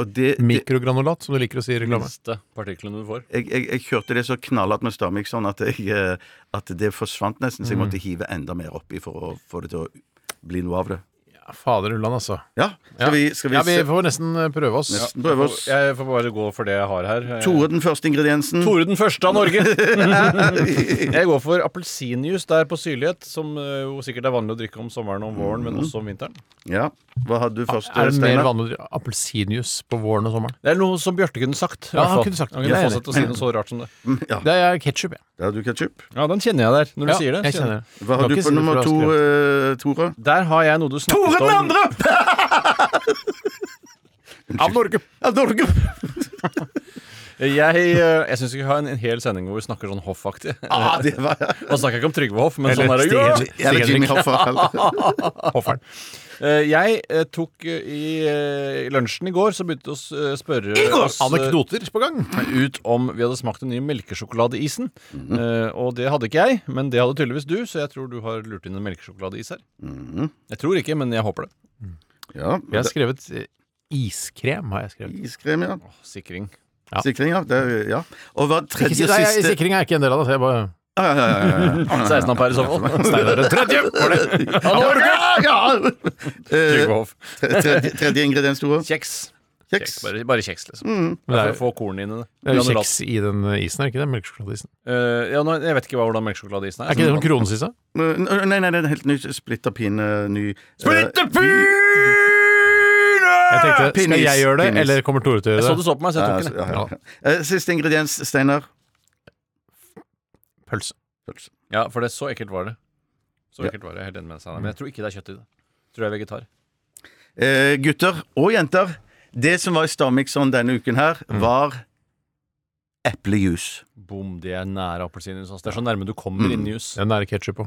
F: Og det, det
E: Mikrogranulat, som du liker å si i
A: De
E: reklame.
A: minste partiklene du får.
F: jeg, jeg, jeg kjørte det så knallhardt med Stamik sånn at, jeg, eh, at det forsvant nesten,
E: Mm.
F: så jeg måtte hive enda mer oppi for å få det til å bli noe av det.
E: Ja, Fader ulland, altså.
F: Ja, skal vi, skal vi,
E: Ja, vi
F: se-
E: får nesten eh, prøve oss.
F: nesten prøve oss?
A: Jeg får bare gå for det jeg har her.
F: Tore, den første ingrediensen.
A: Tore den første av Norge! jeg går for appelsinjuice der på syrlighet, som eh, jo sikkert er vanlig å drikke om sommeren og om våren, men også om vinteren.
F: Ja, Hva hadde du først,
E: Er det mer
F: Steinar?
E: vanlig å drikke appelsinjuice på våren og sommeren?
A: Det er noe som Bjarte kunne sagt. i
E: Ja,
A: hvert
E: han
A: fall.
E: kunne sagt det.
A: Han kunne
E: Jeg er
A: fortsatt å si noe så rart som det.
F: Ja,
E: Det er ketsjup, jeg.
F: der hadde du ketsjup.
A: Ja, den kjenner jeg der, når du
E: Ja,
A: sier det.
E: jeg kjenner det.
F: Hva
E: Du
F: har
E: kan
F: du
E: ikke
F: på
E: si det
F: nummer
E: for
F: to,
E: raskere.
F: eh, Tore?
A: Der har jeg noe du snakket om.
E: Av Norge!
F: Ja, Norge!
A: Jeg, eh, jeg syns vi skal ha en, en hel sending hvor vi snakker sånn hoffaktig.
F: Ah, det var
A: Nå snakker jeg ikke om Trygve Hoff, men
E: Eller
A: sånn er det
E: Stig
A: jo.
E: Henrik.
F: Eller Jimmy Hoffa.
E: Hofferen.
A: Eh, Jeg eh, tok eh, i eh, i lunsjen i går, så begynte vi å s- eh, spørre oss eh,
E: Anekdoter på gang.
A: ut om vi hadde smakt den nye melkesjokoladeisen. Eh, og det hadde ikke jeg, men det hadde tydeligvis du, så jeg tror du har lurt inn en melkesjokoladeis her. Jeg tror ikke, men jeg håper det.
F: Mm, Ja,
E: Jeg har skrevet eh, iskrem, har jeg skrevet.
F: iskrem, ja.
A: Åh, sikring.
E: Ja.
F: Sikring, ja. Det, er- ja. Og hva
E: Ikke,
F: tredje
E: si-
F: og
E: nei, jeg-
F: siste Ah,
E: sikring er ikke en del av det. så Jeg bare...
A: 16 ampere i så fall.
E: Steinar den tredje! Var det?
F: Ja, ja.
A: Trygve
F: Eh,
A: Hoff.
F: tredje, tredje ingrediens, Tore.
A: Kjeks.
F: Kjeks. Mm.
A: Kjeks, Bare, bare kjeks, liksom.
E: Men
A: Det
E: det
A: er
E: er-
A: for å få kornet inn i det.
E: Det er jo
A: Granulat.
E: kjeks i den isen, er det ikke det? Melkesjokoladeisen.
A: Eh, ja, nå, jeg vet ikke hva, hvordan melkesjokoladeisen
E: Er
A: er. Eh,
E: ikke det sånn kronesisa?
F: Nei, nei, nei, det er helt ny splitter pine, ny eh,
E: Jeg tenkte, skal
F: Pinnis,
E: jeg gjøre det,
F: pinnis.
E: eller kommer Tore til å
A: Jeg
E: gjøre
A: så
E: det?
A: du så på meg, så jeg tok den. jeg.
F: ja, ja. Eh, Siste ingrediens, Steinar.
E: Pølse.
A: Ja, for det er så ekkelt var det. Så ekkelt var det, jeg er helt enig med deg, Steinar. Men jeg tror ikke det er kjøtt i det. Jeg tror jeg er vegetar.
F: Eh, gutter og jenter, det som var i Stamikson denne uken her,
E: Mm.
F: var eplejus.
A: Bom, de er nære appelsinjuice. altså. Det er så nærme du kommer innen jus.
E: Den er det ketsjup på.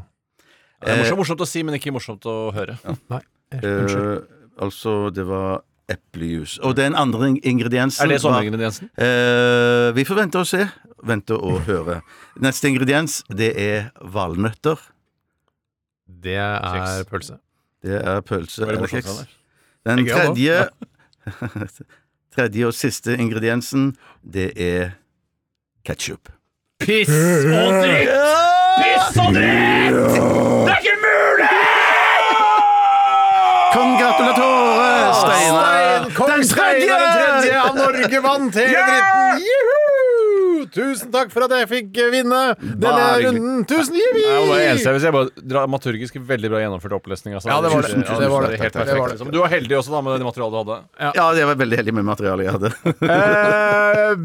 A: Det er Eh, morsomt, morsomt å si, men ikke morsomt å høre.
E: Unnskyld.
F: Eh, altså, det var eplejus. Og den andre ing- ingrediensen
A: Er det
F: var-
A: sommeringrediensen?
F: Eh, vi får vente og se. Vente og høre. Neste ingrediens, det er valnøtter.
E: Det er
A: Kjeks.
E: pølse.
F: Det er pølse
A: Veldig
F: eller
A: morsomt,
F: kjeks.
A: Steinar.
F: Den
E: Det er gøy,
F: tredje Tredje og siste ingrediensen, det er ketsjup.
A: Piss og dritt! Piss og dritt! Det er ikke mulig!
F: Kongratulatore, Steinar!
E: Stein, Kong
F: Den
E: Stein
F: tredje!
E: er den tredje av Norge vant hele dritten! Juhu! Tusen takk for at jeg fikk vinne denne
F: Bare hyggelig.
E: runden. Tusen
A: Nei, og det
E: jippi!
A: eneste jeg vil si er bare dramaturgisk veldig bra gjennomført opplesning. Altså.
E: Ja, det var det.
A: Ja,
E: Det var det. Det
A: helt
E: var
A: perfekt.
E: det.
A: liksom. Du var heldig også da med det materialet du hadde.
F: Ja, jeg var veldig heldig med materialet jeg hadde.
E: Eh,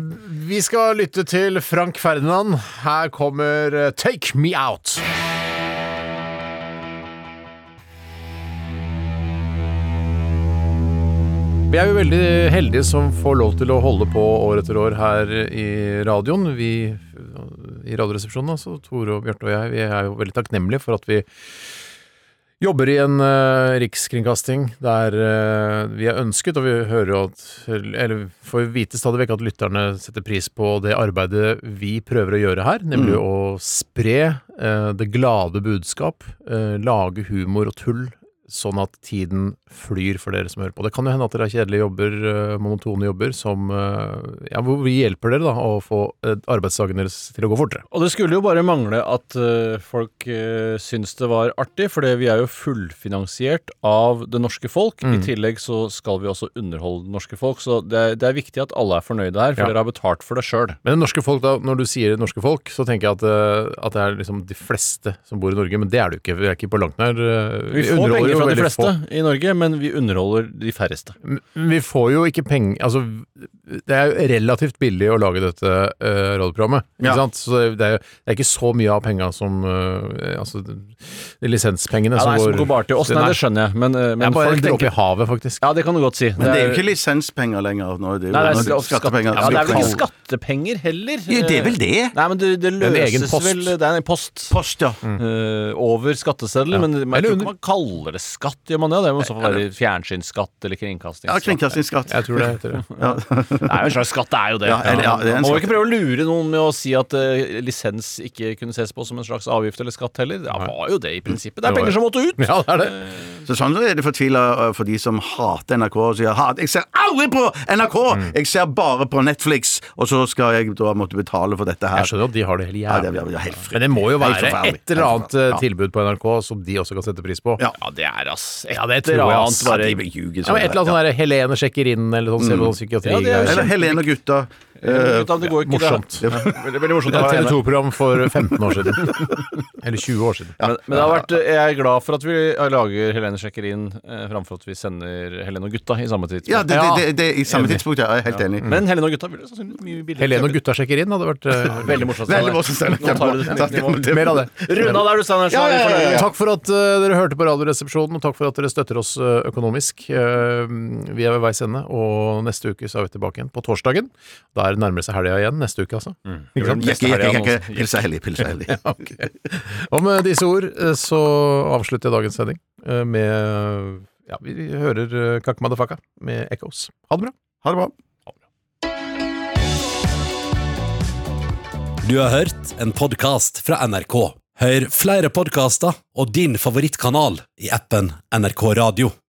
E: vi skal lytte til Frank Ferdinand. Her kommer eh, Take Me Out. Vi er jo veldig heldige som får lov til å holde på år etter år her i radioen. Vi i Radioresepsjonen, altså Tore og Bjarte og jeg, vi er jo veldig takknemlige for at vi Jobber i en eh, rikskringkasting der eh, vi er ønsket, og vi hører jo at Eller får vite stadig vekk at lytterne setter pris på det arbeidet vi prøver å gjøre her, nemlig
F: Mm.
E: å spre eh, det glade budskap, eh, lage humor og tull. Sånn at tiden flyr for dere som hører på. Det kan jo hende at dere har kjedelige jobber, eh, monotone jobber, som eh, Ja, hvor vi hjelper dere, da, å få eh, arbeidsdagen deres til å gå fortere.
A: Og det skulle jo bare mangle at eh, folk uh, syns det var artig, for det- vi er jo fullfinansiert av det norske folk. I
E: Mm.
A: tillegg så skal vi også underholde det norske folk, så det er, det er viktig at alle er fornøyde her, for
E: Ja.
A: dere har betalt for det sjøl.
E: Men det norske folk da, når du sier det norske folk, så tenker jeg at, eh, at det er liksom de fleste som bor i Norge, men det er det jo ikke. Vi er ikke på langt nær. eh,
A: Vi får
E: underholder
A: penger
E: jo
A: fra de
E: veldig
A: fleste
E: få.
A: i Norge, men vi underholder de færreste.
E: M- Vi får jo ikke penger Altså, det er jo relativt billig å lage dette eh, radioprogrammet. Ikke
F: Ja.
E: sant? Så det er, det er ikke så mye av penga som eh, Altså, de lisenspengene
A: Ja, nei, som går bare til oss. Nei, det skjønner jeg, men, eh,
E: det
A: men
E: er bare
A: folk
E: en dråpe
A: tenker
E: i havet, faktisk.
A: Ja, det kan du godt si.
F: Men det er jo ikke lisenspenger lenger. Nå, det er jo,
A: Nei, det er,
F: nå er det
A: skatt-
F: skattepenger.
A: Ja, det er vel ikke skattepenger heller?
F: Jo, det er vel det.
A: Nei, men det, det
E: er en egen
A: løses
E: post.
A: vel Det er en post.
F: Post, ja.
A: Eh, over skatteseddelen, men
E: Eller
A: man, jeg tror
E: under.
A: ikke man kaller det skatt, gjør man det? Det må i så fall være fjernsynsskatt eller kringkastingsskatt.
F: Ja, kringkastingsskatt.
E: Jeg tror det heter det.
F: Ja.
A: Det er jo en slags skatt, det er jo det.
F: Ja, eller- ja, det er en
A: man må
F: skatt.
A: ikke prøve å lure noen med å si at eh, lisens ikke kunne ses på som en slags avgift eller skatt heller. Det var jo det i prinsippet. Det
E: Det
A: er
E: var
A: penger som måtte ut!
E: Ja, det er det.
F: Så sånn så er det fortvila eh, for de som hater NRK og sier hat. Jeg ser aldri på NRK! Jeg ser bare på Netflix! Og så skal jeg da måtte betale for dette her.
E: Jeg skjønner at de har det hele
F: Ja, det
E: jævlig.
F: er- det er helt
E: Men det må jo
F: Helt
E: være
F: forferdelig.
E: et eller
F: Helt
E: annet eh,
F: forferdelig.
E: tilbud på NRK som de også kan sette pris på.
F: Ja.
A: Ja, det er ass
E: Ja, det tror jeg, ass.
A: bare-
F: Ja, de ljuger
E: Ja,
F: sånn.
E: men et eller annet sånn der Helene sjekker inn, eller sånn, ser på sånn
A: Ja, det er jo
E: psykiatri.
A: kjempe-
F: Eller Helene og gutta. eh,
A: Gutta, det går ikke, det.
E: morsomt.
A: Ja, Veldig, veldig morsomt.
E: Det
A: å
E: er
A: være
E: et
A: enig.
E: TV2-program for 15 år siden. Eller 20 år siden.
A: Men, men det har vært, eh, jeg er glad for at vi eh, lager Helene sjekker inn eh, framfor at vi sender Helene og gutta i samme tidspunkt.
F: ja, det, det, det, det, i samme tidspunkt, ja. Jeg er helt enig.
A: Men Helene og gutta blir sannsynligvis mye billigere.
E: Helene og gutta sjekker inn hadde vært eh,
A: Veldig morsomt.
F: Veldig morsomt, Steinar.
A: Nå tar du det til
F: Takk.
A: nytt nivå.
E: Mer av det.
A: Runda der, du, Steinar. så
F: Ja,
A: er vi
F: ja, ja,
A: fornøyd.
E: Takk for at eh, dere hørte på Radioresepsjonen, og takk for at dere støtter oss eh, økonomisk. Eh, vi er ved veis ende, og neste uke så er vi tilbake igjen på torsdagen. Da er det nærmere seg helga igjen neste uke, altså. Ikke sant?
F: Jekke, jekke, jekke. Pils er hellig, pils er hellig.
E: Og med disse ord eh, så avslutter jeg dagens sending eh, med eh, Ja, vi vi hører eh, Kakk Madafaka med Echoes. Ha det bra.
F: Ha det bra.
M: Du har hørt en podkast fra NRK. Hør flere podkaster og din favorittkanal i appen NRK Radio.